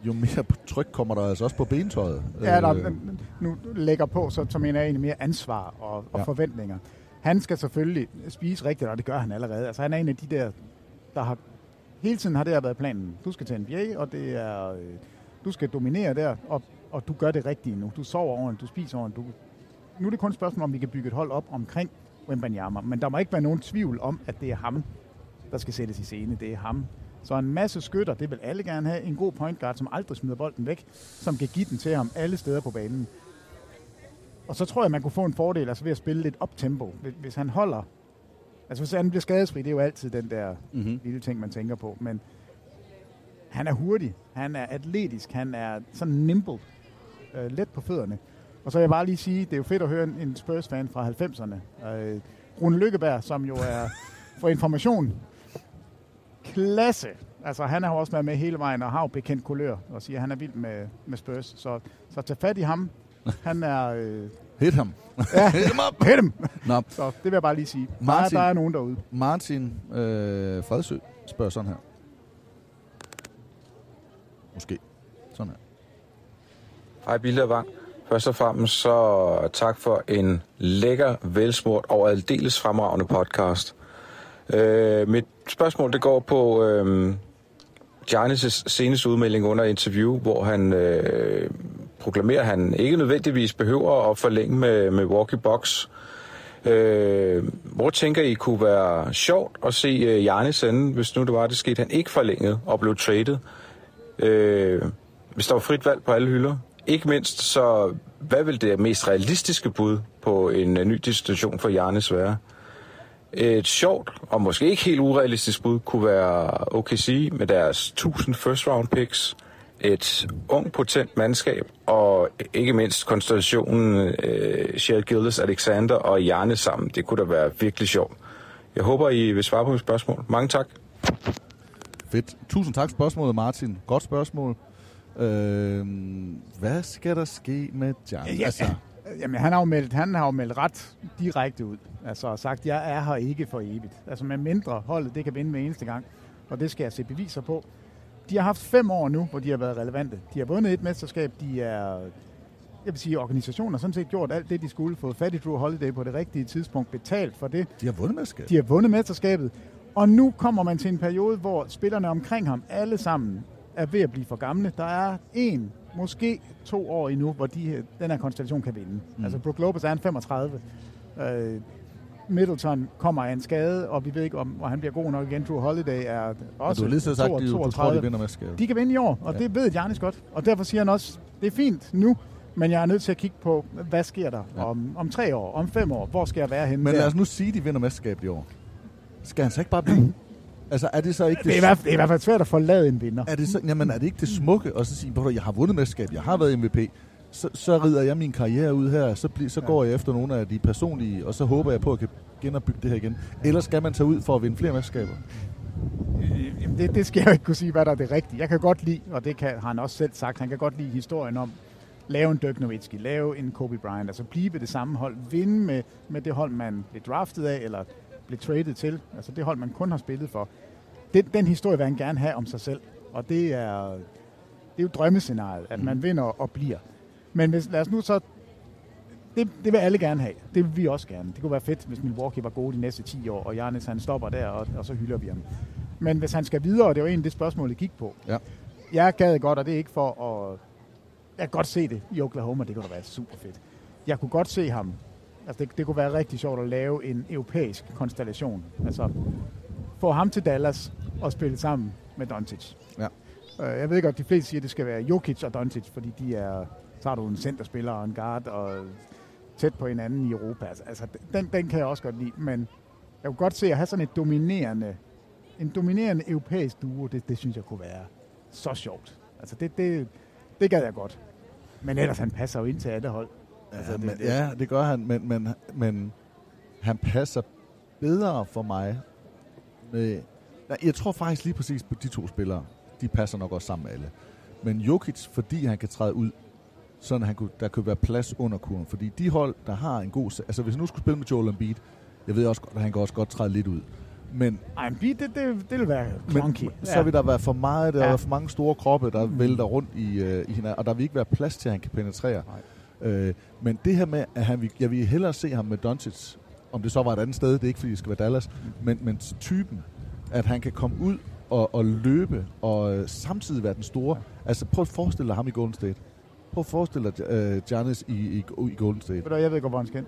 jo mere tryk kommer der altså også på bentøjet.
Ja, der,
Øh,
men nu lægger på, så, så mener jeg egentlig mere ansvar og, og
Ja.
ja. forventninger. Han skal selvfølgelig spise rigtigt, og det gør han allerede. Altså, han er en af de der, der har... Hele tiden har det her været planen. Du skal til NBA, og det er... Øh, du skal dominere der, og, og du gør det rigtige nu. Du sover ordentligt, du spiser ordentligt. Du, nu er det kun et spørgsmål, om vi kan bygge et hold op omkring Wembanyama. Men der må ikke være nogen tvivl om, at det er ham, der skal sættes i scene. Det er ham. Så en masse skytter, det vil alle gerne have. En god point guard, som aldrig smider bolden væk, som kan give den til ham alle steder på banen. Og så tror jeg, man kunne få en fordel altså ved at spille lidt op-tempo. Hvis- Hvis han holder... Altså hvis han bliver skadesfri, det er jo altid den der mm-hmm. lille ting, man tænker på. Men han er hurtig, han er atletisk, han er sådan nimble, øh, let på fødderne. Og så vil jeg bare lige sige, det er jo fedt at høre en, en Spurs-fan fra 90'erne. Øh, Rune Lykkeberg, som jo er for information klasse. Altså, han har jo også været med hele vejen og har jo bekendt kulør og siger, at han er vild med, med Spurs. Så, så tag fat i ham. Han er... Øh...
Hit ham.
Ja,
Hit ham op.
Hit ham.
Nå.
Så det vil jeg bare lige sige. Martin. Der, er, der er nogen derude.
Martin øh, Fredsø spørger sådan her. Måske. Sådan her.
Hej Bilde og Vang. Først og fremmest så øh, tak for en lækker, velsmurt og aldeles fremragende podcast. Øh, mit spørgsmål det går på øh, Giannis' seneste udmelding under interview, hvor han øh, proklamerer, at han ikke nødvendigvis behøver at forlænge med Milwaukee Bucks. Øh, hvor tænker I kunne være sjovt at se øh, Giannis ende, hvis nu det var, det skete, han ikke forlængede og blev traded? Øh, hvis der var frit valg på alle hylder. Ikke mindst, så hvad vil det mest realistiske bud på en øh, ny destination for Jarnes være? Et sjovt, og måske ikke helt urealistisk bud, kunne være OKC med deres 1000 first round picks, et ung, potent mandskab, og ikke mindst konstellationen øh, Shea Gildes, Alexander og Jarne sammen. Det kunne da være virkelig sjovt. Jeg håber, I vil svare på mit spørgsmål. Mange tak.
Fedt. Tusind tak for spørgsmålet, Martin. Godt spørgsmål. Øh, hvad skal der ske med Jan? Altså,
Ja, altså. ja. Jamen, han har, jo meldt, han har jo meldt ret direkte ud. Altså, og sagt, jeg er her ikke for evigt. Altså, med mindre holdet, det kan vinde hver eneste gang. Og det skal jeg se beviser på. De har haft fem år nu, hvor de har været relevante. De har vundet et mesterskab. De er, jeg vil sige, organisationen har sådan set gjort alt det, de skulle. Fået fat i Drew Holiday på det rigtige tidspunkt. Betalt for det.
De har vundet mesterskab.
De har vundet mesterskabet. Og nu kommer man til en periode, hvor spillerne omkring ham alle sammen er ved at blive for gamle. Der er en, måske to år endnu, hvor de, her- den her konstellation kan vinde.
Mm.
Mm. Altså Brook Lopez er en 35. Øh, Middleton kommer af en skade, og vi ved ikke, om og han bliver god nok igen. Drew Holiday er også
du har lige siddet og sagt,
to-
de- du tror, de
32.
vinder mesterskabet.
De kan vinde i år,
Ja.
og ja. det ved Giannis godt. Og derfor siger han også, det er fint nu, men jeg er nødt til at kigge på, hvad sker der ja. om, om tre år, om fem år, hvor skal jeg være henne
Men
der?
lad os nu sige, at de vinder mesterskabet i år. Skal han så ikke bare blive? altså, er det så ikke
Det er i hvert fald- det er i hvert fald svært at forlade en vinder.
Er det så, jamen, er det ikke det smukke at så sige, "Ved du, jeg har vundet mesterskab, jeg har været MVP, så, så rider jeg min karriere ud her, så, bliv, så går jeg efter nogle af de personlige, og så håber jeg på, at jeg kan genopbygge det her igen. Ellers skal man tage ud for at vinde flere mesterskaber.
Øh, Jamen, det, det skal jeg jo ikke kunne sige, hvad der er det rigtige. Jeg kan godt lide, og det kan, har han også selv sagt, han kan godt lide historien om, lave en Dirk Nowitzki, lave en Kobe Bryant, altså blive ved det samme hold, vinde med, med det hold, man blev draftet af, eller blev traded til, altså det hold, man kun har spillet for. Den, den historie vil han gerne have om sig selv, og det er, det er jo drømmescenariet, at man vinder og bliver. Men hvis, lad os nu så det, det vil alle gerne have. Det vil vi også gerne. Det kunne være fedt, hvis Milwaukee var gode de næste 10 år, og Giannis han stopper der, og, og så hylder vi ham. Men hvis han skal videre, og det var egentlig det spørgsmål, jeg gik på.
Ja.
Jeg gad godt, og det er ikke for at... Jeg kan godt se det i Oklahoma, det kunne da være super fedt. Jeg kunne godt se ham. Altså, det, det kunne være rigtig sjovt at lave en europæisk konstellation. Altså, få ham til Dallas og spille sammen med Doncic.
Ja.
Øh, Jeg ved godt, de fleste siger, at det skal være Jokic og Doncic, fordi de er, så har du en centerspiller og en guard og tæt på hinanden i Europa. Altså, Altså, den, den kan jeg også godt lide, men jeg kunne godt se at have sådan et dominerende, en dominerende europæisk duo, det, det synes jeg kunne være så sjovt. Altså, det, det, det gad jeg godt. Men ellers, han passer jo ind til alle hold.
Altså, men, ja, det gør han, men, men, men han passer bedre for mig. Med, nej, jeg tror faktisk lige præcis på de to spillere. De passer nok også sammen med alle. Men Jokic, fordi han kan træde ud, sådan han kunne, der kunne være plads under kurven. Fordi de hold, der har en god... se- Altså hvis jeg nu skulle spille med Joel Embiid, jeg ved også godt, at han kan også godt træde lidt ud. Men
Ej, men det, det, det, det vil være
Men
clunky.
så vil der være for meget, der
Ja. Mm.
ja. for mange store kroppe, der vælter rundt i, øh, i hinanden, og der vil ikke være plads til, at han kan penetrere. Øh, men det her med, at han vil, jeg vil hellere se ham med Doncic, om det så var et andet sted, det er ikke fordi, det skal være Dallas,
Mm.
men, men typen, at han kan komme ud og, og løbe, og øh, samtidig være den store. Altså prøv at forestille dig ham i Golden State. Prøv at forestille dig øh, Giannis i, i, i Golden State.
Ved du, jeg ved godt, hvor han skal hen.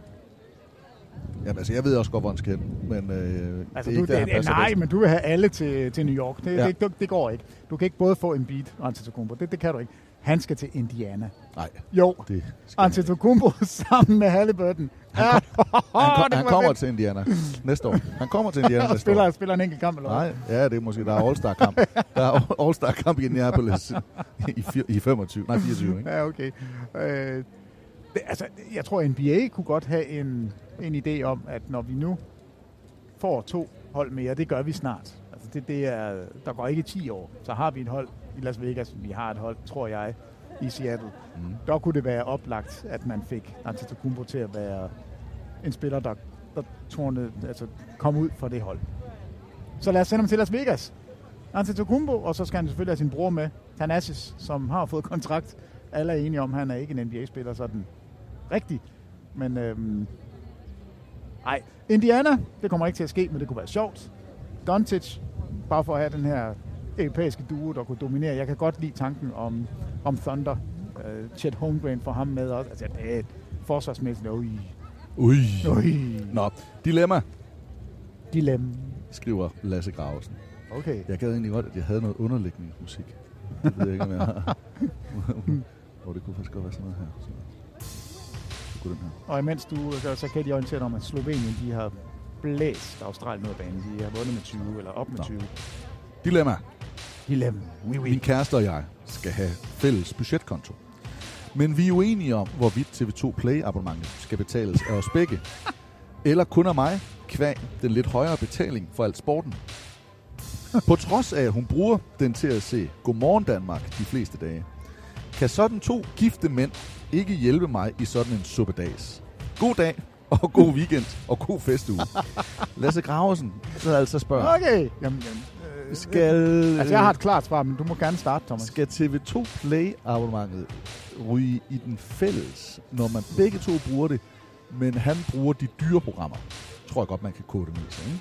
Jamen, altså, jeg ved også godt, hvor han skal hen, men øh,
Altså,
det er
du,
ikke der, han
det,
passer
nej,
bedst.
men du vil have alle til, til New York. Det,
Ja.
ja. det, det, det går ikke. Du kan ikke både få en beat og Antetokounmpo. Det, det kan du ikke. Han skal til Indiana.
Nej.
Jo,
Det
Antetokounmpo sammen med Halliburton. Han, kom,
Han, kom, han kommer til Indiana næste år. Han kommer til Indiana
og
næste år.
spiller, spiller en enkelt kamp, eller hvad?
Nej, ja, det er måske, der er All-Star-kamp. Der er All-Star-kamp i Indianapolis i, fir- i 25, nej 24, ikke?
Ja, okay. Øh, det, altså, jeg tror, NBA kunne godt have en, en idé om, at når vi nu får to hold mere, det gør vi snart. Altså, det, det er, der går ikke 10 år, så har vi et hold i Las Vegas, vi har et hold, tror jeg, i Seattle. Mm. Der kunne det være oplagt, at man fik Antetokounmpo til at være en spiller, der, der tornede, altså, kom ud fra det hold. Så lad os sende ham til Las Vegas. Antetokounmpo, og så skal han selvfølgelig have sin bror med, Thanasis, som har fået kontrakt. Alle er enige om, at han er ikke en NBA-spiller sådan rigtig. Men øhm, ej, Indiana, det kommer ikke til at ske, men det kunne være sjovt. Doncic, bare for at have den her europæiske duo, der kunne dominere. Jeg kan godt lide tanken om, om Thunder. Øh, Chet Holmgren for ham med også. Altså, det er forsvarsmæssigt. Ui.
Ui.
Ui.
Nå, dilemma,
Dilemma.
skriver Lasse Gravesen.
Okay.
Jeg gad egentlig godt, at jeg havde noget underliggende musik. Det ved jeg ikke, om jeg har. Hvor det kunne faktisk godt være sådan noget her. Så. Så kunne den her.
Og imens du øh, gør, så kan de orientere dig om, at Slovenien de har blæst Australien ud af banen. De har vundet med 20, eller op med 20.
Dilemma.
Dilemma. Oui, oui.
Min kæreste og jeg skal have fælles budgetkonto. Men vi er uenige om, hvorvidt TV2 Play-abonnementet skal betales af os begge. Eller kun af mig, kvæg den lidt højere betaling for alt sporten. På trods af, at hun bruger den til at se Godmorgen Danmark de fleste dage, kan sådan to gifte mænd ikke hjælpe mig i sådan en suppedags. God dag, og god weekend, og god festuge. Lasse Graversen, så altså spørger.
Okay. Jamen, jamen, øh,
Skal-
Altså, jeg har et klart svar, men du må gerne starte, Thomas.
Skal TV2 Play-abonnementet ryge i den fælles, når man begge to bruger det, men han bruger de dyre programmer? Tror jeg godt, man kan kode det med sig, ikke?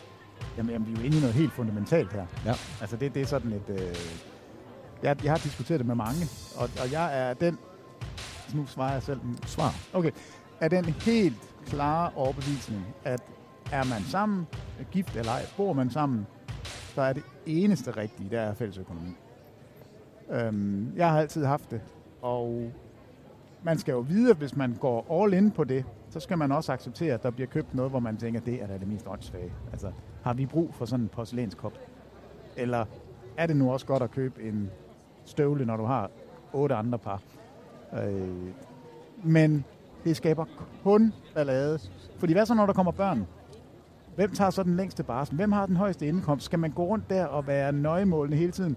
Jamen, jamen, vi er jo inde i noget helt fundamentalt her.
Ja.
Altså, det, det er sådan et... Øh, jeg, jeg har diskuteret det med mange, og, og jeg er den... Nu svarer jeg selv. mm,
Svar.
Okay. Er den helt klare overbevisning, at er man sammen, er gift eller ej, bor man sammen, så er det eneste rigtige, der er fællesøkonomi. Øhm, jeg har altid haft det, og man skal jo vide, at hvis man går all in på det, så skal man også acceptere, at der bliver købt noget, hvor man tænker, det er da det mest åndssvage. Altså, har vi brug for sådan en porcelænskop? Eller er det nu også godt at købe en støvle, når du har otte andre par? Øh, men det skaber kun ballade. Fordi hvad så, når der kommer børn? Hvem tager så den længste barsel? Hvem har den højeste indkomst? Skal man gå rundt der og være nøjemålende hele tiden?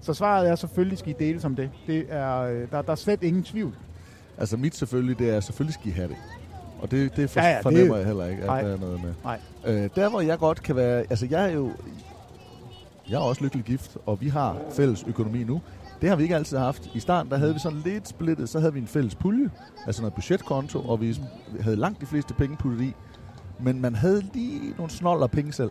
Så svaret er selvfølgelig, skal I deles om det. det er, øh, der, der er slet ingen tvivl.
Altså mit selvfølgelig, det er selvfølgelig skal I have det. Og det, det for,
Ja,
ja,
ja,
ja,
det-
fornemmer det... jeg heller ikke, at
Nej.
der er noget med.
Nej.
Øh, der hvor jeg godt kan være, altså jeg er jo, jeg er også lykkelig gift, og vi har fælles økonomi nu. Det har vi ikke altid haft. I starten, der havde vi sådan lidt splittet, så havde vi en fælles pulje, altså noget budgetkonto, og vi havde langt de fleste penge puttet i. Men man havde lige nogle snoller penge selv.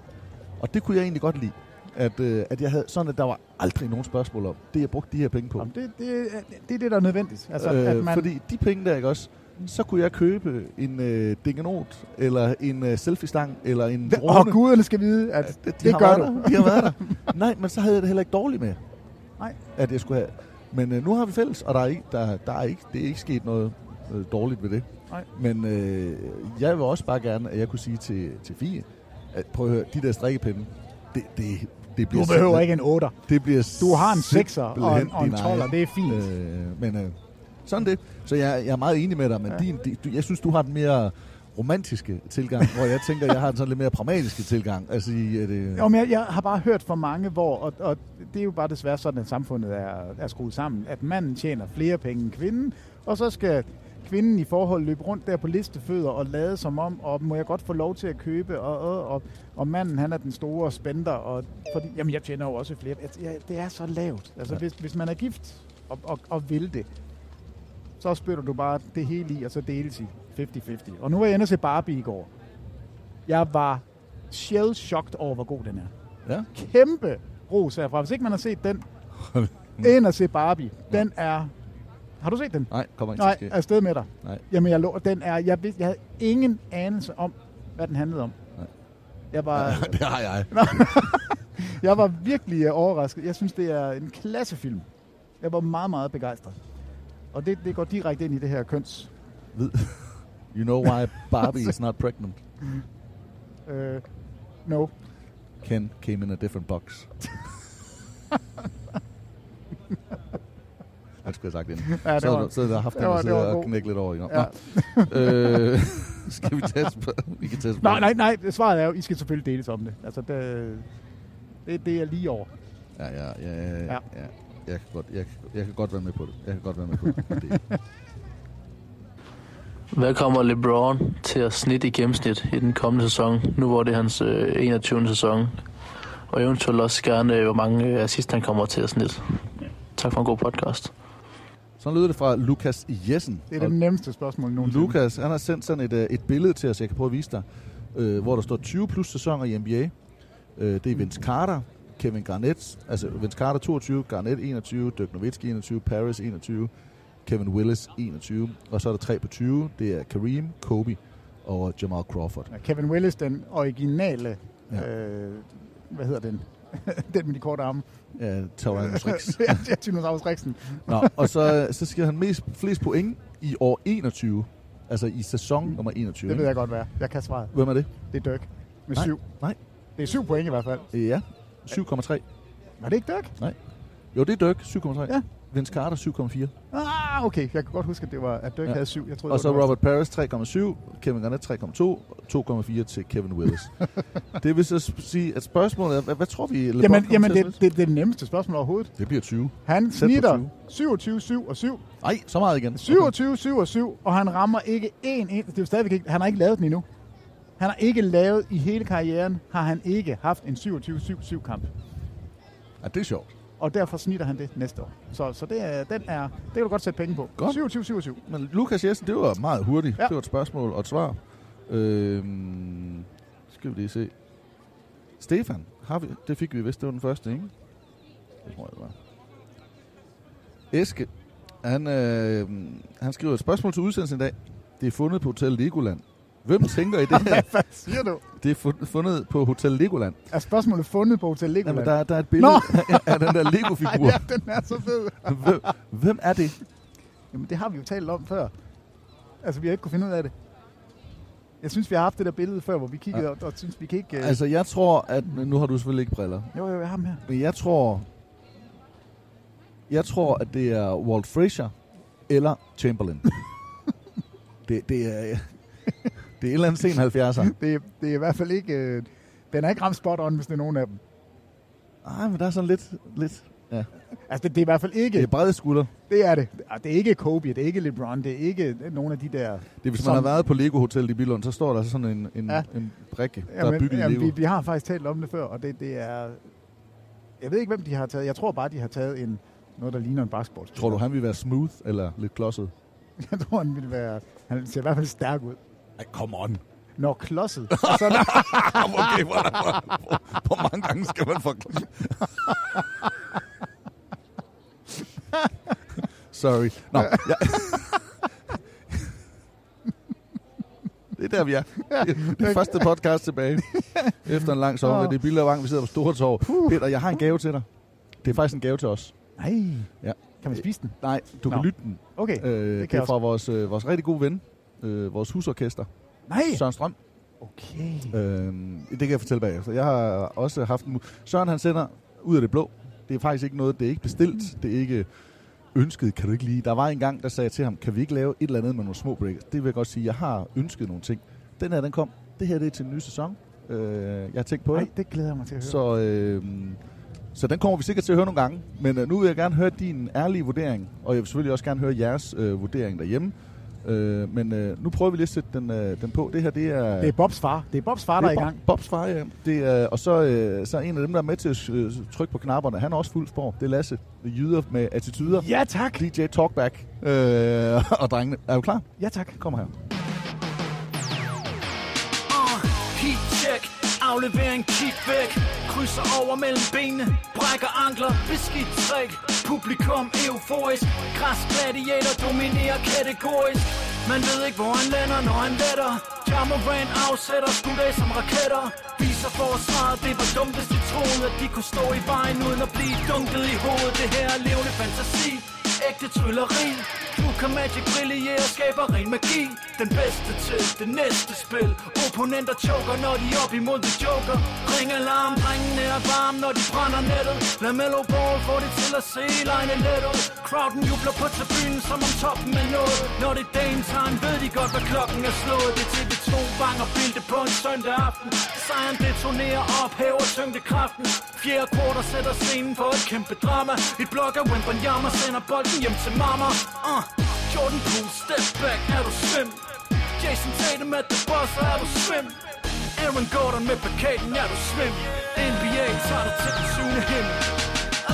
Og det kunne jeg egentlig godt lide. At, øh, at jeg havde sådan, at der var aldrig nogen spørgsmål om, det jeg brugte de her penge på.
Jamen, det, det, er- det er det, der er nødvendigt.
Altså, øh,
at
man... Fordi de penge der, ikke også? Så kunne jeg købe en øh, dingenot, eller en øh, selfie-stang, eller en drone.
Og guderne skal vide, at
de
det, det
har
gør
været
du.
Der. De har været der. Nej, men så havde jeg det heller ikke dårligt med,
Nej.
at jeg skulle have. Men øh, nu har vi fælles, og der er ikke, der, der er ikke, det er ikke sket noget øh, dårligt ved det.
Nej.
Men øh, jeg vil også bare gerne, at jeg kunne sige til, til Fie, at prøv at høre, de der strikkepinde, det, det, det bliver
Du behøver
simpelthen-
ikke en 8.
Det bliver
Du har en sekser og en-
simpelthen
og en
din
toller,
egen.
det er fint.
Øh, men øh, sådan det. Så jeg, jeg er meget enig med dig, men
Ja.
ja. din, di- du, jeg synes, du har den mere romantiske tilgang, hvor jeg tænker, jeg har den sådan lidt mere pragmatiske tilgang. Altså, i, at, øh,
Jo, men jeg, jeg har bare hørt fra mange, hvor, og, og det er jo bare desværre sådan, at samfundet er, er skruet sammen, at manden tjener flere penge end kvinden, og så skal kvinden i forhold løb rundt der på listefødder og lade som om, og må jeg godt få lov til at købe, og, og, og, og manden han er den store spender, og fordi, jamen jeg tjener jo også flere. Jeg- jeg- Det er så lavt. Altså
Ja.
hvis, hvis man er gift og, og, og vil det, så spytter du bare det hele i, og så deles i 50-50. Og nu var jeg inde og se Barbie i går. Jeg var shell-shocked over, hvor god den er.
Ja.
Kæmpe ros herfra. Hvis ikke man har set den,
Mm.
ind og se Barbie. Den er... Har du set den?
Nej, kommer ikke til
Nej,
at ske.
er afsted med dig.
Nej.
Jamen, jeg lå, den er, jeg, vidste, jeg havde ingen anelse om, hvad den handlede om.
Nej.
Jeg var,
det har jeg.
Nå. jeg var virkelig øh, overrasket. Jeg synes, det er en klassefilm. Jeg var meget, meget begejstret. Og det, det går direkte ind i det her køns...
Ved- You know why Barbie is not pregnant?
Mm. Øh, no.
Ken came in a different box. Det skulle jeg have sagt inden.
Ja, det
så,
var-
havde du- så havde jeg haft
det
den
var-
og
det var
siddet og
god.
knække lidt over i. Nå,
Ja.
nå. øh, skal vi teste på? Vi kan teste på.
Nej, nej, nej. det Svaret er jo, I skal selvfølgelig deles om det. Altså, det, det, det er lige over.
Ja, ja, ja, ja. ja. Jeg, kan godt, jeg, kan- jeg kan godt være med på det. Jeg kan godt være med på det. Men det
Hvad kommer LeBron til at snitte i gennemsnit i den kommende sæson, nu hvor det er hans øh, 21. sæson? Og eventuelt også gerne, øh, hvor mange øh, assist han kommer til at snitte. Tak for en god podcast.
Sådan lyder det fra Lukas Jessen.
Det er det nemmeste spørgsmål nogensinde.
Lukas, han har sendt sådan et, øh, et billede til os, jeg kan prøve at vise dig, øh, hvor der står 20 plus sæsoner i NBA. Øh, det er Vince Carter, Kevin Garnett, altså Vince Carter 22, Garnett 21, Dirk Nowitzki 21, Paris 21, Kevin Willis 21, og så er der 3 på 20, det er Kareem, Kobe og Jamal Crawford.
Ja, Kevin Willis, den originale, ja. øh, hvad hedder den? den med de korte arme.
Ja, Taurus Rex.
ja, ja, Tyrannosaurus Rexen.
Nå, og så, øh, så skal han mest, flest point i år 21, altså i sæson nummer 21.
Mm. Det ved
ikke?
jeg godt, hvad er. Jeg kan svaret.
Hvem er det?
Det er Dirk. Med
Nej,
syv.
Nej.
Det er syv point i hvert fald.
Ja, 7,3.
Var det ikke Dirk?
Nej. Jo, det er Dirk, 7,3.
Ja.
Vince Carter, 7,4.
Ah, okay. Jeg kan godt huske, at, det var, at Dirk ja. havde syv. Jeg troede,
og så
det var
Robert Paris 3,7, Kevin Garnett 3,2, og 2,4 til Kevin Willis. det vil så sp- sige, at spørgsmålet er, hvad, hvad tror vi, LeBron
Jamen,
kommer
jamen
til at
det, det, det er det nemmeste spørgsmål overhovedet.
Det bliver 20.
Han
Tæt på
snitter
20.
27, 7 og 7.
Nej, så meget igen.
27, 7 og 7, og han rammer ikke en ind. Det er jo stadigvæk ikke, han har ikke lavet den endnu. Han har ikke lavet i hele karrieren, har han ikke haft en 27-7-7 kamp.
Ja, det er sjovt.
Og derfor snitter han det næste år. Så, så det, er, den er, det kan du godt sætte penge på.
Godt.
27-27.
Men Lukas Jessen, det var meget hurtigt.
Ja.
Ja. Det var et spørgsmål og et svar. Øhm, skal vi lige se. Stefan, har vi, det fik vi vist, det var den første, ikke? Det tror jeg, det var. Eske, han, øh, han skriver et spørgsmål til udsendelsen i dag. Det er fundet på Hotel Legoland. Hvem tænker i det her?
Hvad siger du?
Det er fund- fundet på Hotel Legoland.
Er spørgsmålet fundet på Hotel Legoland?
Jamen, der, er- der er et billede af, af den der Lego-figur.
ja, den er så fed.
hvem, hvem er det?
Jamen, det har vi jo talt om før. Altså, vi har ikke kunne finde ud af det. Jeg synes, vi har haft det der billede før, hvor vi kiggede ja.
Ja.
og, og synes, vi kan ikke... øh,
Altså, jeg tror, at... Nu har du selvfølgelig ikke briller.
Jo, jo, jeg har ham her.
Men jeg tror... Jeg tror, at det er Walt Frazier eller Chamberlain. det, det er... Det er et eller andet sen 70'er.
Det, er- det er i hvert fald ikke... Øh, den er ikke ramt spot on, hvis det er nogen af dem.
Nej, men der er sådan lidt... lidt ja.
Altså, det, det er i hvert fald ikke...
Det er brede skulder.
Det er det. Og Det er ikke Kobe, det er ikke LeBron, det er ikke nogen af de der...
Det, er, hvis man har været på Lego Hotel i Billund, så står der altså sådan en, en,
Ja.
ja. en brikke, der
jamen,
er bygget i
jamen,
Lego.
vi, vi har faktisk talt om det før, og det, det er... Jeg ved ikke, hvem de har taget. Jeg tror bare, de har taget en, noget, der ligner en basketball.
Tror du, han vil være smooth eller lidt klodset?
Jeg tror, han ville være... Han ser i hvert fald stærk ud.
Ej, come on.
Når klodset... Sådan,
okay, hvor, hvor, hvor, hvor mange gange skal man forklare? Sorry. Nå, jeg... Det er der, vi er. Det er første podcast tilbage. Efter en lang sommer. Det er Bille og Vang, vi sidder på Stortorv. Peter, jeg har en gave til dig. Det er faktisk en gave til os.
Nej.
Ja.
Kan man spise den?
Nej, du Nå.
Nå.
kan lytte den.
Okay,
Øh,
det
det,
kan
det er
jeg
fra vores, øh, vores rigtig gode ven, øh, vores husorkester.
Nej!
Søren Strøm.
Okay.
Øhm, det kan jeg fortælle bagefter. Jeg har også haft en... mu- Søren han sender ud af det blå. Det er faktisk ikke noget, det er ikke
Mm.
bestilt, det er ikke ønsket, kan du ikke lide. Der var en gang, der sagde jeg til ham, kan vi ikke lave et eller andet med nogle små breakers? Det vil jeg godt sige, jeg har ønsket nogle ting. Den her, den kom. Det her, det er til en ny sæson. Øh, jeg har tænkt på
Ej,
det.
det glæder jeg mig til at høre. Så.
Så, øh, så den kommer vi sikkert til at høre nogle gange. Men øh, nu vil jeg gerne høre din ærlige vurdering, og jeg vil selvfølgelig også gerne høre jeres øh, vurdering derhjemme. Øh, men øh, nu prøver vi lige at sætte den, øh, den på. Det her, det er...
Det er Bobs far. Det er Bobs far,
det
der er i
Bob-
gang.
Bobs far, ja. Det er, og så, øh, så er en af dem, der er med til at øh, trykke på knapperne. Han er også fuld spor. Det er Lasse. Jyder med attityder.
Ja, tak.
DJ Talkback. Øh, og drengene. Er du klar?
Ja, tak.
Kom her.
Uh, heat check, aflevering kick væk Krydser over mellem benene, brækker ankler, beskidt træk Publikum euforisk, græs gladiator dominerer kategorisk Man ved ikke hvor han lander, når han letter Jammeran afsætter skud af som raketter Viser forsvaret, det var dumt hvis de troede At de kunne stå i vejen uden at blive dunket i hovedet Det her er levende fantasi, ægte trylleri Du kan magic brillere og skaber ren magi Den bedste til det næste spil Opponenter choker, når de er op imod the joker Ring alarm, drengene er varme, når de brænder nettet Lad mellow ball få det til at se line let ud Crowden jubler på tribunen, som om toppen er nået Når det er dagen time, ved de godt, hvad klokken er slået Det er TV2 banger bilde på en søndag aften Sejren detonerer og ophæver tyngdekraften Fjerde quarter sætter scenen for et kæmpe drama Et blok af Wimbanyama sender bolden hjem til mamma uh. Jordan Poole, step back, er du svim? Jason Tatum at the boss, er du svim? Aaron Gordon med plakaten, er du svim? NBA tager dig til den syvende himmel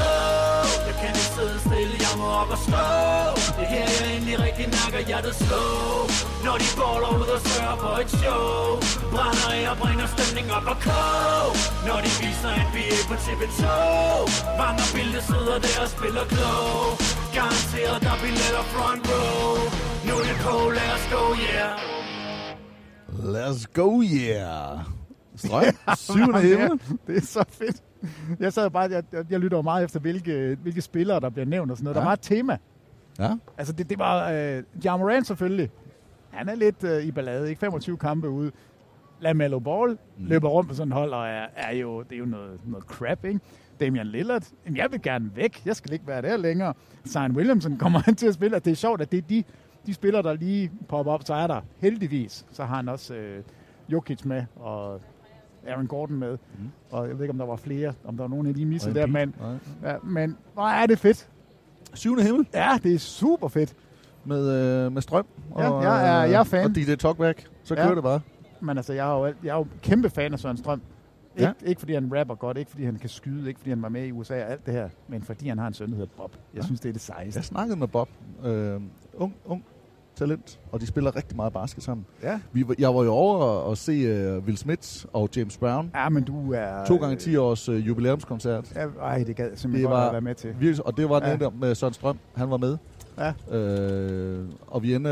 Åh, jeg kan ikke sidde stille, jeg må op og stå Det her jeg endelig rigtig mærker hjertet slå Når de baller ud og sørger på et show Brænder af og bringer stemning op og kog Når de viser NBA på TV2 Mange bilde sidder der og spiller klog Garanteret der er billetter front row Nu er det på, lad os go, yeah
Let's go, yeah! Strøm, syvende himmel.
Det er så fedt. Jeg sad bare, jeg, jeg, jeg lytter jo meget efter, hvilke, hvilke spillere, der bliver nævnt og sådan noget. Ja. Der
Ja.
var et tema.
Ja.
Altså, det, det var øh, Jamoran selvfølgelig. Han er lidt øh, i ballade, ikke? 25 kampe ude. LaMelo Ball mm. løber rundt på sådan et hold, og er, er jo, det er jo noget, noget crap, ikke? Damian Lillard, jamen jeg vil gerne væk. Jeg skal ikke være der længere. Zion Williamson kommer han til at spille, og det er sjovt, at det er de, de spillere, der lige popper op. Så er der heldigvis, så har han også øh, Jokic med, og Aaron Gordon med. Mm. Og jeg ved ikke, om der var flere, om der var nogen af de misser
Og
der,
Embiid.
men, ja, men hvor er det fedt.
Syvende himmel.
Ja, det er super fedt.
Med, øh, med strøm.
Ja,
og, øh,
jeg er- jeg er fan.
Og DJ Talkback. Så
Ja.
kører det bare.
Men altså, jeg er jo, alt- jeg er jo kæmpe fan af Søren Strøm. Ikke,
Ja.
ikke fordi han rapper godt, ikke fordi han kan skyde, ikke fordi han var med i USA og alt det her, men fordi han har en søn, der hedder Bob. Jeg
Ja.
synes, det er det sejeste.
Jeg snakkede med Bob. Øh, ung, ung talent, og de spiller rigtig meget basket sammen.
Ja.
Vi, var- jeg var jo over og, og se øh, Will Smith og James Brown.
Ja, men du er...
To gange 10 års øh, jubilæumskoncert.
Ja, ej, det gad jeg simpelthen godt at være med til.
Virkelig, og det var den
Ja.
ja. der med Søren Strøm, han var med.
Ja.
Øh, og vi ender,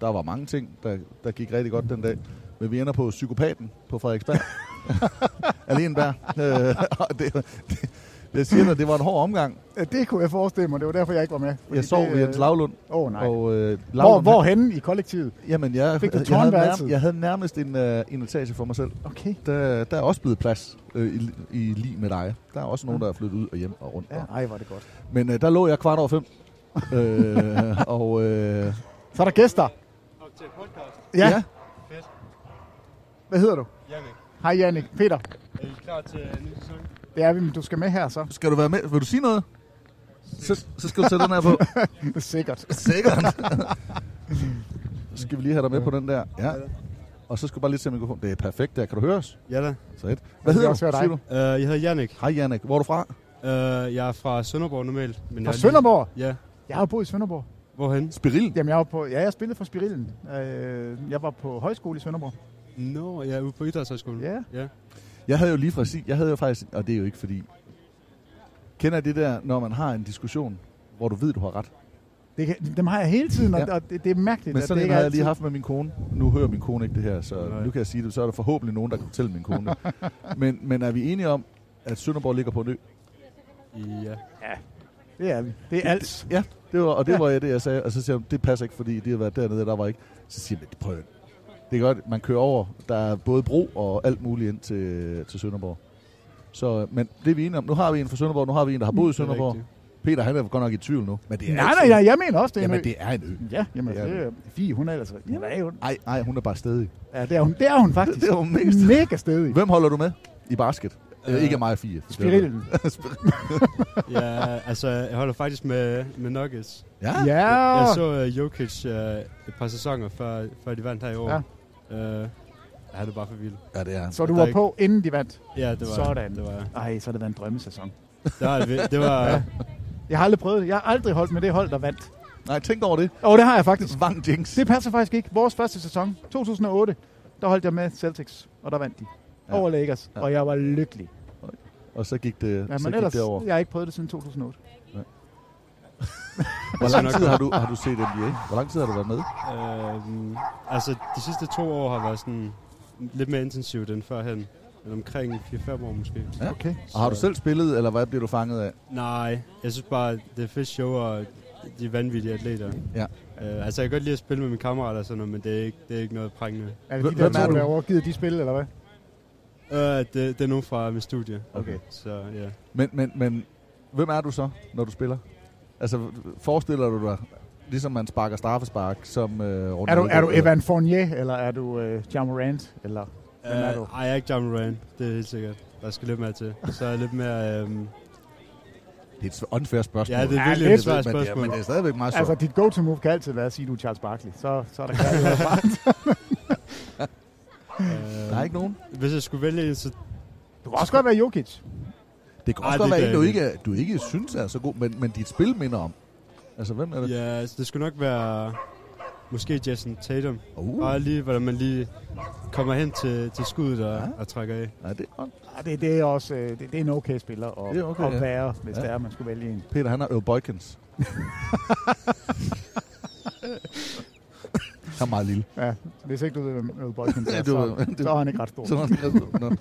der var mange ting, der, der gik rigtig godt den dag. Men vi ender på psykopaten på Frederiksberg. Alene der. Øh, og det, det, jeg siger dig, det var en hård omgang.
Ja, Det kunne jeg forestille mig, det var derfor, jeg ikke var med.
Jeg sov ved Jens Lavlund.
Åh, oh, nej.
Og, øh,
hvor,
Lavlund, han-
hvorhenne i kollektivet?
Jamen, jeg,
Fik du
jeg, havde
tårnværelset?
nærmest, jeg havde nærmest en, øh, en etage for mig selv.
Okay.
Der, der er også blevet plads øh, i, i lige med dig. Der er også nogen, der er flyttet ud og hjem og rundt.
Ja,
og-
ej, hvor er det godt.
Men øh, der lå jeg kvart over fem. øh, og, øh,
Så er der gæster. Ja. ja.
Fedt.
Hvad hedder du?
Jannik.
Hej, Jannik. Peter.
Er I klar til øh, ny sæson?
Det er vi, men du skal med her så.
Skal du være med? Vil du sige noget? Så, så skal du sætte den her på.
Sikkert.
Sikkert. så skal vi lige have dig med på den der. Ja. Og så skal du bare lige se mikrofonen. Det er perfekt der. Kan du høre os?
Ja da.
Så et.
kan
Hvad hedder du?
også høre dig.
siger du?
Øh, jeg hedder Jannik.
Hej Jannik. Hvor er du fra?
Uh, jeg er fra Sønderborg normalt. Men
Fra
jeg er lige-
Sønderborg?
Ja.
Jeg har jo boet i Sønderborg.
Hvorhen?
Spirillen?
Jamen, jeg var på, ja, jeg spillede for Spirillen. Øh, jeg var på højskole i Sønderborg.
Nå, jeg er ude på Idrætshøjskolen.
Ja.
ja.
Jeg havde jo lige præcis, jeg havde jo faktisk, og det er jo ikke fordi, kender I det der, når man har en diskussion, hvor du ved, du har ret?
Det kan, dem har jeg hele tiden, og,
Ja.
ja. og det, det, er mærkeligt.
Men
at
sådan
det
en
ikke
har jeg
altid-
lige haft med min kone. Nu hører min kone ikke det her, så
Nej.
nu kan jeg sige det. Så er der forhåbentlig nogen, der kan fortælle min kone det. men, men er vi enige om, at Sønderborg ligger på en ø?
Ja.
Ja. Det er vi. Det er alt.
Ja, det var, og det
Ja.
ja. var jeg det, jeg sagde. Og så siger hun, det passer ikke, fordi det har været dernede, og der var ikke. Så siger jeg, prøv det. Det er godt, man kører over. Der er både bro og alt muligt ind til, til Sønderborg. Så, men det er vi enige om. Nu har vi en fra Sønderborg, nu har vi en, der har boet i
Mm, Det er
Sønderborg.
rigtigt.
Peter, han er godt nok i tvivl nu. Men det er
Nej,
ikke
nej, jeg, jeg mener også, det er en
Jamen,
ø.
det er en ø.
Ja, jamen,
Det
det
er
er, Fie, hun er altså... Jamen, er hun.
Nej, nej, hun er bare stedig.
Ja, det er hun, det er hun faktisk.
Det er hun mega
Mega stedig.
Hvem holder du med i basket?
Uh,
Øh, ikke af mig fire.
Spirillen.
ja, altså, jeg holder faktisk med, med Nuggets.
Ja?
Jeg,
Ja.
jeg så uh, Jokic uh, et par sæsoner, før, før de vandt her i år.
Ja.
Ja. Uh, ja, det er bare for vildt.
Ja, det er
Så du
Der
var
ikke-
på, inden de vandt?
Ja, det var jeg.
Sådan.
Det var jeg.
Ej, så har det været en drømmesæson.
Det var det vir- det var-
Jeg har aldrig prøvet det. Jeg har aldrig holdt med det hold, der vandt.
Nej, tænk over det.
Og det har jeg faktisk.
Vang jinx.
Det passer faktisk ikke. Vores første sæson, 2008, der holdt jeg med Celtics, og der vandt de. Ja. Over Lakers, ja. og jeg var lykkelig.
Og så gik det,
Ja,
så
men
gik
ellers,
det over.
jeg har ikke prøvet det siden 2008.
Hvor lang tid har du, har du set NBA? Hvor lang tid har du været med?
Øhm, altså, de sidste to år har været sådan lidt mere intensivt end førhen. Men omkring 4-5 år måske.
Ja. Okay. Og har du selv spillet, eller hvad bliver du fanget af?
Nej, jeg synes bare, det er fedt show, og de er vanvittige atleter.
Ja.
Øh, altså, jeg kan godt lide at spille med mine kammerater og sådan noget, men det er ikke, det er ikke noget prangende.
Er det de der to, der er overgivet de spil, eller hvad?
Øh, det, det er nogen fra mit studie.
Okay.
Så ja.
Men, men, men hvem er du så, når du spiller? Altså, forestiller du dig, ligesom man sparker straffespark, som øh,
Er
Ronaldo-
du, er du Evan Fournier, eller er du øh, Ja Morant, eller hvem er du?
Øh, ej, jeg er ikke John Moran, det er helt sikkert. Der skal lidt mere til. Så er jeg lidt mere... Øhm,
Det er et unfair spørgsmål.
Ja, det er
Ja,
virkelig
lidt.
et svært
Men det er-
spørgsmål.
men det er stadigvæk meget sjovt.
Altså, dit go-to-move kan altid være at sige, du er Charles Barkley. Så, så er der kærlighed erfaret.
øh,
Der er ikke nogen?
Hvis jeg skulle vælge en, så...
Du kan også godt være Jokic.
Det kan
Ej,
også godt
det
være
kan
en, du
jeg
ikke, er- du ikke synes er så god, men, men dit spil minder om. Altså, hvem er det?
Ja, altså, det skulle nok være måske Jason Tatum.
Uh.
Bare lige, hvordan man lige kommer hen til, til skuddet og, ja. og trækker af.
Ja, det er godt.
Ja, det, det er også øh, det, det er en okay spiller at,
Det er okay,
at
ja.
være, hvis
Ja.
det er, man skulle vælge en.
Peter, han er Earl Boykins. han er meget lille.
Ja, hvis ikke du ved, hvem Earl Boykins er,
Ja,
ja,
det var-
så,
det
så
var-
er han ikke ret stor.
Så er han ikke ret stor. Nå.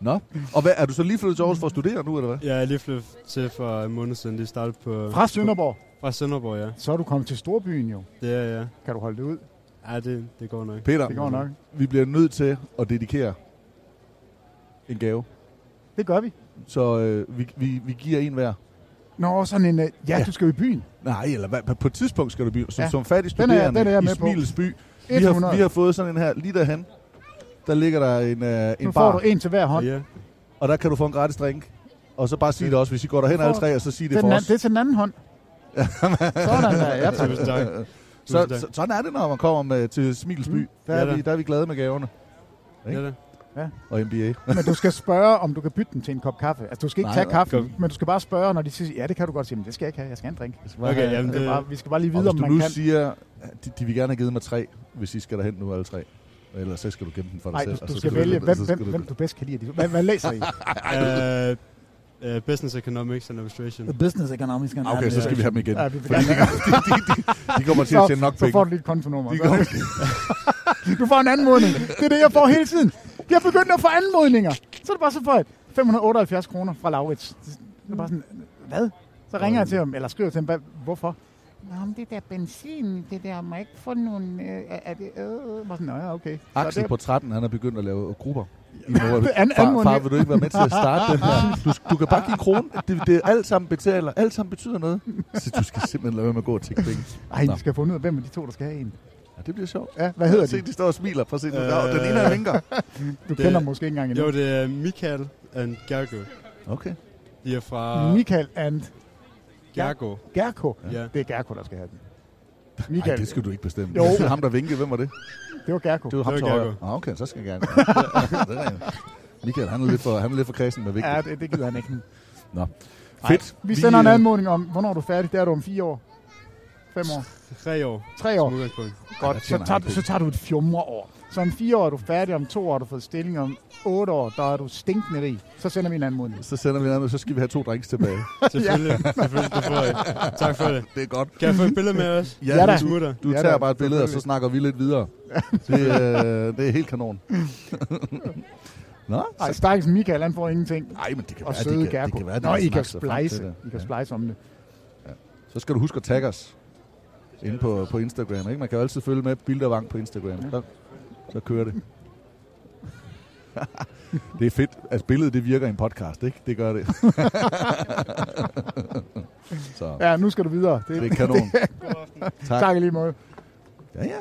Nå. Og hvad, er du så lige flyttet til Aarhus for at studere nu, eller hvad?
Ja, jeg er lige flyttet til for en måned siden. Lige startet på...
Fra Sønderborg?
Fra Sønderborg, ja.
Så er du kommet til Storbyen jo.
Det er jeg.
Kan du holde det ud?
Ja, det, det går nok.
Peter,
Det går nok.
vi bliver nødt til at dedikere en gave.
Det gør vi.
Så øh, vi, vi, vi giver en hver.
Nå, sådan en... øh, Ja, ja. du skal jo i byen.
Nej, eller hvad, på et tidspunkt skal du blive som,
Ja.
ja. som fattig
Den er-
studerende
den er jeg
i
med på.
Smilets by. Vi har,
100.
vi har fået sådan en her, lige derhen, der ligger der en, øh, en bar.
Nu får du en til hver hånd.
Ja.
Og der kan du få en gratis drink. Og så bare sig det også, hvis I går derhen
Får-
alle tre, og så sig det
den
for
an-
os.
Det er til den anden hånd. Sådan der, ja tak.
Tusind tak.
Så,
Tusind tak.
så, sådan er det, når man kommer med, til Smilsby. Mm. Der,
Ja,
er
da.
vi, der er vi glade med gaverne. Ikke?
det.
Ja.
Og NBA.
Men du skal spørge, om du kan bytte den til en kop kaffe. Altså, du skal ikke
Nej,
nej, tage
nej.
kaffen, men du skal bare spørge, når de siger, ja, det kan du godt sige, men det skal jeg ikke have, jeg skal have en drink.
Altså, Hvad-
det... er bare, vi skal bare lige
Og
vide, om
hvis du
man
nu
kan.
siger, at de, de vil gerne have givet mig tre, hvis I skal derhen nu alle tre. Ellers så skal du gemme den for dig
Nej,
selv.
du,
og
du
så
skal vælge, hvem,
så skal
hvem,
du-
hvem du bedst kan lide. af de to. Hvad, hvad læser I?
Øh, øh, business Economics and Illustration.
Business Economics. and
Ah, Okay, så skal vi have dem igen.
Ja, vi vil
Fordi de,
gerne-
de, de, de, de kommer til at tjene nok
så,
penge.
Så får du dit kontonummer.
De
så-
kommer-
du får en anmodning. Det er det, jeg får hele tiden. Jeg begynder at få anmodninger. Så er det bare så for 578 kroner fra Laurits. Det er bare sådan, hvad? Så ringer jeg til ham, eller skriver til ham, "Hvad- hvorfor? Nå, men det der benzin, det der, må jeg ikke få nogen... Øh, er- er det... Øh, øh? Bare sådan, nå ja, okay. Så
Axel
det-
på 13, han er begyndt at lave grupper. I morgen.
Det er an-
far, far,
anmodning.
vil du ikke være med til at starte den her? Du, du kan bare give en krone. Det, det er alt sammen betaler. Alt sammen betyder noget. Så du skal simpelthen lade være med at gå og tænke penge.
Ej,
Nå.
vi skal have fundet ud af, hvem af de to, der skal have en.
Ja, det bliver sjovt.
Ja, hvad hedder
Se,
de?
de står og smiler. Prøv at se. nu. Øh, den ene er vinker.
Du kender måske ikke engang endnu.
Jo, det er Michael and Gergo.
Okay.
De er fra...
Michael and...
Gergo.
Gerko.
Ja.
Det er Gerko, der skal have den.
Michael. Ej, det skal du ikke bestemme.
Jo.
Jo. Det er ham, der vinkede. Hvem var det?
Det var Gerko.
Det var ham
Det
til
var
højre.
Gergo.
Ah, okay, så skal jeg gerne. Det er rigtigt. Michael, han er lidt for, han er lidt for kredsen med vinkel.
Ja, det, det gider han ikke.
Nå. Fedt.
Vi sender en
øh,
anmodning om, hvornår er du færdig. Det er du om fire år. Fem år.
Tre år.
Tre år.
Som udgangspunkt.
Godt, så tager, du, så tager du et fjumreår. Så om fire år er du færdig, om to år har du fået stilling, om otte år, der er du stinkende rig. Så sender vi en anmodning.
Så sender vi en anden, så skal vi have to drinks tilbage.
Selvfølgelig. Selvfølgelig, det får jeg. Tak for det.
Det er godt.
Kan jeg få et billede med os?
Ja,
Vi
ja du,
smutter.
du tager bare et billede, og så snakker vi lidt videre. Det, øh, det er helt kanon. Nå,
Ej,
så,
stakkels Michael, han får ingenting.
Nej, men det kan
og
være,
søde
det kan- det
Gerko.
kan være, de
Nå,
har
I kan
snakket sig frem til
splice.
det.
I kan splice om det.
så skal du huske at tagge os inde på, på Instagram. Ikke? Man kan jo altid følge med Bildervang på Instagram. Så, så kører det. det er fedt, at billedet det virker i en podcast, ikke? Det gør det. så.
Ja, nu skal du videre.
Det er kanon.
tak.
Tak.
tak i lige måde. Mm.
Ja, ja.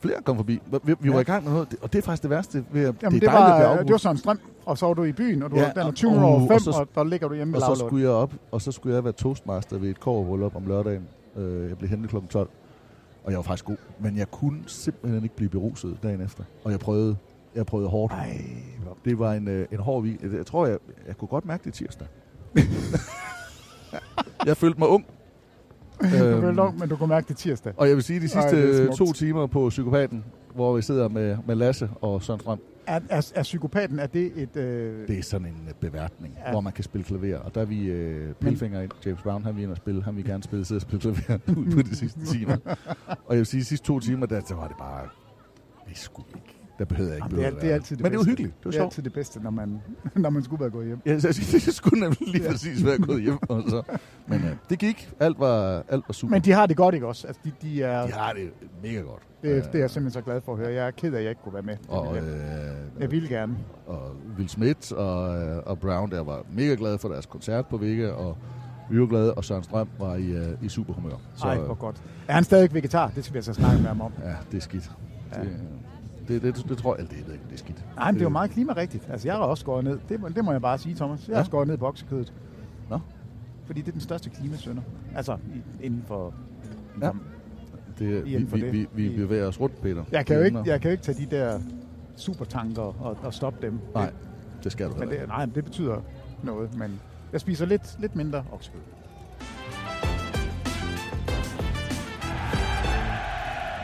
Flere kom forbi. Vi, vi var
Ja.
i gang med noget, og det er faktisk det værste. Ved, at,
Jamen,
det
det,
er dejligt, at blive
var,
afbrudt.
det var Søren Strøm Og så var du i byen, og du
Ja,
ja, den er
og-
20 over
og
5,
så sk-
og der ligger du hjemme med
og så
lavlån.
skulle jeg op, og så skulle jeg være toastmaster ved et kårbryllup om lørdagen. Øh, jeg blev hentet kl. 12, og jeg var faktisk god. Men jeg kunne simpelthen ikke blive beruset dagen efter. Og jeg prøvede, jeg prøvede hårdt. Ej, det var en, øh, en hård weekend. Jeg tror, jeg, jeg kunne godt mærke det tirsdag. jeg følte mig ung.
Du
Øhm,
blev lov, men du kunne mærke det tirsdag.
Og jeg vil sige, de
Ej, det er
sidste Ej,
smukt.
to timer på Psykopaten, hvor vi sidder med, med Lasse og Søren Strøm,
Er, er, er psykopaten, er det et... Øh,
det er sådan en øh, beværtning,
Ja.
ja. hvor man kan spille klaver. Og der er vi øh, pilfinger ind. James Brown, han vil ind og spille. Han vil gerne spille, sidde og spille klaver ud på de sidste timer. Og jeg vil sige, de sidste to timer, der, der var det bare... Det skulle ikke. Der behøvede jeg ikke
det, er,
blive
det er altid det
Men det
bedste.
var hyggeligt. Det var
det er
sjovt.
altid det bedste, når man, når man skulle være gået hjem.
Ja, så jeg synes, det skulle nemlig lige præcis være gået hjem. Og så. Men øh, det gik. Alt var, alt var super.
Men de har det godt, ikke også? Altså, de, de, er,
de har det mega godt.
Det,
Øh.
det er jeg simpelthen så glad for at høre. Jeg er ked af, at jeg ikke kunne være med.
Og,
jeg,
øh,
jeg ville gerne.
og Will Smith og, øh, og Brown der var mega glade for deres koncert på Vega, og vi var glade, og Søren Strøm var i, øh, i super humør.
Ej, hvor godt. Er han stadig vegetar? Det skal vi altså snakke med ham om.
Ja, det er skidt.
Ja.
Ja. Det, øh, det, det, det, tror jeg, eller det ved jeg ikke, det er skidt.
Nej, men det er jo meget klimarigtigt. Altså, jeg har også skåret ned. Det, må- det må jeg bare sige, Thomas. Jeg har
Ja.
skåret ned i boksekødet.
Nå.
Fordi det er den største klimasønder. Altså, i- inden for...
Ja. Det, vi,
Inden for
vi,
det.
vi, vi bevæger os rundt, Peter.
Jeg kan jo
Det
ikke,
emner.
jeg kan jo ikke tage de der supertanker og, og stoppe dem.
Nej, det skal du
Men
heller
det,
ikke.
nej, men det betyder noget, men jeg spiser lidt, lidt mindre oksekød.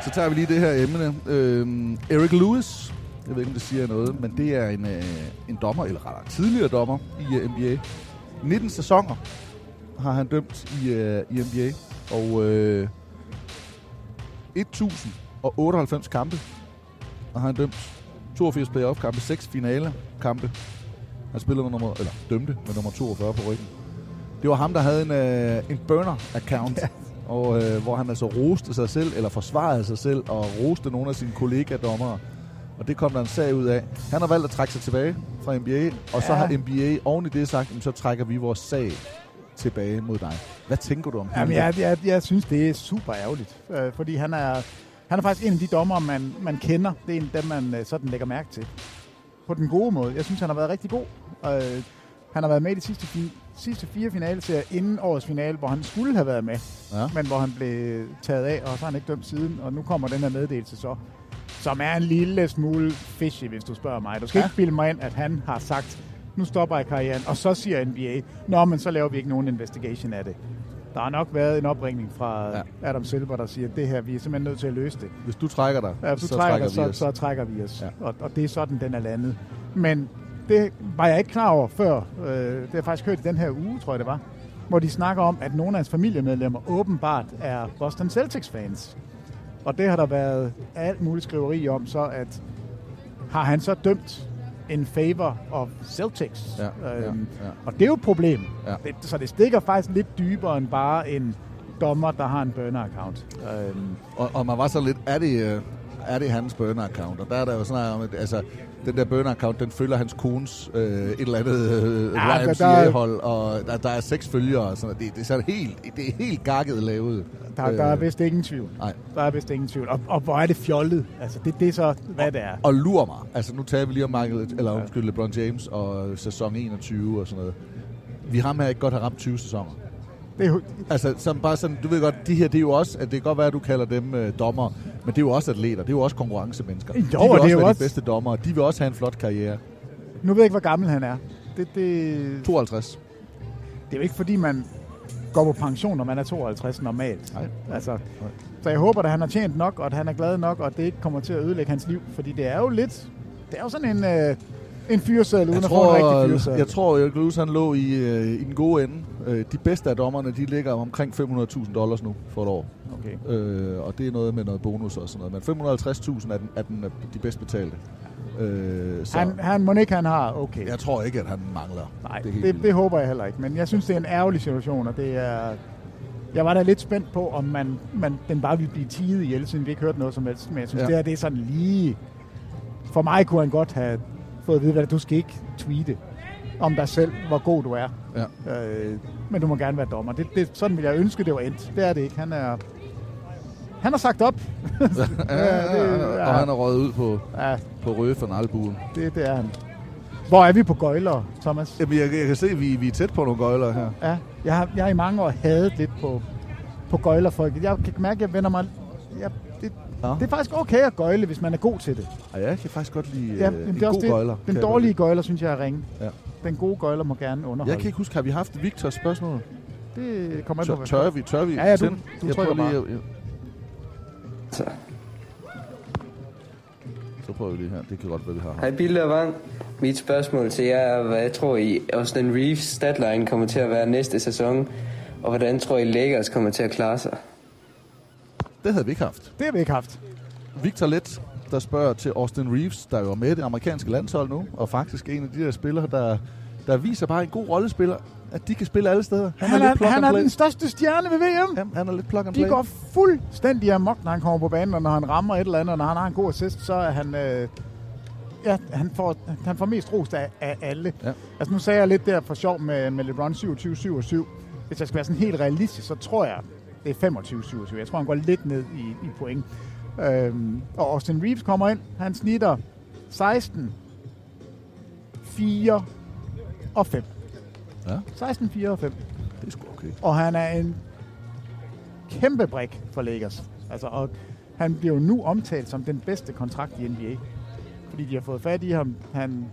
Så tager vi lige det her emne. Øhm, Eric Lewis, jeg ved ikke, om det siger noget, men det er en, øh, en dommer, eller rettere tidligere dommer i øh, NBA. 19 sæsoner har han dømt i, øh, i NBA, og øh, 1098 kampe og har han dømt 82 playoff-kampe, 6 finale-kampe. Han spillede med nummer, eller dømte med nummer 42 på ryggen. Det var ham, der havde en, øh, en burner-account, ja. og, øh, hvor han altså roste sig selv, eller forsvarede sig selv, og roste nogle af sine kollega-dommere. Og det kom der en sag ud af. Han har valgt at trække sig tilbage fra NBA, og så
Ja.
har NBA oven i det sagt, "Jamen, så trækker vi vores sag tilbage mod dig. Hvad tænker du om
Jamen, jeg, jeg, jeg synes, det er super ærgerligt, øh, fordi han er, han er faktisk en af de dommer, man, man kender. Det er en af dem, man øh, sådan lægger mærke til. På den gode måde. Jeg synes, han har været rigtig god. Øh, han har været med i de sidste, fi, sidste fire finaleserier inden årets finale, hvor han skulle have været med,
Ja.
men hvor han blev taget af, og så har han ikke dømt siden, og nu kommer den her meddelelse så, som er en lille smule fishy, hvis du spørger mig. Du skal ja. ikke bilde mig ind, at han har sagt, nu stopper jeg karrieren, og så siger NBA, nå, men så laver vi ikke nogen investigation af det. Der har nok været en opringning fra ja. Adam Silver, der siger, det her, vi er simpelthen nødt til at løse det.
Hvis du trækker dig,
Ja, hvis du
så
så trækker,
trækker
dig,
vi
så,
os.
så trækker vi os. Ja. Og, og det er sådan, den er landet. Men det var jeg ikke klar over før. Øh, det har jeg faktisk hørt i den her uge, tror jeg det var. Hvor de snakker om, at nogle af hans familiemedlemmer åbenbart er Boston Celtics-fans. Og det har der været alt muligt skriveri om, så at har han så dømt en favor of Celtics? Øhm,
Ja, ja, ja.
Og det er jo et problem.
Ja.
Det, så det stikker faktisk lidt dybere end bare en dommer, der har en burner-account. Øhm.
Og, og man var så lidt, er det, øh, er det hans burner-account? Og der er der jo sådan om, at altså, den der burner-account, den følger hans kones øh, et eller andet øh,
Ja, altså, der-
ja,
der-
YMCA-hold, og der, der er seks følgere og sådan noget. Det, det er sådan helt, det er helt gakket lavet. Øh,
Der, der er vist ingen tvivl.
Nej.
Der er vist ingen tvivl. Og, og hvor er det fjollet? Altså, det, det er så, hvad det er.
Og lurer mig. Altså, nu tager vi lige om Michael, eller undskyld, LeBron James og sæson 21 og sådan noget. Vi har med ikke godt have ramt 20 sæsoner.
Det er jo...
Altså, som bare sådan, du ved godt, de her, det er jo også, at det kan godt være, at du kalder dem øh, dommer, men det er jo også atleter, det er jo også konkurrencemennesker.
Jo,
de vil
og det er
også
jo
være
også-
de bedste dommer, de vil også have en flot karriere.
Nu ved jeg ikke, hvor gammel han er. Det, det...
52.
Det er jo ikke, fordi man går på pension, når man er 52 normalt. Nej. Altså, så jeg håber, at han har tjent nok, og at han er glad nok, og at det ikke kommer til at ødelægge hans liv. Fordi det er jo lidt... Det er jo sådan en, øh, en fyreseddel, uden
Jeg
at få en
tror, øh,
rigtig fyreseddel.
jeg tror, Erik Lewis, han lå i, øh, i den gode ende. Øh, de bedste af dommerne, de ligger omkring 500.000 dollars nu for et år.
Okay.
Øh, og det er noget med noget bonus og sådan noget. Men 550.000 er, den, er den, øh, de bedst betalte. Øh, så
Han, han må ikke, han har... Okay.
jeg tror ikke, at han mangler. Nej, det, er helt
Det,
vildt.
det håber jeg heller ikke, men jeg synes, det er en ærgerlig situation, og det er... Jeg var da lidt spændt på, om man, man, den bare ville blive tiget ihjel, siden vi ikke hørte noget som helst. Men jeg synes,
Ja.
ja. det her det er sådan lige... For mig kunne han godt have fået at vide, hvad du skal ikke tweete om dig selv, hvor god du er.
Ja.
Øh, men du må gerne være dommer. Det, det, sådan ville jeg ønske, det var endt. Det er det ikke. Han er... Han har sagt op. ja,
ja, ja, ja, og han er røget ud på,
ja.
på røge for en albue.
det, det er han. Hvor er vi på gøjler, Thomas?
Jamen, jeg, jeg kan se, at vi, vi er tæt på nogle gøjler her.
Ja, jeg har, jeg har i mange år hadet lidt på, på gøjlerfolket. Jeg kan mærke, at jeg vender mig... Jeg, det, ja. det er faktisk okay at gøjle, hvis man er god til det.
Ej, jeg kan faktisk godt lide
Ja,
ja,
men
en
det er
god
også det.
gøjler. kan
Den
jeg
dårlige
godt
gøjler, synes jeg, er ringe.
Ja.
Den gode gøjler må gerne
lide.
underholde.
Jeg kan ikke huske, har vi haft Victors spørgsmål?
Det kommer an på,
Tør, tør
hvad-
vi? Tør vi?
Ja, ja, du,
tænde?
du
jeg
trykker
prøver
bare.
Lige, jeg, Så prøver vi lige her. Det kan godt være, vi har haft.
Hej Bille og Vang. Mit spørgsmål til jer er, hvad tror I, Austin Reeves statline kommer til at være næste sæson? Og hvordan tror I, Lakers kommer til at klare sig?
Det havde vi ikke haft.
Det har vi ikke haft.
Victor Let, der spørger til Austin Reeves, der jo er med i det amerikanske landshold nu, og faktisk en af de der spillere, der, der viser bare en god rollespiller, at de kan spille alle steder.
Han
lidt
er,
plug
han
and
er
play.
den største stjerne ved VM.
Jamen, han er lidt plug and
De
play.
går fuldstændig amok, når han kommer på banen, og når han rammer et eller andet, og når han har en god assist, så er han... Øh, ja, han får, han får mest rost af, af alle.
Ja.
Altså nu sagde jeg lidt der for sjov med, med LeBron 27, 27. Hvis jeg skal være sådan helt realistisk, så tror jeg, det er 25, 27. Jeg tror, han går lidt ned i, i point. Øhm, og Austin Reeves kommer ind. Han snitter 16, 4 og 5.
Ja.
16, 4 og 5.
Det er sgu okay.
Og han er en kæmpe brik for Lakers. Altså, og han bliver jo nu omtalt som den bedste kontrakt i NBA. Fordi de har fået fat i ham. Han,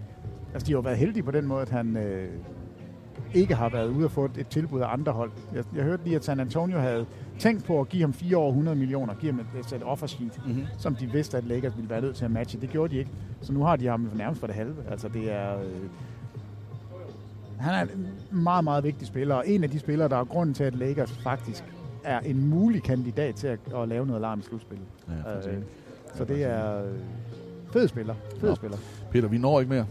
altså, de har jo været heldige på den måde, at han øh, ikke har været ude og få et, et tilbud af andre hold. Jeg, jeg hørte lige, at San Antonio havde tænkt på at give ham 4 år og 100 millioner, give ham et, et offer sheet,
Mhm.
mm-hmm. som de vidste, at Lakers ville være nødt til at matche. Det gjorde de ikke. Så nu har de ham nærmest for det halve. Altså, det er... Øh, han er en meget, meget vigtig spiller, og en af de spillere, der er grunden til, at Lakers faktisk er en mulig kandidat til at, at lave noget larm i slutspillet.
Ja, jeg er faktisk
øh,
enig.
så det er øh, fed spiller. Fed
Nå.
spiller.
Peter, vi når ikke mere.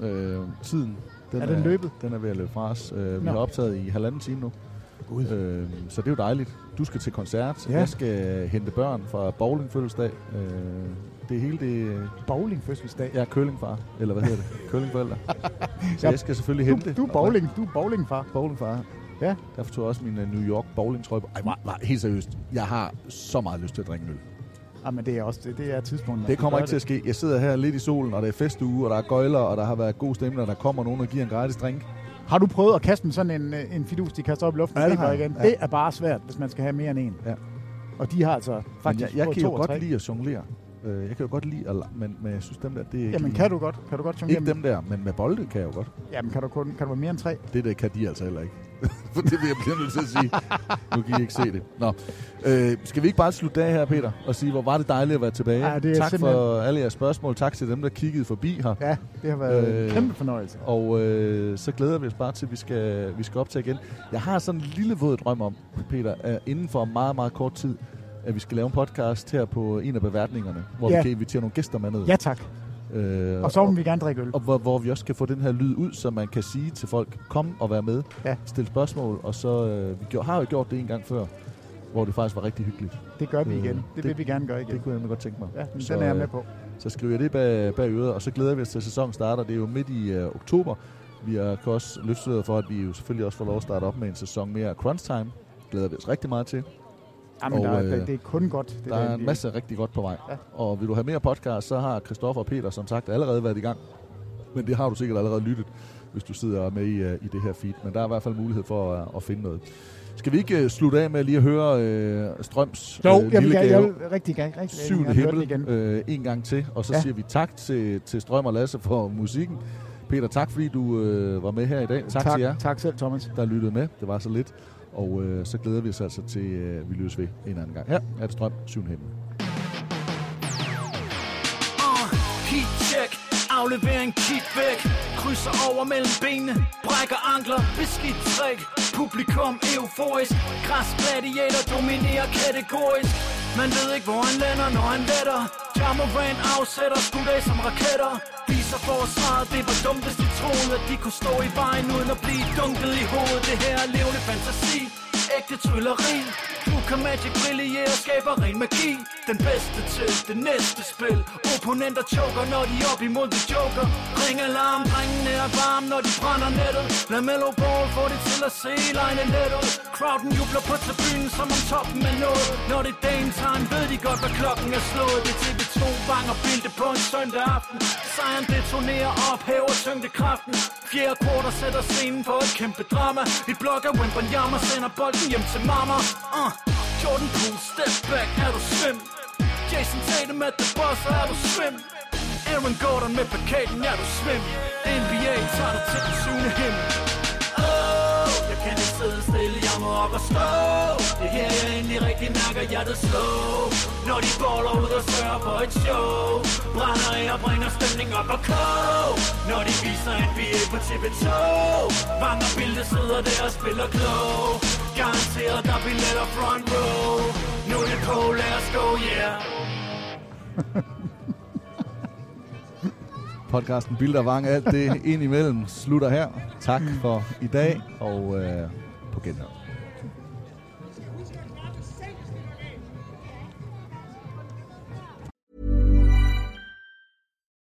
Øh, tiden,
Er den løbet?
Den er ved at løbe fra os. Øh, vi
Nå.
har optaget i halvanden time nu. Øh, så det er jo dejligt. Du skal til koncert.
Ja.
Jeg skal hente børn fra bowling fødselsdag. Øh, det hele det...
Bowling fødselsdag?
Ja, curlingfar. Eller hvad hedder det? Curlingforældre. så
Ja,
jeg skal selvfølgelig
du-
hente.
du er
Og-
bowling- du er bowlingfar.
Bowlingfar.
Ja.
Derfor tog jeg også min øh, New York bowlingtrøje på. Ej, var, var, helt seriøst. Jeg har så meget lyst til at drikke en øl.
Ja, men det er også det, det er tidspunktet.
Det kommer ikke til at ske. Jeg sidder her lidt i solen, og det er festuge, og der er gøjler, og der har været god stemning, og der kommer nogen og giver en gratis drink.
Har du prøvet at kaste med sådan en, øh, en fidus, de kaster op i luften?
Ja, det
det,
har jeg.
igen.
Ja.
det er bare svært, hvis man skal have mere end en.
Ja.
Og de har altså
Faktisk,
faktisk
jeg, jeg
både
kan
to
jo
og
godt
tre.
lide at jonglere. Øh, Jeg kan jo godt lide at... la- Men, men jeg synes, dem der, det er ikke
Jamen
lige-
kan du godt? Kan du godt jonglere
øh, Ikke
med-
dem der, men med bolde kan jeg jo godt.
Jamen kan du, kun, kan du være mere end tre?
Det der kan de altså heller ikke. For det vil jeg blive nødt til at sige. Nu kan I ikke se det. Nå. Øh, skal vi ikke bare slutte af her, Peter, og sige, hvor var det dejligt at være tilbage.
Ja, det er
tak
simpelthen-
for alle jeres spørgsmål. Tak til dem, der kiggede forbi her. Øh,
Ja, det har været en kæmpe fornøjelse.
Og øh, så glæder vi os bare til, at vi skal, vi skal op til igen. Jeg har sådan en lille våd drøm om, Peter, at inden for meget, meget kort tid, at vi skal lave en podcast her på en af beværtningerne, hvor
Ja.
vi kan invitere nogle gæster med ned.
Ja, tak.
Øh,
Og så må vi gerne drikke øl.
og hvor, hvor vi også kan få den her lyd ud, så man kan sige til folk, kom og vær med,
ja.
stil spørgsmål, og så, øh, vi gjorde, har jo gjort det en gang før, hvor det faktisk var rigtig hyggeligt.
Det gør vi igen. Det vil vi gerne gøre igen.
øh, Det kunne jeg nemlig godt tænke mig.
Ja, men den er jeg
øh,
med på.
Så skriver jeg det bag, bag øret, og så glæder vi os til, at sæsonen starter. Det er jo midt i øh, oktober. Vi har kan også løftet for, at vi jo selvfølgelig også får lov at starte op med en sæson mere af crunch time. Glæder vi os rigtig meget til.
Jamen, der,
øh,
der, det er kun godt. Det
der er en
NBA.
masse rigtig godt på vej. Ja. Og vil du have mere podcast, så har Christoffer og Peter som sagt allerede været i gang. Men det har du sikkert allerede lyttet, hvis du sidder med i, øh, i det her feed. Men der er i hvert fald mulighed for øh, at, at finde noget. Skal vi ikke øh, slutte af med lige at høre øh, Strøms
Jo, jeg vil
lille
gerne-
gave?
jeg vil rigtig gerne- rigtig gerne
Syvende
høre den
himmel
igen.
øh, en gang til. Og så
Ja.
ja. siger vi tak til, til Strøm og Lasse for musikken. Peter, tak fordi du øh, var med her i dag. Tak,
Tak-
til jer.
Tak selv, Thomas.
Der lyttede med. Det var så lidt. Og øh, så glæder vi os altså til, øh, vi lyttes ved en anden gang. Her er det Strøm, syvende himmel.
Uh, heat check, aflevering kig væk Krydser over mellem benene, brækker ankler, beskidt træk Publikum euforisk, græs gladiator dominerer kategorisk Man ved ikke hvor han lander, når han letter Jammerand afsætter skud af som raketter Viser forsvaret, det var dumt hvis de troede At de kunne stå i vejen uden at blive dunket i hovedet Det her er levende fantasi ægte trylleri Du kan magic brillere og skaber ren magi Den bedste til det næste spil Opponenter choker, når de er op imod de joker Ring alarm, drengene er varme, når de brænder nettet Lad mellow ball få det til at se lejne let ud Crowden jubler på tribunen, som om toppen er nået Når det er dame time, ved de godt, hvad klokken er slået Det er TV2, vanger bilde på en søndag aften Sejren, det er resonerer, ophæver tyngdekraften. Fjerde kvarter sætter scenen for et kæmpe drama. Vi blokker Wimbanyama, sender bolden hjem til mamma. Uh. Jordan Poole, step back, er du svim? Jason Tatum at the boss, er du svim? Aaron Gordon med plakaten, er du svim? NBA tager dig til den syvende himmel. Åh, Jeg kan ikke sidde stille, jeg må op og stå Det er her jeg endelig rigtig mærker hjertet slå Når de baller ud og sørger for et show Brænder af og bringer stemning op og kog Når de viser NBA på TV2 Mange billeder sidder der og spiller klog Garanteret der er billetter front row Nu er det på, lad os gå, yeah
Podcasten Bilder Vang, alt det ind imellem, slutter her. Tak for i dag, og øh, på genhør.